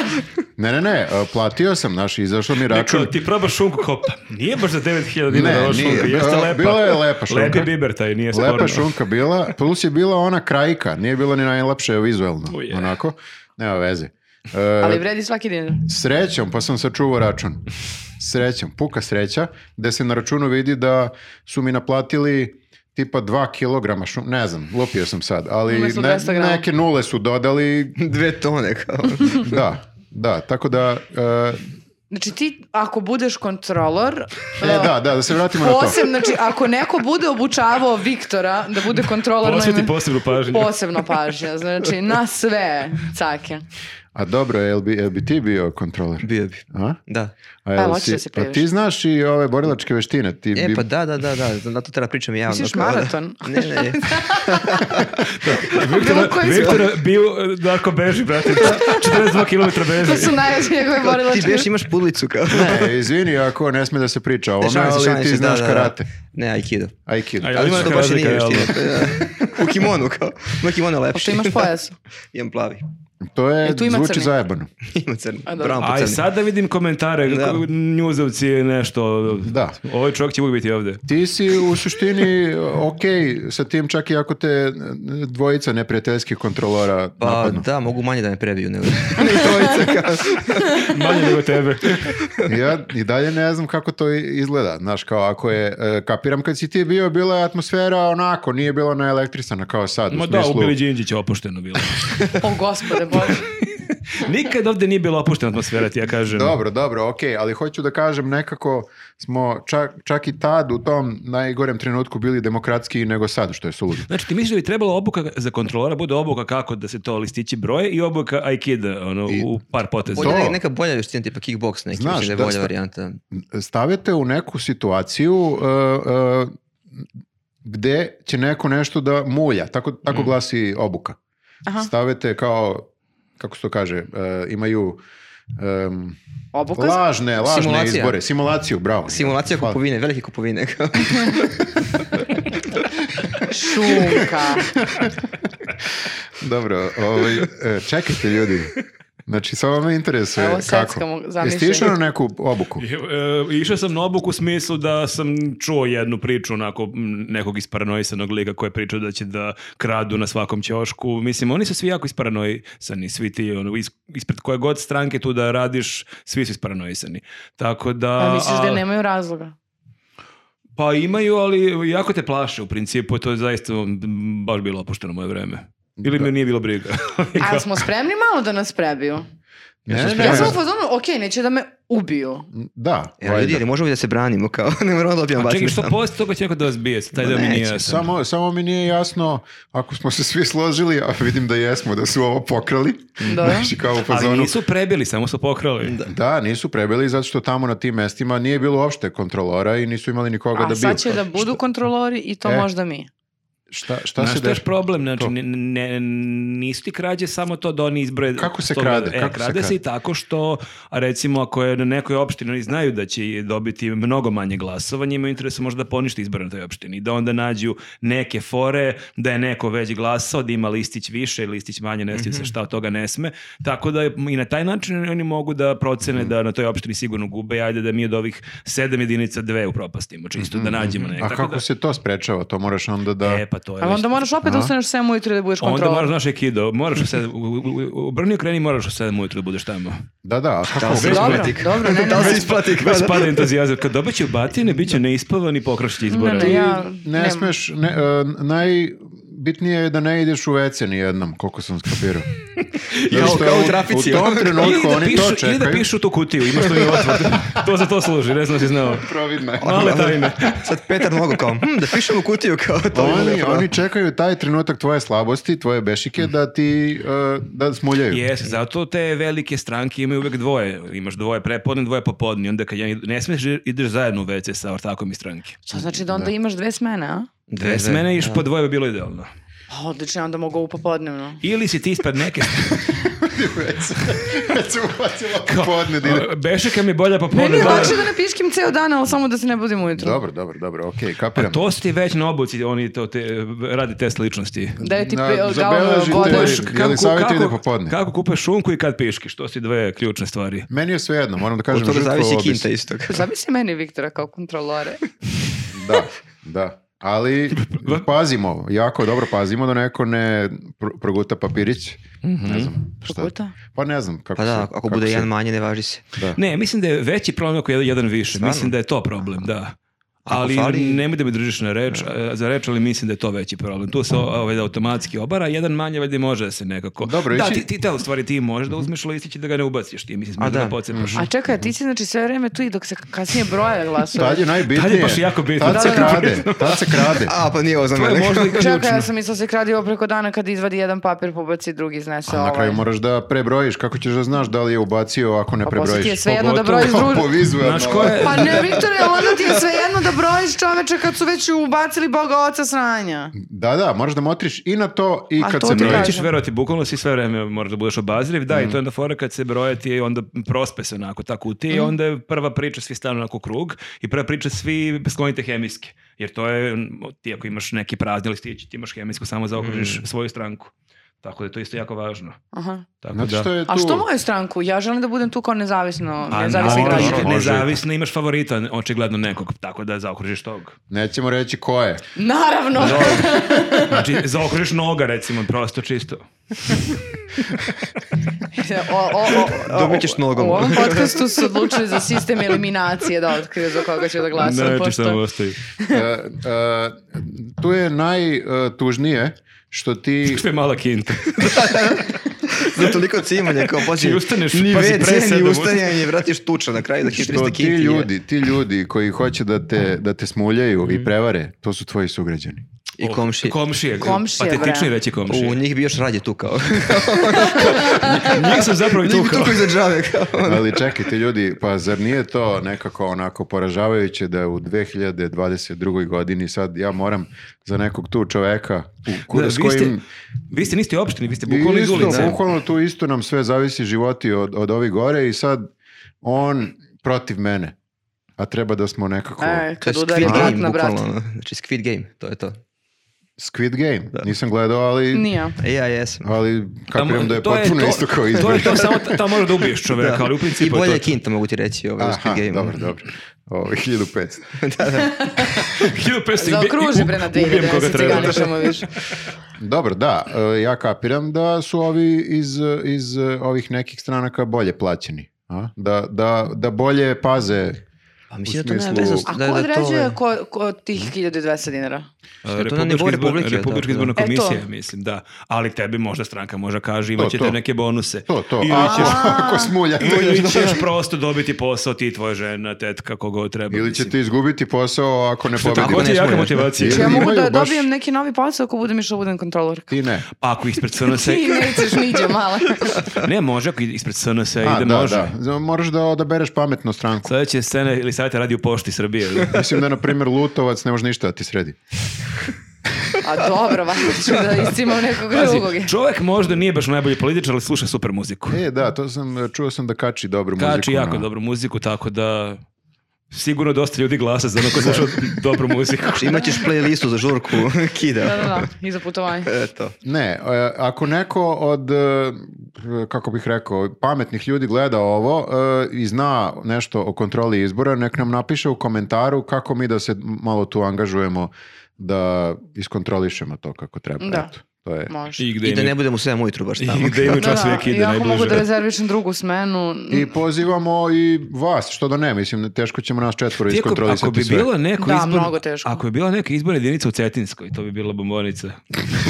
[SPEAKER 3] Ne, ne, ne, e, platio sam, znaš, izašao mi
[SPEAKER 2] Neko,
[SPEAKER 3] račun.
[SPEAKER 2] ti probaš šunku kao, pa nije baš za 9000 dinara
[SPEAKER 3] Ne,
[SPEAKER 2] ova
[SPEAKER 3] nije.
[SPEAKER 2] šunka, jeste
[SPEAKER 3] Bila-
[SPEAKER 2] lepa.
[SPEAKER 3] bila je lepa šunka.
[SPEAKER 2] Lepi biber taj, nije sporno.
[SPEAKER 3] Lepa šunka bila, plus je bila ona krajka, nije bila ni najlepše vizuelno,
[SPEAKER 2] Uje.
[SPEAKER 3] onako. Nema veze. E,
[SPEAKER 1] ali vredi svaki dinar.
[SPEAKER 3] Srećom, pa sam sačuvao račun. Srećom, puka sreća, gde se na računu vidi da su mi naplatili tipa 2 kilograma šum, ne znam, lupio sam sad, ali
[SPEAKER 1] Umesto
[SPEAKER 3] ne-
[SPEAKER 1] 200 grama.
[SPEAKER 3] neke nule su dodali,
[SPEAKER 4] Dve tone kao.
[SPEAKER 3] da, da, tako da, e,
[SPEAKER 1] Znači ti, ako budeš kontrolor, eh,
[SPEAKER 3] e, da, da, da se vratimo na to.
[SPEAKER 1] posebno, znači ako neko bude obučavao Viktora da bude kontrolor... na
[SPEAKER 2] Posveti
[SPEAKER 1] ime-
[SPEAKER 2] posebnu pažnju.
[SPEAKER 1] Posebno pažnja, znači na sve cake.
[SPEAKER 3] A dobro, jel bi, jel bi ti bio kontroler?
[SPEAKER 4] Bio bi.
[SPEAKER 3] A?
[SPEAKER 4] Da.
[SPEAKER 3] A, jel
[SPEAKER 1] Pa, hoćeš
[SPEAKER 3] si-
[SPEAKER 1] da se
[SPEAKER 3] a ti
[SPEAKER 1] prijaviš.
[SPEAKER 3] znaš i ove borilačke veštine? Ti
[SPEAKER 4] E,
[SPEAKER 3] bi-
[SPEAKER 4] pa da, da, da, da, na to treba pričam javno.
[SPEAKER 1] Misliš
[SPEAKER 4] kao da-
[SPEAKER 1] maraton?
[SPEAKER 4] Ne, ne,
[SPEAKER 1] Bilo koji
[SPEAKER 2] Viktor bio, Darko beži, brate, 42 km beži.
[SPEAKER 1] To su najveće njegove
[SPEAKER 4] ti
[SPEAKER 1] borilačke.
[SPEAKER 4] beš imaš pudlicu kao.
[SPEAKER 3] E, izvini ako ne sme da se priča o ovome,
[SPEAKER 4] Šalim se, šalim
[SPEAKER 3] ali ti
[SPEAKER 4] se, da,
[SPEAKER 3] znaš
[SPEAKER 4] da, da.
[SPEAKER 3] karate.
[SPEAKER 4] Ne, aikido.
[SPEAKER 3] Aikido.
[SPEAKER 2] A jel ima
[SPEAKER 4] To
[SPEAKER 2] neka
[SPEAKER 4] baš i nije
[SPEAKER 2] razlika, jel?
[SPEAKER 4] veština. Da. U kimonu kao. Ma kimono je
[SPEAKER 1] Pa
[SPEAKER 4] lepši.
[SPEAKER 1] što imaš pojas?
[SPEAKER 4] Imam plavi.
[SPEAKER 3] To je,
[SPEAKER 4] E,
[SPEAKER 1] Jel tu ima
[SPEAKER 3] zvuči
[SPEAKER 1] crni?
[SPEAKER 3] zajebano.
[SPEAKER 4] Ima crni.
[SPEAKER 1] A, dobro.
[SPEAKER 4] Brown po
[SPEAKER 2] Aj
[SPEAKER 4] crni.
[SPEAKER 2] sad da vidim komentare,
[SPEAKER 4] Da.
[SPEAKER 2] kako njuzovci nešto.
[SPEAKER 3] Da.
[SPEAKER 2] Ovaj čovjek će uvijek biti ovde.
[SPEAKER 3] Ti si u suštini ok sa tim čak i ako te dvojica neprijateljskih kontrolora
[SPEAKER 4] Pa
[SPEAKER 3] napadnu.
[SPEAKER 4] da, mogu manje da me prebiju nego. Ni trojica kao.
[SPEAKER 2] Manje nego tebe.
[SPEAKER 3] Ja i dalje ne znam kako to i- izgleda. Znaš, kao ako je, e, kapiram kad si ti bio, bila je atmosfera onako, nije bila naelektrisana kao sad.
[SPEAKER 2] Ma
[SPEAKER 3] u
[SPEAKER 2] da,
[SPEAKER 3] smislu,
[SPEAKER 2] u Bili Đinđić je opušteno bilo.
[SPEAKER 1] O gospode bože.
[SPEAKER 2] Nikad ovde nije bila opuštena atmosfera, ti ja kažem.
[SPEAKER 3] Dobro, dobro, ok, ali hoću da kažem nekako smo čak, čak i tad u tom najgorem trenutku bili demokratski nego sad, što je suludo.
[SPEAKER 2] Znači, ti misliš da bi trebala obuka za kontrolora, bude obuka kako da se to listići broje i obuka Aikida, ono,
[SPEAKER 3] I-
[SPEAKER 2] u par poteza.
[SPEAKER 3] To-
[SPEAKER 4] Bolje neka, neka bolja veština, tipa kickboks neki,
[SPEAKER 3] Znaš,
[SPEAKER 4] Znaš, da je
[SPEAKER 3] da,
[SPEAKER 4] bolja
[SPEAKER 3] sta-
[SPEAKER 4] varijanta.
[SPEAKER 3] stavite u neku situaciju e, e, gde će neko nešto da mulja, tako, tako glasi obuka.
[SPEAKER 1] Aha.
[SPEAKER 3] Stavite kao, kako se to kaže, e, imaju em,
[SPEAKER 1] Obuka?
[SPEAKER 3] lažne, lažne
[SPEAKER 4] Simulacija.
[SPEAKER 3] izbore, simulaciju, bravo.
[SPEAKER 4] Simulacija
[SPEAKER 3] Hvala.
[SPEAKER 4] kupovine, velike kupovine. kao. E,
[SPEAKER 1] Šunka.
[SPEAKER 3] Dobro, ovaj, e, čekajte ljudi. Znači, samo me interesuje
[SPEAKER 1] Evo,
[SPEAKER 3] kako.
[SPEAKER 1] seckamo,
[SPEAKER 3] Jeste
[SPEAKER 1] zamišljam.
[SPEAKER 3] išao na neku obuku?
[SPEAKER 2] E, e, išao sam na obuku u smislu da sam čuo jednu priču onako m, nekog isparanoisanog lika koji je pričao da će da kradu na svakom ćošku. Mislim, oni su svi jako isparanoisani, svi ti, ono, is- ispred koje god stranke tu da radiš, svi su isparanoisani. Tako da...
[SPEAKER 1] A Pa misliš da
[SPEAKER 2] a-
[SPEAKER 1] nemaju razloga?
[SPEAKER 2] Pa imaju, ali jako te plaše u principu, to je zaista m, baš bilo opušteno moje vreme. Ili mi nije bilo briga.
[SPEAKER 1] Ali smo spremni malo da nas prebiju.
[SPEAKER 3] Ne, ne,
[SPEAKER 1] Ja
[SPEAKER 3] ne.
[SPEAKER 1] sam u fazonu, okej, neće da me ubiju.
[SPEAKER 3] Da,
[SPEAKER 4] E, ali ljudi,
[SPEAKER 3] valjda.
[SPEAKER 4] ali možemo da se branimo kao, ne moramo da dobijamo
[SPEAKER 2] A čekaj,
[SPEAKER 4] batine
[SPEAKER 2] što
[SPEAKER 4] samo.
[SPEAKER 2] poslije toga će neko da vas bije? Taj
[SPEAKER 4] Ma
[SPEAKER 2] deo mi nije
[SPEAKER 4] neće,
[SPEAKER 2] jasan.
[SPEAKER 3] Samo, samo mi nije jasno, ako smo se svi složili, a vidim da jesmo, da su ovo pokrali.
[SPEAKER 1] Dobro.
[SPEAKER 3] Znači, kao u
[SPEAKER 2] Ali
[SPEAKER 3] fazonu,
[SPEAKER 2] nisu prebili, samo su pokrali.
[SPEAKER 3] Da, nisu prebili zato što tamo na tim mestima nije bilo uopšte kontrolora i nisu imali nikoga da
[SPEAKER 1] A
[SPEAKER 3] bi...
[SPEAKER 1] sad će da budu kontrolori i to
[SPEAKER 3] E.
[SPEAKER 1] možda mi.
[SPEAKER 3] Šta, šta
[SPEAKER 2] Znaš
[SPEAKER 3] se
[SPEAKER 2] što je još
[SPEAKER 3] deš...
[SPEAKER 2] problem?
[SPEAKER 3] To.
[SPEAKER 2] Znači, ne, ne, nisu ti krađe samo to da oni izbroje...
[SPEAKER 3] Kako se
[SPEAKER 2] sto-
[SPEAKER 3] krade?
[SPEAKER 2] E,
[SPEAKER 3] Kako se
[SPEAKER 2] krade se,
[SPEAKER 3] krade?
[SPEAKER 2] i tako što, a recimo, ako je na nekoj opštini, oni znaju da će dobiti mnogo manje glasova, njima je u interesu možda da ponište izbore na toj opštini. Da onda nađu neke fore, da je neko već glasao, da ima listić više ili listić manje, ne sjećam se
[SPEAKER 3] Mhm.
[SPEAKER 2] šta od toga ne sme. Tako da je- i na taj način oni mogu da procene
[SPEAKER 3] Mhm.
[SPEAKER 2] da na toj opštini sigurno gube, ajde da mi od ovih sedam jedinica dve upropastimo, čisto da nađemo neke.
[SPEAKER 3] Mhm, A
[SPEAKER 2] Tako
[SPEAKER 3] kako
[SPEAKER 2] da-
[SPEAKER 3] se to sprečava? To moraš onda da...
[SPEAKER 2] E, pa pa to je...
[SPEAKER 1] Ali
[SPEAKER 2] već-
[SPEAKER 1] onda moraš opet da
[SPEAKER 4] A?
[SPEAKER 1] ustaneš 7 ujutru da budeš
[SPEAKER 2] Onda
[SPEAKER 1] kontrolor.
[SPEAKER 2] moraš, znaš, Aikido, moraš u sedam, u, u, u Brniju kreni, moraš u sedam ujutru da budeš tamo.
[SPEAKER 3] Da, da, a kako?
[SPEAKER 4] Da,
[SPEAKER 3] Bez-
[SPEAKER 1] Dobro,
[SPEAKER 4] Izbletik.
[SPEAKER 1] dobro, ne, ne,
[SPEAKER 4] Da li se
[SPEAKER 1] ne.
[SPEAKER 4] isplati?
[SPEAKER 2] Baš pada entuzijazam. Kad dobiće batine, bit će neispavan i pokrašće izbora.
[SPEAKER 1] Ne, ne, ja
[SPEAKER 3] Ne
[SPEAKER 1] nemam.
[SPEAKER 3] smeš, ne, e, najbitnije je da ne ideš u WC ni jednom, koliko sam skapirao.
[SPEAKER 4] Jao,
[SPEAKER 3] Zato što
[SPEAKER 4] kao u
[SPEAKER 3] u-
[SPEAKER 4] trafici.
[SPEAKER 3] U tom
[SPEAKER 2] Ili
[SPEAKER 3] trenutku
[SPEAKER 2] da,
[SPEAKER 3] oni to
[SPEAKER 2] pišu, ili da
[SPEAKER 3] čekaju.
[SPEAKER 2] pišu tu kutiju, imaš tu i otvor. to za to služi, ne znam si znao.
[SPEAKER 3] Providno je.
[SPEAKER 2] Male tajne.
[SPEAKER 4] Sad Petar mnogo kao, hm, da pišem u kutiju kao to. bi bilo
[SPEAKER 3] Oni,
[SPEAKER 4] lepo, da.
[SPEAKER 3] oni čekaju taj trenutak tvoje slabosti, tvoje bešike da ti
[SPEAKER 4] Mm.
[SPEAKER 3] e, da smuljaju.
[SPEAKER 2] Jes, zato te velike stranke imaju uvek dvoje. Imaš dvoje prepodne, dvoje popodne. Onda kad jedan ne smiješ, ideš zajedno u WC sa ortakom iz stranke.
[SPEAKER 1] To znači da onda imaš dve smene, a?
[SPEAKER 4] Dve,
[SPEAKER 2] Dve
[SPEAKER 4] dve,
[SPEAKER 2] smene iš
[SPEAKER 4] da.
[SPEAKER 2] po dvoje bi bilo idealno.
[SPEAKER 1] Pa, Odlično, onda mogu u popodnevno.
[SPEAKER 2] Ili si ti ispred neke...
[SPEAKER 3] Kad se uhvatila popodne da ide.
[SPEAKER 2] Bešeka mi je bolja
[SPEAKER 1] Meni
[SPEAKER 2] popodne.
[SPEAKER 1] je
[SPEAKER 2] da.
[SPEAKER 1] lakše da ne piškim ceo dan, ali samo da se ne budim ujutru.
[SPEAKER 3] Dobro, dobro, dobro, okej,
[SPEAKER 2] Pa
[SPEAKER 3] kapiram.
[SPEAKER 2] to si ti već na obuci, oni to te, radi test ličnosti.
[SPEAKER 1] Da je ti
[SPEAKER 3] Na-
[SPEAKER 1] pe- gao-
[SPEAKER 3] zabeležite
[SPEAKER 1] voda.
[SPEAKER 3] je- Jel savjet ide popodne?
[SPEAKER 2] Pa kako kupaš šunku i kad piškiš, to su dve ključne stvari.
[SPEAKER 3] Meni je sve jedno, moram da
[SPEAKER 4] Od
[SPEAKER 3] kažem
[SPEAKER 4] toga
[SPEAKER 3] žrtva
[SPEAKER 4] zavisi
[SPEAKER 3] obis.
[SPEAKER 4] kinta istog.
[SPEAKER 1] Zamisli meni Viktora kao kontrolore.
[SPEAKER 3] Da, da. Ali pazimo, jako dobro pazimo da neko ne pr- proguta papirić. Ne znam. Šta?
[SPEAKER 1] Proguta?
[SPEAKER 3] Pa ne znam kako
[SPEAKER 4] Pa da,
[SPEAKER 3] se-
[SPEAKER 4] ako
[SPEAKER 3] kako
[SPEAKER 4] bude
[SPEAKER 3] se-
[SPEAKER 4] jedan manje, ne važi se.
[SPEAKER 2] Ne, mislim da je veći problem ako je jedan više.
[SPEAKER 4] Stvarno?
[SPEAKER 2] Mislim da je to problem, da.
[SPEAKER 4] Ako
[SPEAKER 2] Ali
[SPEAKER 4] fali-
[SPEAKER 2] nemoj da me držiš na reč, e, za reč, ali mislim da je to veći problem. Tu se o- ovaj, automatski obara, jedan manje valjda i može da se nekako...
[SPEAKER 3] Dobro,
[SPEAKER 2] da,
[SPEAKER 3] ići-
[SPEAKER 2] ti, ti da, u stvari ti možeš da uzmeš listić i da ga ne ubaciš, ti mislim
[SPEAKER 4] A,
[SPEAKER 2] da, ga
[SPEAKER 4] da.
[SPEAKER 2] pocepaš.
[SPEAKER 1] A čekaj, a ti si znači sve vreme tu i dok se kasnije broje glasove.
[SPEAKER 3] Tad je najbitnije.
[SPEAKER 2] Tad je baš jako bitno.
[SPEAKER 3] Tad se
[SPEAKER 1] Da, da, da.
[SPEAKER 3] krade, tad se krade.
[SPEAKER 4] A, pa nije ovo za
[SPEAKER 2] To je
[SPEAKER 4] mene.
[SPEAKER 2] možda i
[SPEAKER 1] Čekaj,
[SPEAKER 2] ključno.
[SPEAKER 1] ja sam mislila se kradi ovo preko dana kad izvadi jedan papir, pobaci drugi, iznese
[SPEAKER 3] A
[SPEAKER 1] ovaj.
[SPEAKER 3] na kraju moraš da prebrojiš, kako ćeš da znaš da li je ubacio ako ne
[SPEAKER 1] Pa posle
[SPEAKER 3] prebrojiš.
[SPEAKER 1] ti je sve jedno da
[SPEAKER 2] Pogotovo
[SPEAKER 1] brojiš drugi.
[SPEAKER 3] Po vizualno.
[SPEAKER 2] Znaš ko je...
[SPEAKER 1] Pa ne, Viktore, onda ti je sve jedno da brojiš čoveče kad su već ubacili boga oca sranja.
[SPEAKER 3] Da, da, moraš da motriš i na to i
[SPEAKER 1] A
[SPEAKER 3] kad
[SPEAKER 1] to
[SPEAKER 3] se
[SPEAKER 1] ti
[SPEAKER 3] brojiš.
[SPEAKER 1] kažem.
[SPEAKER 2] Nećeš verovati, bukvalno si sve vreme moraš da budeš obaziriv, da,
[SPEAKER 3] Mm.
[SPEAKER 2] i to je onda fora kad se broje ti je onda prospe se onako ta kutija
[SPEAKER 3] Mm.
[SPEAKER 2] i onda je prva priča svi stanu onako u krug i prva priča svi sklonite hemijski. Jer to je, m, ti ako imaš neki prazni listić, ti imaš hemijsku, samo zaokružiš
[SPEAKER 3] Mm.
[SPEAKER 2] svoju stranku. Tako da je to isto jako važno.
[SPEAKER 1] Aha.
[SPEAKER 2] Tako
[SPEAKER 3] Znate
[SPEAKER 2] da...
[SPEAKER 3] što je tu?
[SPEAKER 1] A što moju stranku? Ja želim da budem tu kao nezavisno,
[SPEAKER 2] A
[SPEAKER 1] nezavisni
[SPEAKER 2] naravno,
[SPEAKER 1] građan.
[SPEAKER 3] može.
[SPEAKER 2] ti nezavisno imaš favorita, očigledno nekog, tako da zaokružiš tog.
[SPEAKER 3] Nećemo reći ko je.
[SPEAKER 1] Naravno.
[SPEAKER 2] Znači, zaokružiš noga, recimo, prosto čisto.
[SPEAKER 1] O, o, o, o,
[SPEAKER 4] Dobit ćeš nogom.
[SPEAKER 1] U ovom podcastu su odlučili za sistem eliminacije da otkriju za koga će da glasa.
[SPEAKER 2] Ne,
[SPEAKER 1] pošto...
[SPEAKER 2] samo ostaje.
[SPEAKER 3] E, e, tu je najtužnije što ti...
[SPEAKER 2] Što je mala kinta.
[SPEAKER 4] Za toliko cimanja kao poslije.
[SPEAKER 2] Ti ustaneš,
[SPEAKER 4] ni
[SPEAKER 2] pazi, pre
[SPEAKER 4] WC,
[SPEAKER 2] sedam
[SPEAKER 4] ni ustajanje, vratiš tuča na kraju da hitriš
[SPEAKER 3] Što
[SPEAKER 4] da
[SPEAKER 3] ti ljudi, ti ljudi koji hoće da te, da te smuljaju
[SPEAKER 2] Mhm.
[SPEAKER 3] i prevare, to su tvoji sugrađani.
[SPEAKER 4] I komši.
[SPEAKER 2] Komšije.
[SPEAKER 1] Komšije,
[SPEAKER 2] Patetični
[SPEAKER 1] bre.
[SPEAKER 2] reći komšije.
[SPEAKER 4] U njih bi još radije tu kao.
[SPEAKER 2] Njih sam zapravo i
[SPEAKER 4] njih bi
[SPEAKER 2] tukao.
[SPEAKER 4] tukao iza džave kao.
[SPEAKER 3] Ali čekaj ti ljudi, pa zar nije to nekako onako poražavajuće da u 2022. godini sad ja moram za nekog tu čoveka u, ko-
[SPEAKER 2] Da,
[SPEAKER 3] s
[SPEAKER 2] vi ste-
[SPEAKER 3] kojim...
[SPEAKER 2] Vi ste niste opštini, vi ste bukvalno iz
[SPEAKER 3] Isto,
[SPEAKER 2] ulice.
[SPEAKER 3] Bukvalno tu isto nam sve zavisi životi od, od ovih gore i sad on protiv mene. A treba da smo nekako...
[SPEAKER 1] E,
[SPEAKER 4] To je
[SPEAKER 1] kad udari
[SPEAKER 4] Squid
[SPEAKER 1] brat
[SPEAKER 4] Game,
[SPEAKER 1] na brat.
[SPEAKER 4] bukvalno. ono. Znači Squid Game, to je to.
[SPEAKER 3] Squid Game.
[SPEAKER 4] Da.
[SPEAKER 3] Nisam gledao, ali...
[SPEAKER 1] Nije.
[SPEAKER 4] E, ja jesam.
[SPEAKER 3] Ali kapiram da je
[SPEAKER 2] Tamo- to
[SPEAKER 3] potpuno
[SPEAKER 2] to-
[SPEAKER 3] isto kao
[SPEAKER 2] To
[SPEAKER 3] izbor.
[SPEAKER 2] je to, samo ta- tamo mora da ubiješ čoveka, E, ali u
[SPEAKER 4] I
[SPEAKER 2] principu
[SPEAKER 4] bolje
[SPEAKER 2] je
[SPEAKER 4] je
[SPEAKER 2] to.
[SPEAKER 4] kinta, mogu ti reći, ovaj, u
[SPEAKER 3] Aha,
[SPEAKER 4] Squid Game.
[SPEAKER 3] dobro, dobro. Ovo, 1500.
[SPEAKER 4] da, da.
[SPEAKER 2] 1500 i ubi-
[SPEAKER 1] Zaokruži
[SPEAKER 2] i
[SPEAKER 1] bre na
[SPEAKER 2] u- ubijem koga
[SPEAKER 1] 2019.
[SPEAKER 2] treba.
[SPEAKER 1] ganišemo više.
[SPEAKER 3] Dobro, da, e, ja kapiram da su ovi iz, iz e, ovih nekih stranaka bolje plaćeni. A? Da, da, da bolje paze.
[SPEAKER 4] Pa mislim da to
[SPEAKER 3] smislu-
[SPEAKER 4] nema veze. s-
[SPEAKER 1] A ko
[SPEAKER 4] da- da to
[SPEAKER 1] određuje
[SPEAKER 4] je-
[SPEAKER 1] ko, ko tih 1200 dinara?
[SPEAKER 2] A,
[SPEAKER 4] na
[SPEAKER 2] Republička
[SPEAKER 4] nivou
[SPEAKER 2] izbor-
[SPEAKER 4] Republike, da,
[SPEAKER 2] Republička
[SPEAKER 4] da.
[SPEAKER 2] izborna
[SPEAKER 1] E, to.
[SPEAKER 2] komisija, mislim, da. Ali tebi možda stranka može kaže imat
[SPEAKER 3] To,
[SPEAKER 2] ćete
[SPEAKER 3] to.
[SPEAKER 2] neke bonuse.
[SPEAKER 3] To, to.
[SPEAKER 2] Ili
[SPEAKER 3] Ako,
[SPEAKER 2] ćeš,
[SPEAKER 3] ako smuljate.
[SPEAKER 2] ili ćeš prosto dobiti posao ti, tvoja žena, tetka, kogo treba.
[SPEAKER 3] Ili
[SPEAKER 2] mislim.
[SPEAKER 3] ćete izgubiti posao ako ne pobedite.
[SPEAKER 2] Tako ti je
[SPEAKER 4] ne
[SPEAKER 2] jaka
[SPEAKER 4] smuljaš.
[SPEAKER 2] motivacija.
[SPEAKER 1] Znači ja
[SPEAKER 3] Ili
[SPEAKER 1] mogu
[SPEAKER 3] imaju
[SPEAKER 1] da
[SPEAKER 3] baš-
[SPEAKER 1] dobijem neki novi posao ako budem išla da budem kontrolor.
[SPEAKER 3] Ti ne.
[SPEAKER 2] Ako ispred SNS...
[SPEAKER 1] Ti nećeš niđe, mala.
[SPEAKER 2] Ne, može ako ispred SNS
[SPEAKER 3] A,
[SPEAKER 2] ide,
[SPEAKER 3] da,
[SPEAKER 2] može.
[SPEAKER 3] da. Z- Moraš da odabereš pametnu stranku.
[SPEAKER 2] Sledeće scene ili sajte radi u pošti Srbije.
[SPEAKER 3] Mislim da, na primjer, Lutovac ne može ništa da ti sredi.
[SPEAKER 1] A dobro, valjda ću da iscimam nekog drugog.
[SPEAKER 2] Pazi, čovek možda nije baš najbolji političar, ali sluša super muziku.
[SPEAKER 3] E, da, to sam, e, čuo sam da kači dobru muziku.
[SPEAKER 2] Kači jako
[SPEAKER 3] na-
[SPEAKER 2] dobru muziku, tako da sigurno dosta ljudi glasa za ono ko sluša dobru muziku.
[SPEAKER 4] Imaćeš Znači, playlistu za žurku
[SPEAKER 1] Da, da,
[SPEAKER 4] kida.
[SPEAKER 1] da, i za putovanje.
[SPEAKER 4] Eto.
[SPEAKER 3] Ne, e, ako neko od, e, kako bih rekao, pametnih ljudi gleda ovo e, i zna nešto o kontroli izbora, nek nam napiše u komentaru kako mi da se malo tu angažujemo da iskontrolišemo to kako treba.
[SPEAKER 1] Da.
[SPEAKER 3] Eto, to je.
[SPEAKER 1] Može.
[SPEAKER 2] I gde
[SPEAKER 4] I da
[SPEAKER 2] im je-
[SPEAKER 4] ne budemo u 7 ujutru baš tamo.
[SPEAKER 2] I gde imaju čas vijek ide
[SPEAKER 1] ja ako mogu
[SPEAKER 2] najbliže.
[SPEAKER 1] da rezervišem drugu smenu.
[SPEAKER 3] I pozivamo i vas, što da ne, mislim, teško ćemo nas četvoro
[SPEAKER 2] Ti ako-
[SPEAKER 3] iskontrolisati
[SPEAKER 2] ako bi
[SPEAKER 3] sve.
[SPEAKER 2] bila neko
[SPEAKER 1] Da,
[SPEAKER 2] izbor-
[SPEAKER 1] mnogo teško.
[SPEAKER 2] Ako je bila neka izborna jedinica u Cetinskoj, to bi bila bombonica.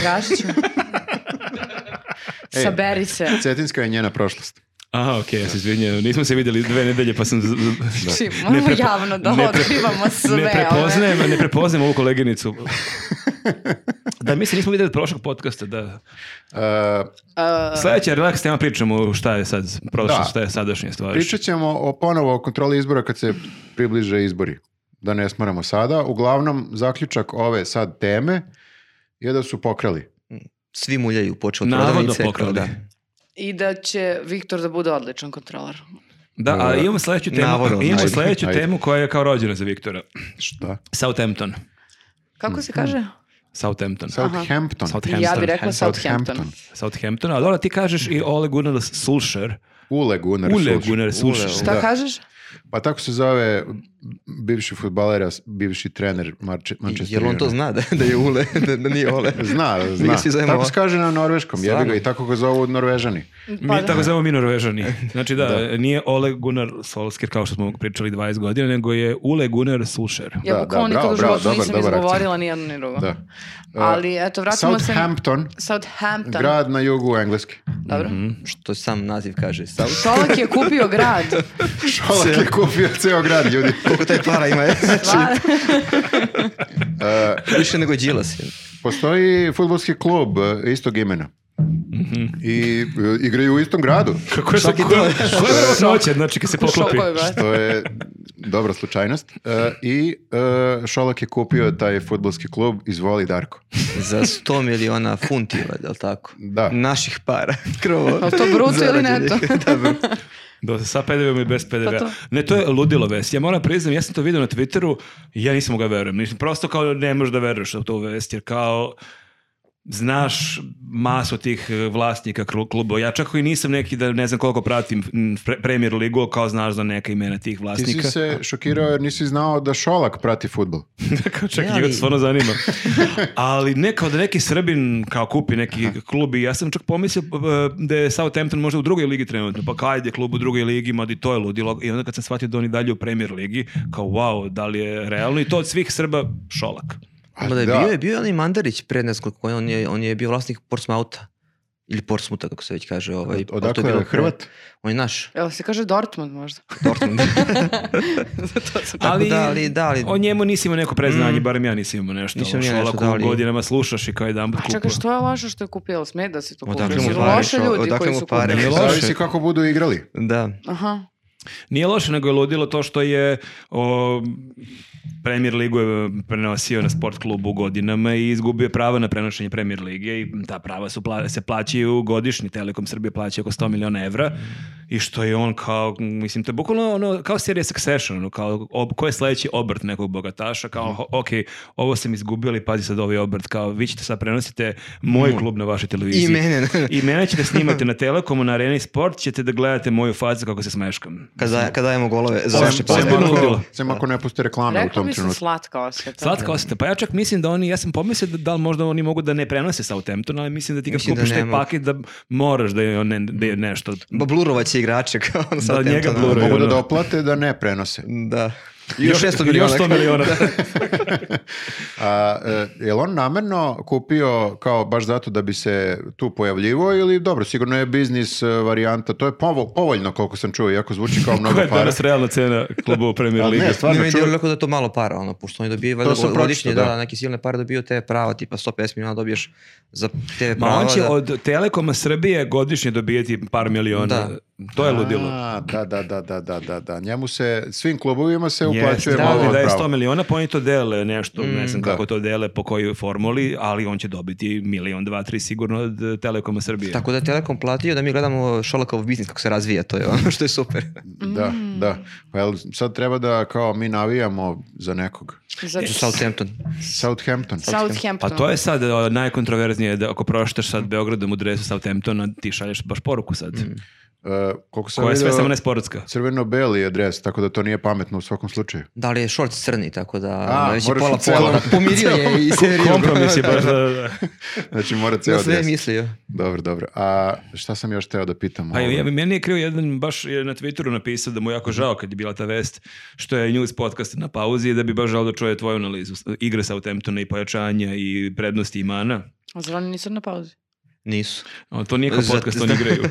[SPEAKER 1] Gašiću.
[SPEAKER 3] E.
[SPEAKER 1] Saberi se.
[SPEAKER 3] Cetinska je njena prošlost. E,
[SPEAKER 2] Aha, okej, ja se izvinjam. Nismo se vidjeli dve nedelje, pa sam... z- z-
[SPEAKER 1] Znači,
[SPEAKER 2] Ne
[SPEAKER 1] moramo
[SPEAKER 2] prepo-
[SPEAKER 1] javno da
[SPEAKER 2] ne pre-
[SPEAKER 1] otkrivamo sve.
[SPEAKER 2] Ne
[SPEAKER 1] ove.
[SPEAKER 2] prepoznajem, ne prepoznajem ovu koleginicu. Da, mi se nismo vidjeli od prošlog podcasta, da.
[SPEAKER 3] E,
[SPEAKER 1] Uh,
[SPEAKER 2] Sljedeća relax tema pričamo šta je sad, prošlo,
[SPEAKER 3] Da.
[SPEAKER 2] šta je sadašnja stvar.
[SPEAKER 3] Pričat ćemo o, ponovo o kontroli izbora kad se približe izbori. Da ne smaramo sada. Uglavnom, zaključak ove sad teme je da su pokrali.
[SPEAKER 4] Svi muljaju počeo od
[SPEAKER 2] Navodno
[SPEAKER 4] prodavnice. kao
[SPEAKER 2] pokrali.
[SPEAKER 4] Da.
[SPEAKER 1] I da će Viktor da bude odličan kontrolar.
[SPEAKER 2] Da, a imamo sljedeću temu,
[SPEAKER 4] Navodno,
[SPEAKER 2] imamo
[SPEAKER 4] ajde,
[SPEAKER 2] sljedeću
[SPEAKER 3] ajde.
[SPEAKER 2] temu koja je kao rođena za Viktora.
[SPEAKER 3] Šta?
[SPEAKER 2] Southampton.
[SPEAKER 1] Kako
[SPEAKER 3] Mhm.
[SPEAKER 1] se kaže?
[SPEAKER 2] Southampton.
[SPEAKER 3] Southampton.
[SPEAKER 2] Southampton.
[SPEAKER 1] Ja bih rekla
[SPEAKER 3] Southampton.
[SPEAKER 1] Southampton.
[SPEAKER 2] Southampton, ali dobro, ti kažeš i Ole Gunnar Solskjaer.
[SPEAKER 3] Ule Gunnar
[SPEAKER 2] Ule
[SPEAKER 3] Solskjaer.
[SPEAKER 2] Gunnar Solskjaer.
[SPEAKER 1] Šta
[SPEAKER 3] Da.
[SPEAKER 1] kažeš?
[SPEAKER 3] Pa tako se zove bivši futbaler, a s- bivši trener
[SPEAKER 2] Znači,
[SPEAKER 3] Marče- Manchester
[SPEAKER 4] Jer on to
[SPEAKER 3] United.
[SPEAKER 4] zna da, da je Ule, da, da nije Ole.
[SPEAKER 3] Zna,
[SPEAKER 4] Mi ga
[SPEAKER 3] zna.
[SPEAKER 4] svi zovemo-
[SPEAKER 3] Tako se kaže na norveškom, jebi
[SPEAKER 4] Stvarno?
[SPEAKER 3] ga i tako ga zovu norvežani.
[SPEAKER 1] Pa
[SPEAKER 2] Mi
[SPEAKER 1] da.
[SPEAKER 2] tako zovemo mi Norvežani. Znači da, nije Ole Gunnar Solskjaer kao što smo pričali 20 godina, nego je Ule Gunnar Solskjaer.
[SPEAKER 1] Ja
[SPEAKER 3] Da,
[SPEAKER 1] bukvalno
[SPEAKER 3] da,
[SPEAKER 1] nikad
[SPEAKER 3] bravo,
[SPEAKER 1] u
[SPEAKER 3] bravo,
[SPEAKER 1] životu
[SPEAKER 3] dobar,
[SPEAKER 1] nisam
[SPEAKER 3] dobar akcent.
[SPEAKER 1] izgovorila ni jedno ni drugo.
[SPEAKER 3] Da. E,
[SPEAKER 1] Ali eto, vratimo se... na-
[SPEAKER 3] Southampton,
[SPEAKER 1] Southampton.
[SPEAKER 3] grad Mhm. na jugu Engleske.
[SPEAKER 1] Dobro.
[SPEAKER 4] Što sam naziv kaže. Sam,
[SPEAKER 1] Šolak je kupio grad.
[SPEAKER 3] Šolak je kupio ceo grad, ljudi.
[SPEAKER 4] koliko taj para ima?
[SPEAKER 1] Stvar-
[SPEAKER 3] E,
[SPEAKER 4] Više nego Đilas.
[SPEAKER 3] Postoji futbolski klub e, istog imena. I e, igraju u istom gradu.
[SPEAKER 2] Kako je svaki to? Koja je verovatnoća, znači kad se poklopi?
[SPEAKER 1] Šolakov je grad.
[SPEAKER 3] To je dobra slučajnost. E, I e, Šolak je kupio taj futbolski klub, izvoli Darko.
[SPEAKER 4] Za 100 miliona funti, je li tako?
[SPEAKER 3] Da.
[SPEAKER 4] Naših para. Krovo.
[SPEAKER 1] Al to bruto ili
[SPEAKER 4] Zarađenih.
[SPEAKER 1] neto?
[SPEAKER 4] da, bruto.
[SPEAKER 2] Da, sa PDV-om i bez PDV.
[SPEAKER 1] Pa to.
[SPEAKER 2] Ne, to je ludilo vest. Ja moram priznam, ja sam to vidio na Twitteru i ja nisam mogao da verujem. Mislim, prosto kao ne možeš da veruješ u to vest, jer kao znaš masu tih e, vlasnika kru- klubova. Ja čak i nisam neki da ne znam koliko pratim m, pre- Premier ligu, ali kao znaš za neka imena tih
[SPEAKER 3] Ti si
[SPEAKER 2] vlasnika.
[SPEAKER 3] se šokirao jer nisi znao da Šolak prati futbol.
[SPEAKER 2] kao čak
[SPEAKER 4] Ne,
[SPEAKER 2] njega to
[SPEAKER 4] ali-
[SPEAKER 2] stvarno zanima. ali ne kao da neki Srbin kao kupi neki klub i ja sam čak pomislio e, da je Southampton možda u drugoj ligi trenutno, pa kao ajde klub u drugoj ligi, ma di to je ludilo. I onda kad sam shvatio da oni dalje u premier ligi, kao wow, da li je realno i to od svih Srba šolak.
[SPEAKER 3] A
[SPEAKER 4] Mada je bio, je bio je onaj Mandarić pred nas, koliko je- on je, on je bio vlasnik Portsmouta. Ili Portsmuta, kako se već kaže. Ovaj,
[SPEAKER 3] Od-
[SPEAKER 4] to
[SPEAKER 3] Odakle
[SPEAKER 4] bilo
[SPEAKER 3] je
[SPEAKER 4] pre-
[SPEAKER 3] Hrvat?
[SPEAKER 4] On je naš,
[SPEAKER 1] Jel se kaže Dortmund možda?
[SPEAKER 4] Dortmund.
[SPEAKER 1] Zato sam...
[SPEAKER 4] Tako da, ali- da, ali-
[SPEAKER 2] o njemu nisi imao neko preznanje, barem ja nisam imao nešto.
[SPEAKER 4] Mm.
[SPEAKER 2] o
[SPEAKER 4] Nisam ni ja nešto,
[SPEAKER 2] Šolaku
[SPEAKER 4] da, ali-
[SPEAKER 2] godinama slušaš i kao jedan put
[SPEAKER 1] A Pa čekaj, što je loše što je kupio? Jel Sme da se to kupio.
[SPEAKER 4] Odakle
[SPEAKER 1] Jesu
[SPEAKER 4] mu pare,
[SPEAKER 1] loše
[SPEAKER 4] šo-
[SPEAKER 1] ljudi
[SPEAKER 4] odakle
[SPEAKER 1] koji
[SPEAKER 4] mu
[SPEAKER 1] su
[SPEAKER 4] pare?
[SPEAKER 1] kupili.
[SPEAKER 2] Nije loše.
[SPEAKER 3] Zavisi kako budu igrali.
[SPEAKER 4] da.
[SPEAKER 1] Aha.
[SPEAKER 2] Nije loše, nego je ludilo to što je o, Premier Ligu je prenosio na sport klubu godinama i izgubio pravo na prenošenje Premier Lige i ta prava su, pla- se plaćaju godišnji, Telekom Srbije plaća oko 100 miliona evra i što je on kao, mislim, to je bukvalno ono, kao serija Succession, ono, kao ob, ko je sledeći obrt nekog bogataša, kao,
[SPEAKER 4] Mhm.
[SPEAKER 2] ho- ok, ovo sam izgubio, ali pazi sad ovaj obrt, kao, vi ćete sad prenosite moj klub na vašoj televiziji.
[SPEAKER 4] Mhm. I mene.
[SPEAKER 2] I mene ćete snimati na Telekomu, na Areni Sport, ćete da gledate moju fazu kako se smeškam.
[SPEAKER 4] Kada, kada dajemo golove za
[SPEAKER 2] Sem-
[SPEAKER 4] vaše pare.
[SPEAKER 2] sem- Potpuno ludilo.
[SPEAKER 3] ako, sem ako ne puste reklame u
[SPEAKER 1] Rekla
[SPEAKER 3] tom
[SPEAKER 1] bi se
[SPEAKER 3] trenutku.
[SPEAKER 1] slatka osveta.
[SPEAKER 2] Slatka osjeta. Pa ja čak mislim da oni, ja sam pomislio da, da li možda oni mogu da ne prenose Southampton, ali mislim da ti kad
[SPEAKER 4] Mislim da
[SPEAKER 2] kupiš
[SPEAKER 4] ne
[SPEAKER 2] taj
[SPEAKER 4] mogu.
[SPEAKER 2] paket da moraš da je, on ne- da je nešto.
[SPEAKER 4] Ba, blurovat će igrače kao on sad
[SPEAKER 2] njega
[SPEAKER 4] Temptona.
[SPEAKER 2] bluraju.
[SPEAKER 3] Mogu da
[SPEAKER 2] ono.
[SPEAKER 3] doplate da ne prenose.
[SPEAKER 4] Da. I još 600 miliona.
[SPEAKER 2] Još 100 miliona.
[SPEAKER 3] A, e, je on namerno kupio kao baš zato da bi se tu pojavljivo ili dobro, sigurno je biznis e, varijanta, to je povo- povoljno koliko sam čuo, iako zvuči kao mnogo
[SPEAKER 2] Koja je
[SPEAKER 3] para.
[SPEAKER 2] danas realna cena klubu u Premier
[SPEAKER 3] Ali
[SPEAKER 2] Ligi?
[SPEAKER 3] ne, stvarno
[SPEAKER 4] Nije mi
[SPEAKER 3] čuo,
[SPEAKER 4] djeluje kao da je to malo para, ono, pošto oni dobijaju valjda
[SPEAKER 3] To sam
[SPEAKER 4] godišnje,
[SPEAKER 3] pročitao,
[SPEAKER 4] da,
[SPEAKER 3] da.
[SPEAKER 4] da, neke silne pare dobiju te prava, tipa 150 miliona dobiješ za te
[SPEAKER 2] Ma
[SPEAKER 4] prava.
[SPEAKER 2] on će
[SPEAKER 4] da-
[SPEAKER 2] od Telekoma Srbije godišnje dobijeti par miliona.
[SPEAKER 4] Da.
[SPEAKER 2] To je ludilo.
[SPEAKER 3] A, da, da, da, da, da, da, da. Njemu se, svim klubovima se
[SPEAKER 2] Jeste,
[SPEAKER 3] uplaćuje
[SPEAKER 2] da,
[SPEAKER 3] malo
[SPEAKER 2] ali da je
[SPEAKER 3] pravo.
[SPEAKER 2] 100 miliona, pa oni to dele nešto,
[SPEAKER 4] Mm,
[SPEAKER 2] ne znam
[SPEAKER 3] da.
[SPEAKER 2] kako to dele, po kojoj formuli, ali on će dobiti milion, dva, tri sigurno od eh, Telekoma Srbije.
[SPEAKER 4] Tako da je Telekom platio da mi gledamo Šolakov biznis kako se razvija, to je ono što je super.
[SPEAKER 3] Da,
[SPEAKER 1] Mm.
[SPEAKER 3] da. Pa jel sad treba da kao mi navijamo za nekog.
[SPEAKER 1] Za
[SPEAKER 4] Za Southampton.
[SPEAKER 3] Southampton.
[SPEAKER 2] Pa
[SPEAKER 1] Southampton.
[SPEAKER 2] to je sad e, najkontroverznije da ako proštaš sad Beogradom u dresu Southamptona, ti šalješ baš poruku sad.
[SPEAKER 3] E, e, koliko sam
[SPEAKER 2] koja je sve
[SPEAKER 3] vidio,
[SPEAKER 2] samo ne sportska.
[SPEAKER 3] crveno-beli je dres, tako da to nije pametno u svakom slučaju.
[SPEAKER 4] Da li je short crni, tako da
[SPEAKER 3] A,
[SPEAKER 4] ono, već je
[SPEAKER 3] moraš
[SPEAKER 4] pola
[SPEAKER 3] u celom-
[SPEAKER 4] pola. Pomirio je i serio.
[SPEAKER 2] Kompromis je baš, da, da, da.
[SPEAKER 3] Znači mora ceo
[SPEAKER 4] Na sve je
[SPEAKER 3] dres.
[SPEAKER 4] mislio.
[SPEAKER 3] Dobro, dobro. A šta sam još teo da pitam?
[SPEAKER 2] Pa
[SPEAKER 3] Ovo-
[SPEAKER 2] ja, meni je krivo jedan, baš je na Twitteru napisao da mu je jako žao kad je bila ta vest što je news podcast na pauzi i da bi baš žao da čuje tvoju analizu s- igre Southamptona i pojačanja i prednosti imana.
[SPEAKER 1] A zar oni nisu na pauzi?
[SPEAKER 4] Nisu.
[SPEAKER 2] A to nije kao
[SPEAKER 4] Za-
[SPEAKER 2] podcast, oni
[SPEAKER 4] za-
[SPEAKER 2] igraju.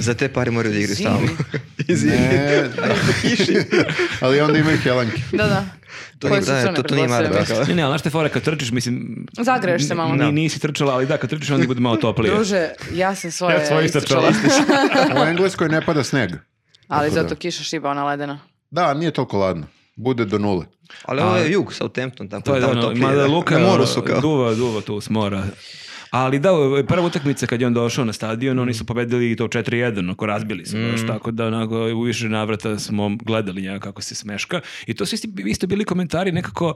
[SPEAKER 4] Za te pare moraju da igraju
[SPEAKER 1] Zivi.
[SPEAKER 4] stalno.
[SPEAKER 3] Ne, da. Ali onda imaju helanke.
[SPEAKER 1] Da, da.
[SPEAKER 4] To,
[SPEAKER 1] Koje
[SPEAKER 4] nije,
[SPEAKER 1] su
[SPEAKER 4] da,
[SPEAKER 1] crne,
[SPEAKER 4] to, to nije mala
[SPEAKER 1] pretpostavljam.
[SPEAKER 4] bitaka.
[SPEAKER 2] Ne, ne, ali znaš te fora kad trčiš, mislim...
[SPEAKER 1] Zagreješ se malo.
[SPEAKER 2] Ni-
[SPEAKER 1] Da.
[SPEAKER 2] nisi trčala, ali da, kad trčiš onda bude malo toplije.
[SPEAKER 1] Druže, ja sam svoje
[SPEAKER 2] Ja svoje
[SPEAKER 1] istrčala.
[SPEAKER 3] U Engleskoj ne pada sneg.
[SPEAKER 1] Ali
[SPEAKER 3] Tako da.
[SPEAKER 1] zato kiša šiba ona ledena.
[SPEAKER 3] Da, nije toliko ladno. Bude do nule.
[SPEAKER 4] Ali ovo je jug, Southampton, tako
[SPEAKER 2] To je da,
[SPEAKER 4] tamo
[SPEAKER 2] ono,
[SPEAKER 4] toplije,
[SPEAKER 2] mada Luka
[SPEAKER 4] na moru su kao.
[SPEAKER 2] duva, duva tu s mora. Ali da, prva utakmica kad je on došao na stadion, oni su pobedili i to 4-1, ako razbili su još, tako da onako, u više navrata smo gledali njega kako se smeška. I to su isti, isto bili komentari nekako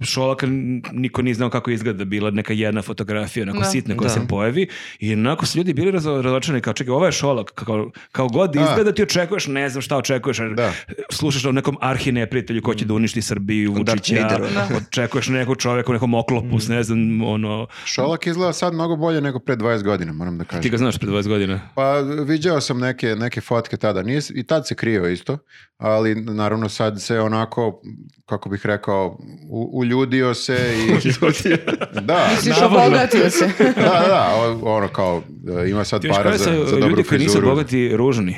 [SPEAKER 2] Šolaka n- niko nije znao kako izgleda, bila neka jedna fotografija, onako
[SPEAKER 1] Da.
[SPEAKER 2] sitna koja
[SPEAKER 4] Da.
[SPEAKER 2] se pojavi i onako su ljudi bili razo- razočarani kao čekaj, ovo je Šolak, kao, kao god izgleda ti očekuješ, ne znam šta očekuješ, jer
[SPEAKER 3] Da.
[SPEAKER 2] slušaš o nekom arhineprijatelju ko će da uništi Srbiju,
[SPEAKER 4] Darth
[SPEAKER 2] Vučića,
[SPEAKER 4] Vader, ono.
[SPEAKER 2] očekuješ nekog čoveka u nekom oklopu, s ne znam, ono,
[SPEAKER 3] Šolak izgleda sad mnogo bolje nego pre 20 godina, moram da
[SPEAKER 2] ti
[SPEAKER 3] kažem.
[SPEAKER 2] ga znaš pred 20 godina.
[SPEAKER 3] Pa viđao sam neke, neke fotke tada. Nije, s- I tad se krio isto, ali naravno sad se onako, kako bih rekao, u- uljudio se i...
[SPEAKER 4] E,
[SPEAKER 3] da,
[SPEAKER 1] Misliš,
[SPEAKER 2] Navodno.
[SPEAKER 1] obogatio se.
[SPEAKER 3] da, da, o- ono kao, e, ima sad
[SPEAKER 2] Ti još
[SPEAKER 3] para
[SPEAKER 2] kada
[SPEAKER 3] za,
[SPEAKER 2] su
[SPEAKER 3] za
[SPEAKER 2] ljudi
[SPEAKER 3] dobru
[SPEAKER 2] koji nisu
[SPEAKER 3] frizuru.
[SPEAKER 2] bogati ružni.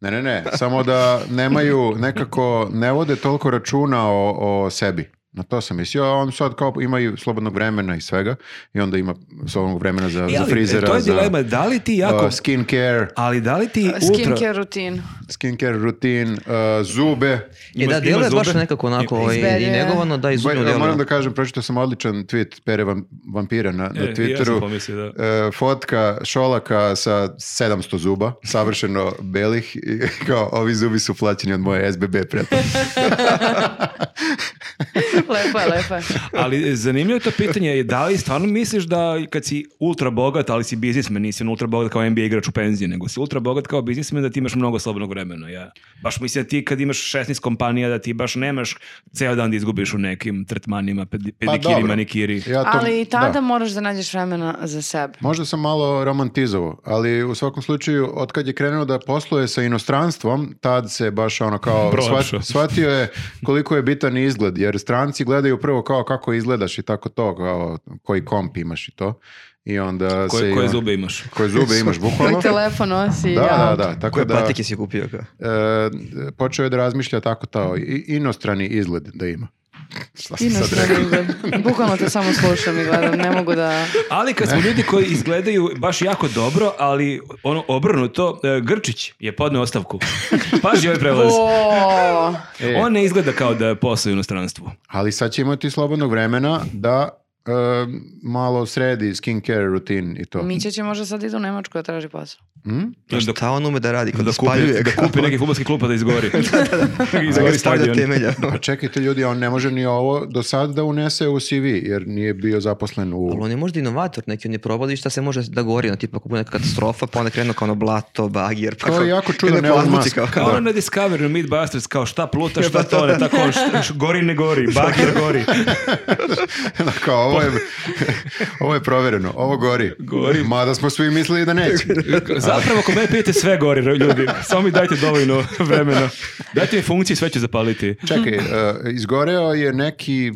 [SPEAKER 3] Ne, ne, ne, samo da nemaju nekako, ne vode toliko računa o, o sebi. Na to sam mislio, a on sad kao ima i slobodnog vremena i svega i onda ima slobodnog vremena za,
[SPEAKER 2] E,
[SPEAKER 3] za
[SPEAKER 2] ali,
[SPEAKER 3] frizera,
[SPEAKER 2] to je
[SPEAKER 3] za
[SPEAKER 2] dilema, da li ti jako...
[SPEAKER 3] uh, skin care,
[SPEAKER 2] ali da li ti ultra...
[SPEAKER 1] Skincare rutin.
[SPEAKER 3] skin care rutin, uh, zube.
[SPEAKER 4] E
[SPEAKER 2] Ima-
[SPEAKER 4] da,
[SPEAKER 2] ima
[SPEAKER 4] delo je baš
[SPEAKER 2] zube.
[SPEAKER 4] nekako onako ovaj, i
[SPEAKER 1] Izberje.
[SPEAKER 4] negovano da
[SPEAKER 3] Ba-
[SPEAKER 4] izumio
[SPEAKER 3] moram
[SPEAKER 4] delo.
[SPEAKER 3] da kažem, pročitao sam odličan tweet Pere Vam- Vampira na, na
[SPEAKER 2] E, i ja sam
[SPEAKER 3] Twitteru.
[SPEAKER 2] pomislio, da.
[SPEAKER 3] E, fotka Šolaka sa 700 zuba, savršeno belih, i kao ovi zubi su plaćeni od moje SBB pretplate.
[SPEAKER 1] Lepo je, lepo je.
[SPEAKER 2] Ali zanimljivo je to pitanje, da li stvarno misliš da kad si ultra bogat, ali si biznismen, nisi ultra bogat kao NBA igrač u penziji, nego si ultra bogat kao biznismen da ti imaš mnogo slobodnog vremena. Ja. Baš mislim da ti kad imaš 16 kompanija da ti baš nemaš ceo dan da izgubiš u nekim tretmanima, pedi- pedikiri,
[SPEAKER 3] Pa dobro.
[SPEAKER 2] manikiri.
[SPEAKER 3] Ja to-
[SPEAKER 1] Ali i tada
[SPEAKER 3] da.
[SPEAKER 1] moraš da nađeš vremena za sebe.
[SPEAKER 3] Možda sam malo romantizovao, ali u svakom slučaju, od kad je krenuo da posluje sa inostranstvom, tad se baš ono kao
[SPEAKER 2] Pronašao.
[SPEAKER 3] shvat- shvatio je koliko je bitan izgled, jer stranci gledaju prvo kao kako izgledaš i tako to, kao koji komp imaš i to. I onda se...
[SPEAKER 2] Koje,
[SPEAKER 3] i
[SPEAKER 2] koje
[SPEAKER 3] on-
[SPEAKER 2] zube imaš?
[SPEAKER 3] Koje zube imaš, bukvalno.
[SPEAKER 1] Koji telefon nosi.
[SPEAKER 3] Ono? Da, da,
[SPEAKER 1] ja.
[SPEAKER 3] da. Tako
[SPEAKER 4] Koje
[SPEAKER 3] da,
[SPEAKER 4] patike si kupio? Kao?
[SPEAKER 3] e, počeo je da razmišlja tako to, i- inostrani izgled da ima. Šta sam sad rekao?
[SPEAKER 1] Inostrani izgled. Bukvalno te samo slušam i gledam, ne mogu da...
[SPEAKER 2] Ali kad smo ljudi koji izgledaju baš jako dobro, ali ono obrnuto, e, Grčić je podneo ostavku. Paži ovaj prelaz.
[SPEAKER 1] O,
[SPEAKER 3] E.
[SPEAKER 2] On ne izgleda kao da je posao u inostranstvu.
[SPEAKER 3] Ali sad će imati slobodnog vremena da e, malo sredi skincare rutin i to. Hm?
[SPEAKER 1] Mića će možda sad idu u Nemačku da traži posao.
[SPEAKER 2] Da, da,
[SPEAKER 4] Šta on ume da radi? Kada
[SPEAKER 2] da,
[SPEAKER 4] spaljuje?
[SPEAKER 2] kupi, da
[SPEAKER 4] kao?
[SPEAKER 2] kupi neki fudbalski klub pa da izgori.
[SPEAKER 4] Da ga
[SPEAKER 2] izgori
[SPEAKER 4] stavlja
[SPEAKER 2] stadion.
[SPEAKER 4] temelja.
[SPEAKER 3] Pa čekajte ljudi, on ne može ni ovo do sad da unese u CV, jer nije bio zaposlen
[SPEAKER 4] Ali
[SPEAKER 3] u...
[SPEAKER 4] on je možda inovator neki, on je probao da vidi šta se može da gori, no tipa kupuje neka katastrofa, pa onda krenu kao ono blato, bagir, pa
[SPEAKER 3] To je
[SPEAKER 4] kao-
[SPEAKER 3] jako čudan
[SPEAKER 4] krene
[SPEAKER 3] Elon
[SPEAKER 4] plazmuci
[SPEAKER 3] Musk.
[SPEAKER 4] kao-
[SPEAKER 2] Kao
[SPEAKER 4] da.
[SPEAKER 2] ono na Discovery, Meatbusters, kao šta pluta, šta tone, tako šta- š- gori ne gori, bagir gori.
[SPEAKER 3] Kao, ovo je, ovo je provereno, ovo gori.
[SPEAKER 2] Gori.
[SPEAKER 3] Mada smo svi mislili da neće.
[SPEAKER 2] Zapravo, ako me pijete, sve gori, ljudi. Samo mi dajte dovoljno vremena. Dajte mi funkciju, sve ću zapaliti.
[SPEAKER 3] Čekaj, e, izgoreo je neki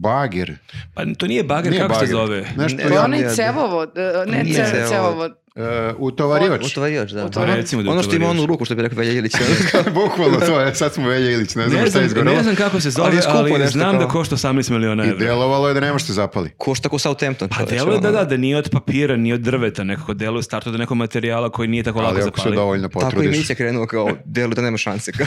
[SPEAKER 3] bager.
[SPEAKER 2] Pa to nije bagir,
[SPEAKER 3] Nije
[SPEAKER 2] kako se
[SPEAKER 3] bager.
[SPEAKER 2] zove?
[SPEAKER 3] Nešto
[SPEAKER 4] Ne,
[SPEAKER 1] To je
[SPEAKER 3] ja-
[SPEAKER 4] ne,
[SPEAKER 1] onaj
[SPEAKER 4] ne.
[SPEAKER 1] cevovod, e, ne
[SPEAKER 4] Nije
[SPEAKER 1] ce-
[SPEAKER 4] cevovod.
[SPEAKER 1] cevovod.
[SPEAKER 3] e, utovarivač.
[SPEAKER 4] Utovarivač, da.
[SPEAKER 2] Pa recimo da
[SPEAKER 4] ono što ima
[SPEAKER 2] utovarivač.
[SPEAKER 4] onu ruku, što bi rekao Velja Ilić. ono.
[SPEAKER 3] Bukvalno to je, sad smo Velja Ilić, ne znam
[SPEAKER 2] Ne
[SPEAKER 3] šta je
[SPEAKER 2] znam,
[SPEAKER 3] izgorelo.
[SPEAKER 2] ne znam kako se
[SPEAKER 4] Ali
[SPEAKER 2] zove,
[SPEAKER 4] je skupo
[SPEAKER 2] ali,
[SPEAKER 4] nešto
[SPEAKER 2] znam
[SPEAKER 4] kao-
[SPEAKER 2] da košta 18 miliona
[SPEAKER 3] I
[SPEAKER 2] evra.
[SPEAKER 3] delovalo je da ne možete zapali.
[SPEAKER 4] Košta ko Southampton.
[SPEAKER 2] Pa
[SPEAKER 4] čoveče,
[SPEAKER 2] delo je da,
[SPEAKER 4] ono.
[SPEAKER 2] da, da nije od papira, nije od drveta nekako, delo je u startu od nekog materijala koji nije tako lako
[SPEAKER 3] Ali ako se
[SPEAKER 2] zapali.
[SPEAKER 3] dovoljno
[SPEAKER 4] Tako i
[SPEAKER 3] potrudiš.
[SPEAKER 4] pa Mića krenuo kao, delo da nema šanse. Kao.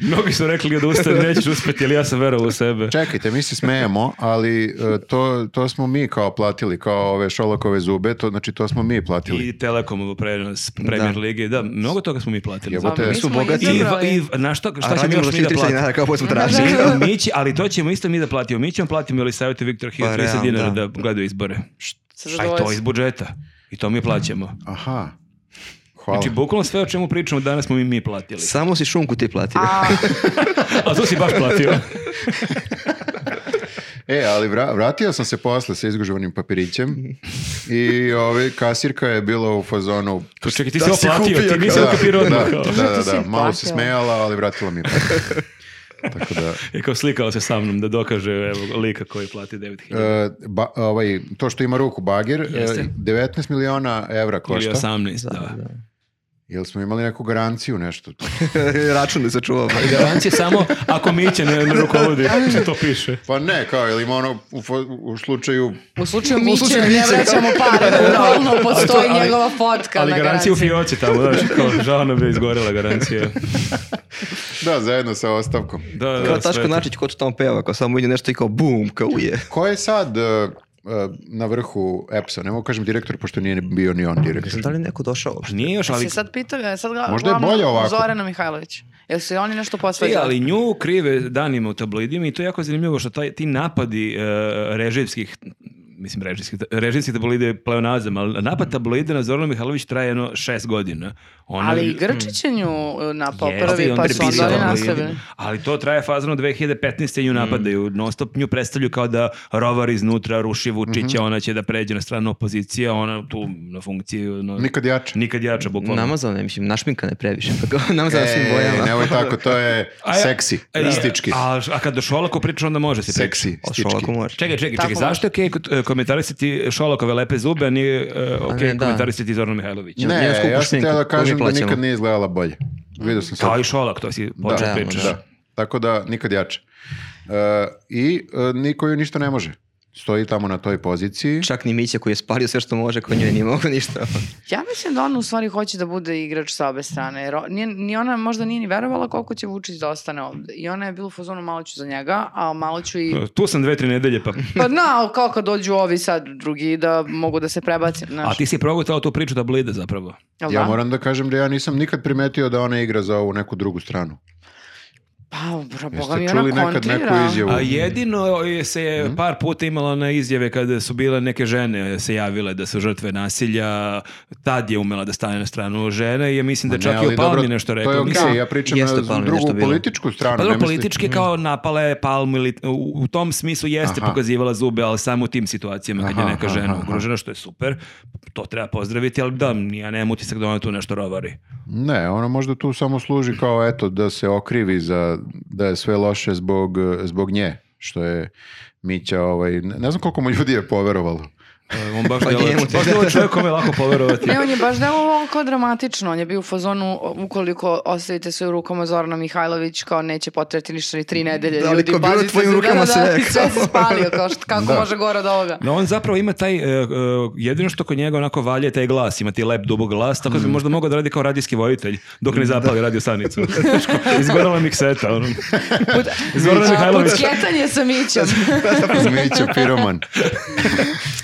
[SPEAKER 2] Mnogi su rekli da nećeš uspeti, ali ja sam verovao u sebe.
[SPEAKER 3] Čekajte, mi se smejemo, ali e, to, to smo mi kao platili, kao ove šolakove zube, to, znači to smo mi platili.
[SPEAKER 2] I Telekomovo prenos Premier
[SPEAKER 4] Da.
[SPEAKER 2] Lige, da, mnogo toga smo mi platili.
[SPEAKER 3] Jebote,
[SPEAKER 1] Pa mi
[SPEAKER 3] su
[SPEAKER 1] smo
[SPEAKER 3] bogati.
[SPEAKER 2] I,
[SPEAKER 1] izabrali.
[SPEAKER 2] i na što,
[SPEAKER 4] A
[SPEAKER 2] šta ćemo
[SPEAKER 4] radimo
[SPEAKER 2] još
[SPEAKER 4] za
[SPEAKER 2] mi da
[SPEAKER 4] 300
[SPEAKER 2] platimo?
[SPEAKER 4] dinara, kao pošto tražili.
[SPEAKER 2] Mi, mi će, ali to ćemo isto mi da platimo. Mi ćemo platimo ili savjeti Viktor Hill
[SPEAKER 4] Pa,
[SPEAKER 2] 30
[SPEAKER 4] realno,
[SPEAKER 2] dinara da,
[SPEAKER 4] da.
[SPEAKER 2] gledaju izbore.
[SPEAKER 1] Sa
[SPEAKER 2] A i to
[SPEAKER 1] zadovoljstvom.
[SPEAKER 2] iz budžeta. I to mi plaćamo.
[SPEAKER 3] Aha. Hvala.
[SPEAKER 2] Znači, bukvalno sve o čemu pričamo danas smo i mi platili.
[SPEAKER 4] Samo si šunku ti platio.
[SPEAKER 1] A,
[SPEAKER 2] A to si baš platio.
[SPEAKER 3] E, ali vra- vratio sam se posle sa izgužovanim papirićem i ovaj, kasirka je bila u fazonu...
[SPEAKER 2] To čekaj, ti
[SPEAKER 4] Da
[SPEAKER 2] si
[SPEAKER 4] si
[SPEAKER 2] oplatio,
[SPEAKER 4] kupio,
[SPEAKER 2] ti nisi
[SPEAKER 3] da,
[SPEAKER 2] okapirao
[SPEAKER 3] da,
[SPEAKER 2] odmah. kao.
[SPEAKER 3] da, da,
[SPEAKER 1] Ti si
[SPEAKER 3] da, malo se
[SPEAKER 1] platila.
[SPEAKER 3] smejala, ali vratila mi je pare. Tako da...
[SPEAKER 2] Je kao slikao se sa mnom da dokaže evo, lika koji plati 9000.
[SPEAKER 3] e, ba- ovaj, to što ima ruku bagir, e,
[SPEAKER 2] Jeste.
[SPEAKER 3] 19 miliona evra
[SPEAKER 2] Ili
[SPEAKER 3] košta.
[SPEAKER 2] 18, da.
[SPEAKER 3] Jel smo imali neku garanciju, nešto?
[SPEAKER 4] Račun ne sačuvao.
[SPEAKER 2] Garancija samo ako Miće ne, ne rukovodi, što to piše.
[SPEAKER 3] Pa ne, kao, ili ima ono u, fo- u slučaju...
[SPEAKER 1] u slučaju Miće
[SPEAKER 4] slučaju
[SPEAKER 1] ne
[SPEAKER 4] Miće.
[SPEAKER 1] vraćamo pare, bukvalno postoji
[SPEAKER 2] ali-
[SPEAKER 1] njegova fotka
[SPEAKER 2] Ali
[SPEAKER 1] na
[SPEAKER 2] garancija u
[SPEAKER 1] garanciji.
[SPEAKER 2] fioci tamo, znaš, kao žao nam je izgorela garancija.
[SPEAKER 3] Da, zajedno sa ostavkom.
[SPEAKER 2] Da, da,
[SPEAKER 4] Kao
[SPEAKER 2] sve
[SPEAKER 4] Taško
[SPEAKER 2] to.
[SPEAKER 4] Načić ko to tamo peva, kao samo ide nešto i kao bum, kao uje.
[SPEAKER 3] Ko je sad e, e, na vrhu EPS-a? Ne mogu kažem direktor, pošto nije bio ni on direktor.
[SPEAKER 4] Da li neko došao uopšte?
[SPEAKER 2] Pa Nije još, ali...
[SPEAKER 1] Se sad pitao, sad ga,
[SPEAKER 3] Možda je
[SPEAKER 1] glavno
[SPEAKER 3] bolje ovako.
[SPEAKER 1] Zorana Mihajlović. Jel su i oni nešto
[SPEAKER 2] E,
[SPEAKER 1] posvađali?
[SPEAKER 2] ali nju krive danima u tabloidima i to je jako zanimljivo što taj, ti napadi e, režimskih mislim režimskih, režimskih tabloida je pleonazam, ali napad tabloida na Zorana Mihajlović traje jedno šest godina. Ona,
[SPEAKER 1] Ali i Grčić je nju e, napao
[SPEAKER 2] Jeste, i
[SPEAKER 1] prvi,
[SPEAKER 2] onda
[SPEAKER 1] pa
[SPEAKER 2] je
[SPEAKER 1] su onda
[SPEAKER 2] pisao
[SPEAKER 1] oni
[SPEAKER 2] tabloidi.
[SPEAKER 1] nastavili.
[SPEAKER 2] Ali to traje ono fazano 2015. i nju napadaju. Non stop nju predstavlju kao da rovar iznutra ruši Vučića, ona će da pređe na stranu opozicije, a ona tu na funkciju no,
[SPEAKER 3] Nikad jače.
[SPEAKER 2] nikad jača bukvalno.
[SPEAKER 4] Namazano je, mislim, našminka ne previše. Pa kao namazano svim
[SPEAKER 3] E,
[SPEAKER 4] bojama.
[SPEAKER 3] nemoj tako, to je
[SPEAKER 2] A ja-
[SPEAKER 3] seksi,
[SPEAKER 2] E,
[SPEAKER 3] stički.
[SPEAKER 2] A, a kad do Šolako priča, onda može se priča.
[SPEAKER 3] Seksi,
[SPEAKER 4] O,
[SPEAKER 3] stički.
[SPEAKER 4] Šolaku može.
[SPEAKER 2] Čekaj, čekaj,
[SPEAKER 1] Tako
[SPEAKER 2] čekaj, zašto je okej okay komentarisati Šolakove lepe zube, a nije e, okej
[SPEAKER 4] ne, da.
[SPEAKER 2] komentarisati Zorana Mihajlovića?
[SPEAKER 4] Njemu
[SPEAKER 3] Ne,
[SPEAKER 4] skupu
[SPEAKER 3] ja sam
[SPEAKER 4] šminku,
[SPEAKER 3] teo da
[SPEAKER 4] koju mi
[SPEAKER 3] kažem da
[SPEAKER 4] plaćamo.
[SPEAKER 3] nikad nije izgledala bolje. Vidio sam sad.
[SPEAKER 2] Kao i Šolak, to si počeo
[SPEAKER 4] Da,
[SPEAKER 2] pričaš.
[SPEAKER 3] Da, tako da nikad jače. E, I e, niko ju ništa ne može. Stoji tamo na toj poziciji.
[SPEAKER 4] Čak ni Mića koji je spalio sve što može, ko njoj nije mogu ništa.
[SPEAKER 1] Ja mislim da ona u stvari hoće da bude igrač sa obe strane. Jer o- nije, ni ona možda nije ni verovala koliko će Vučić da ostane ovde. I ona je bila u fazonu malo ću za njega, a malo ću i...
[SPEAKER 2] E, Tu sam dve, tri nedelje, pa...
[SPEAKER 1] Pa na, ali kao kad dođu ovi sad drugi da mogu da se prebacim.
[SPEAKER 2] A
[SPEAKER 1] Znaš,
[SPEAKER 2] ti si progutao tu priču da blide zapravo.
[SPEAKER 1] Jel
[SPEAKER 3] Ja
[SPEAKER 1] da?
[SPEAKER 3] moram da kažem da ja nisam nikad primetio da ona igra za ovu neku drugu stranu.
[SPEAKER 1] Pa, bro, boga mi
[SPEAKER 3] Jeste
[SPEAKER 1] ona
[SPEAKER 3] čuli nekad neku
[SPEAKER 1] kontrira.
[SPEAKER 3] izjavu?
[SPEAKER 2] A jedino je se je
[SPEAKER 3] Mm-hmm.
[SPEAKER 2] par puta imala na izjave kada su bile neke žene se javile da su žrtve nasilja, tad je umela da stane na stranu žene i ja mislim da
[SPEAKER 3] Ne,
[SPEAKER 2] čak i
[SPEAKER 3] ali
[SPEAKER 2] o Palmi
[SPEAKER 3] dobro,
[SPEAKER 2] nešto
[SPEAKER 3] To je
[SPEAKER 2] rekao.
[SPEAKER 3] okej,
[SPEAKER 2] Mislim,
[SPEAKER 3] ja pričam
[SPEAKER 4] jeste
[SPEAKER 3] na
[SPEAKER 4] Palmi
[SPEAKER 3] drugu
[SPEAKER 4] nešto bilo.
[SPEAKER 3] političku stranu.
[SPEAKER 2] Pa dobro,
[SPEAKER 3] ne mislim- Mm.
[SPEAKER 2] politički kao napala je palmu ili u, u tom smislu jeste
[SPEAKER 3] Aha.
[SPEAKER 2] pokazivala zube, ali samo u tim situacijama kad je
[SPEAKER 3] Aha,
[SPEAKER 2] neka
[SPEAKER 3] aha,
[SPEAKER 2] žena
[SPEAKER 3] aha.
[SPEAKER 2] ugrožena, što je super, to treba pozdraviti, ali da, ja nemam utisak da ona tu nešto rovari.
[SPEAKER 3] Ne, ona možda tu samo služi kao eto da se okrivi za da je sve loše zbog, zbog nje, što je Mića ovaj, ne, ne znam koliko mu ljudi je poverovalo.
[SPEAKER 2] E, On baš
[SPEAKER 4] Pa
[SPEAKER 2] djeluje
[SPEAKER 4] njemu ti-
[SPEAKER 2] baš djeluje čovjek kome je lako poverovati.
[SPEAKER 1] Ne, on je baš delovao kao dramatično. On je bio u fazonu, o, ukoliko ostavite sve u rukama Zorana Mihajlović, kao neće potrebati ništa ni tri nedelje.
[SPEAKER 4] Da, ali
[SPEAKER 1] Ljudi,
[SPEAKER 4] kao bilo je u
[SPEAKER 1] pazite
[SPEAKER 4] tvojim
[SPEAKER 1] se,
[SPEAKER 4] rukama
[SPEAKER 1] da, da,
[SPEAKER 4] sve,
[SPEAKER 1] i sve se
[SPEAKER 4] kao.
[SPEAKER 1] spalio, kao što, kako
[SPEAKER 3] Da.
[SPEAKER 1] može gore od ovoga.
[SPEAKER 2] No on zapravo ima taj, e, e, jedino što kod njega onako valje je taj glas, ima ti lep dubog glas, tako da bi možda mogao da radi kao radijski vojitelj, dok ne zapali radio stanicu. Izgorala mikseta, ono. Zorana Mihajlović.
[SPEAKER 1] Pucketanje Znači, sa Mićem.
[SPEAKER 3] Mića piroman.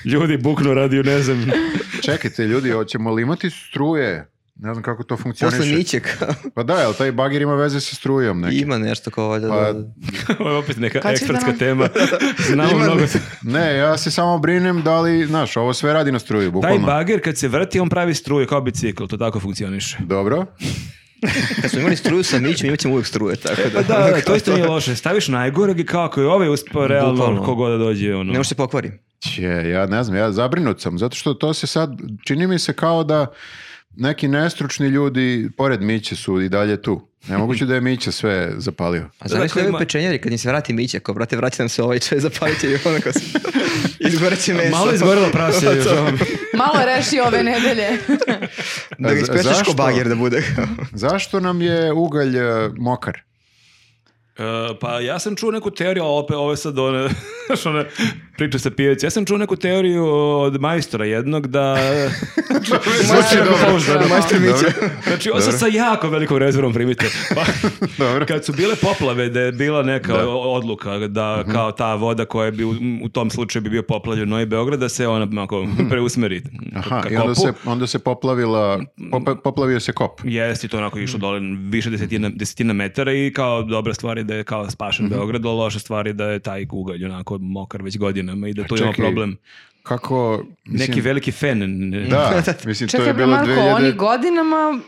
[SPEAKER 2] Ljudi buknu radio, ne znam.
[SPEAKER 3] Čekajte ljudi, hoćemo li imati struje? Ne znam kako to funkcioniše.
[SPEAKER 4] Posle Miće kao,
[SPEAKER 3] Pa da, jel taj bagir ima veze sa strujom neke?
[SPEAKER 4] ima nešto kao valjda.
[SPEAKER 3] Pa,
[SPEAKER 4] da-
[SPEAKER 2] Ovo je opet neka
[SPEAKER 1] Kad će
[SPEAKER 2] ekspertska
[SPEAKER 1] da nam-
[SPEAKER 2] tema. Znamo
[SPEAKER 4] Ima-
[SPEAKER 2] mnogo.
[SPEAKER 3] Ne, ja se samo brinem da li, znaš, ovo sve radi na struju,
[SPEAKER 2] Taj
[SPEAKER 3] bukvalno.
[SPEAKER 2] bager kad se vrti, on pravi struje kao bicikl, to tako funkcioniše.
[SPEAKER 3] Dobro.
[SPEAKER 4] Kad smo imali struju sa Mićem, imat ćemo uvijek struje, tako
[SPEAKER 2] Pa
[SPEAKER 4] da.
[SPEAKER 2] da, to isto nije loše. Staviš najgoreg i kako je ovaj uspao realno
[SPEAKER 4] Bukvalno.
[SPEAKER 2] kogoda dođe. Ono.
[SPEAKER 4] Ne može se pokvari.
[SPEAKER 3] Će, ja ne znam, ja zabrinut sam, zato što to se sad, čini mi se kao da neki nestručni ljudi, pored Miće su i dalje tu. Nemoguće da je Miće sve zapalio.
[SPEAKER 4] A zamisli
[SPEAKER 2] Dakle,
[SPEAKER 4] ovi
[SPEAKER 2] ima-
[SPEAKER 4] pečenjari kad im se vrati Mića, kao brate, vrati nam se ovaj čaj, zapalit će i onako se. Izgorat će meso.
[SPEAKER 2] Malo je izgorelo prase. još, ono.
[SPEAKER 1] Malo reši ove nedelje.
[SPEAKER 4] Da ga
[SPEAKER 3] A za-
[SPEAKER 4] ispešiš
[SPEAKER 3] zašto?
[SPEAKER 4] ko bager da bude.
[SPEAKER 3] Zašto nam je ugalj e, mokar?
[SPEAKER 2] E, pa ja sam čuo neku teoriju, ali opet ovo je sad one, znaš, one priče sa pijaci. Ja sam čuo neku teoriju od majstora jednog da...
[SPEAKER 1] Zvuči
[SPEAKER 2] jako
[SPEAKER 1] dobro.
[SPEAKER 2] pouzdano.
[SPEAKER 1] Dobro.
[SPEAKER 4] Majstor Mića.
[SPEAKER 2] Znači, ovo sad sa jako velikom rezervom primite. Pa,
[SPEAKER 3] Dobro.
[SPEAKER 2] kad su bile poplave, da je bila neka o- odluka da
[SPEAKER 3] Mhm.
[SPEAKER 2] kao ta voda koja bi u, u tom slučaju bi bio poplavljen Novi Beograd, da se ona ako preusmeri
[SPEAKER 3] Mhm. Aha,
[SPEAKER 2] ka
[SPEAKER 3] i onda
[SPEAKER 2] kopu.
[SPEAKER 3] se, onda se poplavila, popa- poplavio se kop. Mm.
[SPEAKER 2] Jeste, i to onako išlo dole više desetina, desetina metara i kao dobra stvar je da je kao spašen
[SPEAKER 3] Mhm.
[SPEAKER 2] Beograd, ali loša stvar je da je taj ugalj onako mokar već godinama i da tu ima
[SPEAKER 3] Pa čekaj,
[SPEAKER 2] problem.
[SPEAKER 3] Kako, mislim,
[SPEAKER 2] Neki veliki fen. ne-
[SPEAKER 3] Da, mislim, to
[SPEAKER 1] Čekaj,
[SPEAKER 3] je
[SPEAKER 1] bre,
[SPEAKER 3] bilo
[SPEAKER 1] Marko,
[SPEAKER 3] 2000...
[SPEAKER 1] oni godinama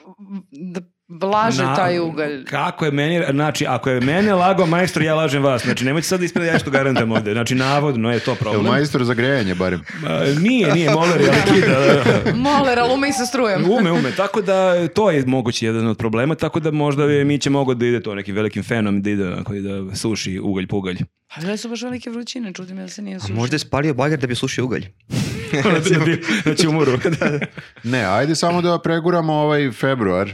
[SPEAKER 1] da blaže
[SPEAKER 2] Na-
[SPEAKER 1] taj ugalj.
[SPEAKER 2] Kako je meni, znači, ako je mene lagao majstor, ja lažem vas. Znači, nemojte sad ispred, ja što garantam ovde. Znači, navodno je to
[SPEAKER 3] Jel
[SPEAKER 2] problem.
[SPEAKER 3] majstor za grejanje barem?
[SPEAKER 2] Ma, Nije, nije, moler, je, ali kida. da, da.
[SPEAKER 1] Moler, ali umej sa strujem.
[SPEAKER 2] Ume, ume, tako da to je mogući jedan od problema, tako da možda je Miće mogao da ide to nekim velikim fenom, da ide onako i da suši ugalj pugalj.
[SPEAKER 1] A bile Pa su baš velike vrućine, čudim ja da se nije
[SPEAKER 4] A
[SPEAKER 1] sušio.
[SPEAKER 4] možda je spalio bager da bi slušio ugalj.
[SPEAKER 1] Ono
[SPEAKER 2] da
[SPEAKER 1] znači,
[SPEAKER 2] će umuru.
[SPEAKER 3] Ne, ajde samo da preguramo ovaj februar.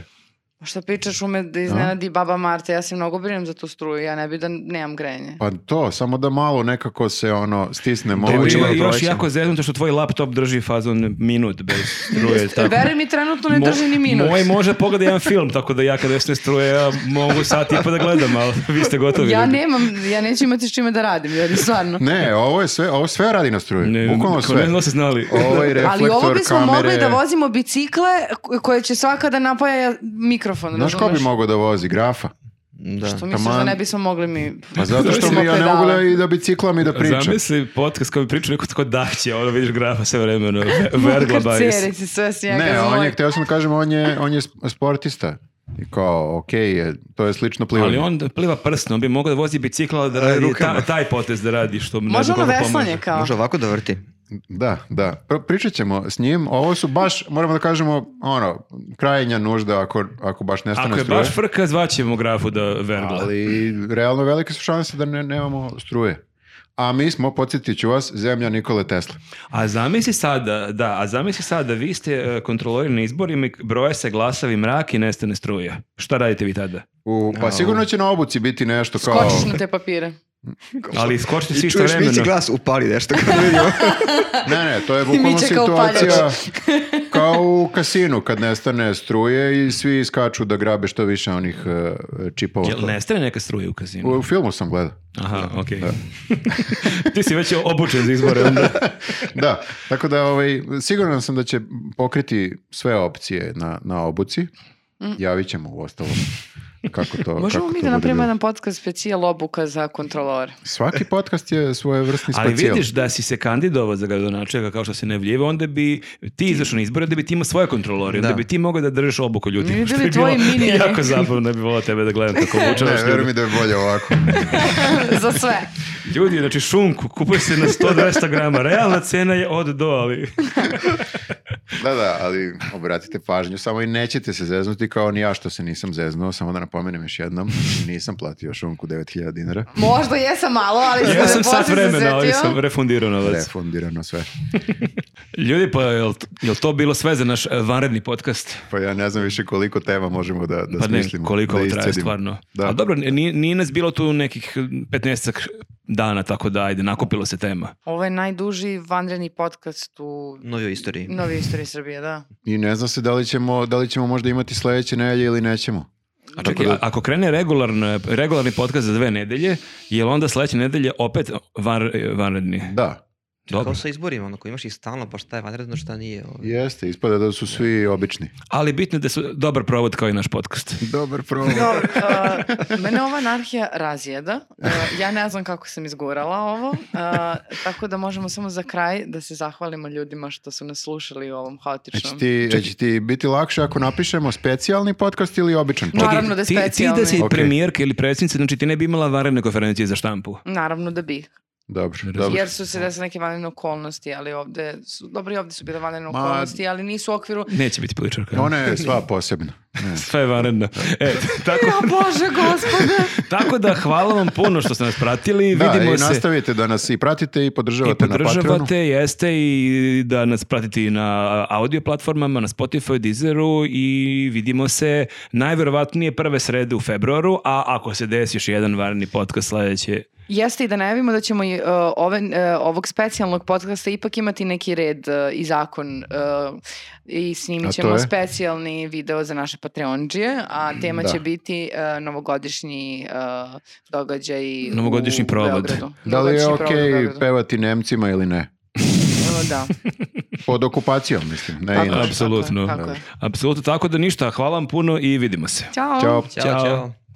[SPEAKER 1] Pa Šta pričaš, ume da iznenadi baba Marta, ja se mnogo brinem za tu struju, ja ne bi da nemam grenje.
[SPEAKER 3] Pa to, samo da malo nekako se ono stisnemo.
[SPEAKER 2] Ovo
[SPEAKER 3] Ovo
[SPEAKER 2] je
[SPEAKER 3] ćemo da
[SPEAKER 2] još
[SPEAKER 3] prolećemo.
[SPEAKER 2] jako zeznuto što tvoj laptop drži fazon minut bez struje. tako.
[SPEAKER 1] Veruj mi, trenutno ne
[SPEAKER 2] Mo-
[SPEAKER 1] drži ni minut.
[SPEAKER 2] Moj može pogleda jedan film, tako da ja kad jesne struje, ja mogu sat i po da gledam, ali vi ste gotovi.
[SPEAKER 1] Ja nemam, ja neću imati s čime da radim, ljudi, stvarno.
[SPEAKER 3] Ne, ovo je sve, ovo sve radi na struju. Bukvalno
[SPEAKER 2] ko-
[SPEAKER 3] sve.
[SPEAKER 2] Ne znam da li ste znali.
[SPEAKER 3] Ovaj reflektor,
[SPEAKER 1] Ali ovo bismo
[SPEAKER 3] kamere.
[SPEAKER 1] mogli da vozimo bicikle ko- koje će svaka da napaja mikrofon,
[SPEAKER 3] Znaš ko bi
[SPEAKER 1] razumeš?
[SPEAKER 3] mogao da vozi? Grafa.
[SPEAKER 4] Da.
[SPEAKER 1] Što misliš da
[SPEAKER 3] Taman.
[SPEAKER 1] ne bismo mogli mi...
[SPEAKER 3] Pa zato što
[SPEAKER 1] Zamisli
[SPEAKER 3] mi ja ne
[SPEAKER 1] pedale.
[SPEAKER 3] mogu da i da biciklam i da pričam.
[SPEAKER 2] Zamisli podcast koji priča neko tako dahće, ono vidiš grafa sve vreme, ono, ve- vergla bajs.
[SPEAKER 1] Krcerici, sve s njega.
[SPEAKER 3] Ne,
[SPEAKER 1] za
[SPEAKER 3] on
[SPEAKER 1] moj-
[SPEAKER 3] je, htio sam da kažem, on je, on je sp- sportista. I kao, okej, je, to je slično
[SPEAKER 2] Ali
[SPEAKER 3] plivanje.
[SPEAKER 2] on da pliva prstom, on bi mogao da vozi bicikla da radi
[SPEAKER 4] rukama.
[SPEAKER 2] ta- taj potez da radi što mu ne
[SPEAKER 1] Može
[SPEAKER 2] znam
[SPEAKER 1] ono
[SPEAKER 2] koliko pomaže.
[SPEAKER 1] veslanje kao.
[SPEAKER 4] Može ovako da vrti.
[SPEAKER 3] Da, da. Pr- Pričat ćemo s njim. Ovo su baš, moramo da kažemo, ono, krajnja nužda ako, ako baš nestane
[SPEAKER 2] Ako je
[SPEAKER 3] struje.
[SPEAKER 2] baš frka, zvaćemo grafu da vergla.
[SPEAKER 3] Ali realno velike su šanse da ne, nemamo struje. A mi smo, podsjetit ću vas, zemlja Nikole Tesla.
[SPEAKER 2] A zamisli sada, da, a zamisli sada, vi ste e, kontrolori na izborima i broje se glasavi mrak i nestane struja. Šta radite vi tada?
[SPEAKER 3] U, pa sigurno će na obuci biti nešto kao...
[SPEAKER 1] Skočiš na te papire.
[SPEAKER 2] Ali skočite svi
[SPEAKER 4] I
[SPEAKER 2] isto
[SPEAKER 4] čuješ Mici
[SPEAKER 2] vremeno.
[SPEAKER 4] glas, upali nešto kad vidimo.
[SPEAKER 3] Ne, ne, to je bukvalno
[SPEAKER 1] Miće kao
[SPEAKER 3] situacija kao u kasinu kad nestane struje i svi iskaču da grabe što više onih eh, čipova.
[SPEAKER 2] Jel nestane neka struja u kazinu?
[SPEAKER 3] U filmu sam gledao.
[SPEAKER 2] Aha, okej. Ti si već obučen za izbore. Onda.
[SPEAKER 3] Da, tako da ovaj, siguran sam da će pokriti sve opcije na, na obuci. Javit ćemo u ostalom kako to
[SPEAKER 1] Mm. Možemo
[SPEAKER 3] Pa kako
[SPEAKER 1] mi
[SPEAKER 3] to
[SPEAKER 1] da
[SPEAKER 3] bude
[SPEAKER 1] napravimo
[SPEAKER 3] bilo.
[SPEAKER 1] jedan podcast specijal obuka za kontrolore.
[SPEAKER 3] Svaki podcast je svojevrsni
[SPEAKER 2] Ali
[SPEAKER 3] specijal.
[SPEAKER 2] vidiš da si se kandidovao za gradonačelnika kao što se ne vljiva, onda bi ti izašao na izbore, onda bi ti imao svoje kontrolori, onda
[SPEAKER 4] Da.
[SPEAKER 2] bi ti mogao da držiš obuku ljudi.
[SPEAKER 1] Mi bi
[SPEAKER 2] što
[SPEAKER 1] bili
[SPEAKER 2] bi bilo
[SPEAKER 1] tvoji mini
[SPEAKER 2] Jako
[SPEAKER 1] neki.
[SPEAKER 2] zabavno bi volao tebe da gledam kako
[SPEAKER 3] Ne,
[SPEAKER 2] obučavaš
[SPEAKER 3] veruj
[SPEAKER 2] ljudi.
[SPEAKER 3] mi da je bolje ovako.
[SPEAKER 1] za sve.
[SPEAKER 2] Ljudi, znači šunku, kupuje se na 100-200 grama, realna cena je od do, ali...
[SPEAKER 3] Da, da, ali obratite pažnju, samo i nećete se zeznuti kao ni ja što se nisam zeznuo, samo da napomenem još jednom, nisam platio šunku 9000 dinara,
[SPEAKER 1] Možda jesam malo, ali sam
[SPEAKER 2] Ja sam
[SPEAKER 1] se
[SPEAKER 2] sat
[SPEAKER 1] poslije
[SPEAKER 2] vremena, ali
[SPEAKER 1] zasjetio.
[SPEAKER 2] sam refundirao novac.
[SPEAKER 3] refundirano sve.
[SPEAKER 2] Ljudi, pa jel, jel to bilo sve za naš eh, vanredni podcast?
[SPEAKER 3] Pa ja ne znam više koliko tema možemo da, da
[SPEAKER 2] Pa ne,
[SPEAKER 3] smislimo.
[SPEAKER 2] koliko
[SPEAKER 3] da
[SPEAKER 2] ovo traje
[SPEAKER 3] iscedimo.
[SPEAKER 2] stvarno.
[SPEAKER 3] Da.
[SPEAKER 2] Ali dobro, nije, nije nas bilo tu nekih 15 dana, tako da ajde, nakupilo se tema.
[SPEAKER 1] Ovo je najduži vanredni podcast u
[SPEAKER 4] Novio istoriji.
[SPEAKER 1] novoj istoriji Srbije, da.
[SPEAKER 3] I ne zna se da li ćemo, da li ćemo možda imati sledeće nelje ili nećemo.
[SPEAKER 2] A čekaj, a- ako krene regularno, regularni podcast za dve nedelje, je li onda sledeće nedelje opet van, vanredni?
[SPEAKER 3] Da,
[SPEAKER 2] Dobro.
[SPEAKER 4] Kao sa izborima, ono koji imaš ih stalno, pa šta je vanredno, šta nije. Ovo.
[SPEAKER 3] jeste, ispada da su svi obični.
[SPEAKER 2] Ali bitno je da su dobar provod kao i naš podcast.
[SPEAKER 3] Dobar problem.
[SPEAKER 1] Dobro, uh, mene ova anarhija razjeda. Uh, ja ne znam kako sam izgurala ovo. Uh, tako da možemo samo za kraj da se zahvalimo ljudima što su nas slušali u ovom
[SPEAKER 3] Će
[SPEAKER 1] haotičnom.
[SPEAKER 3] Znači ti, će ti biti lakše ako napišemo specijalni podcast ili običan podcast?
[SPEAKER 1] Naravno da je
[SPEAKER 2] ti, ti da
[SPEAKER 1] specijalni.
[SPEAKER 2] si
[SPEAKER 3] Ok.
[SPEAKER 2] premijerka ili predsjednica, znači ti ne bi imala vanredne konferencije za štampu.
[SPEAKER 1] Naravno da bi.
[SPEAKER 3] Dobro,
[SPEAKER 2] Ne
[SPEAKER 3] dobro.
[SPEAKER 1] Jer su se desile neke vanredne okolnosti, ali ovde su, dobro i ovde su bile vanredne
[SPEAKER 3] Ma-
[SPEAKER 1] okolnosti, ali nisu u okviru...
[SPEAKER 2] Neće biti političarka.
[SPEAKER 3] Ona je sva posebna.
[SPEAKER 2] Sve je vanredno. E, tako,
[SPEAKER 1] Ja, Bože, gospode!
[SPEAKER 2] tako da hvala vam puno što ste nas pratili.
[SPEAKER 3] Da,
[SPEAKER 2] Vidimo
[SPEAKER 3] i
[SPEAKER 2] se.
[SPEAKER 3] nastavite da nas i pratite i
[SPEAKER 2] I
[SPEAKER 3] podržavate, na Patreonu.
[SPEAKER 2] podržavate, jeste i da nas pratite i na audio platformama, na Spotify, Deezeru i vidimo se najverovatnije prve srede u februaru, a ako se desi još jedan varni podcast sledeće
[SPEAKER 1] Jeste i da najavimo da ćemo i, uh, ove, uh, ovog specijalnog podcasta ipak imati neki red uh, i zakon uh, i
[SPEAKER 3] A
[SPEAKER 1] snimit
[SPEAKER 3] to
[SPEAKER 1] ćemo
[SPEAKER 3] je?
[SPEAKER 1] specijalni video za naše Patreonđije, a tema
[SPEAKER 3] Da.
[SPEAKER 1] će biti uh, novogodišnji uh, događaj
[SPEAKER 2] Novogodišnji
[SPEAKER 1] u
[SPEAKER 2] provod.
[SPEAKER 1] Beogradu.
[SPEAKER 3] Da li je
[SPEAKER 1] Novogodišnji provod u
[SPEAKER 3] okej
[SPEAKER 1] Beogradu.
[SPEAKER 3] pevati Nemcima ili ne?
[SPEAKER 1] Uh, da.
[SPEAKER 3] Pod okupacijom, mislim. Ne,
[SPEAKER 1] Tako je,
[SPEAKER 3] inače.
[SPEAKER 2] Apsolutno.
[SPEAKER 1] Tako je, tako je.
[SPEAKER 2] Apsolutno, tako da ništa, hvala vam puno i vidimo se.
[SPEAKER 1] Ćao.
[SPEAKER 3] Ćao. pa.
[SPEAKER 4] Ćao,
[SPEAKER 2] Ćao.
[SPEAKER 4] ćao.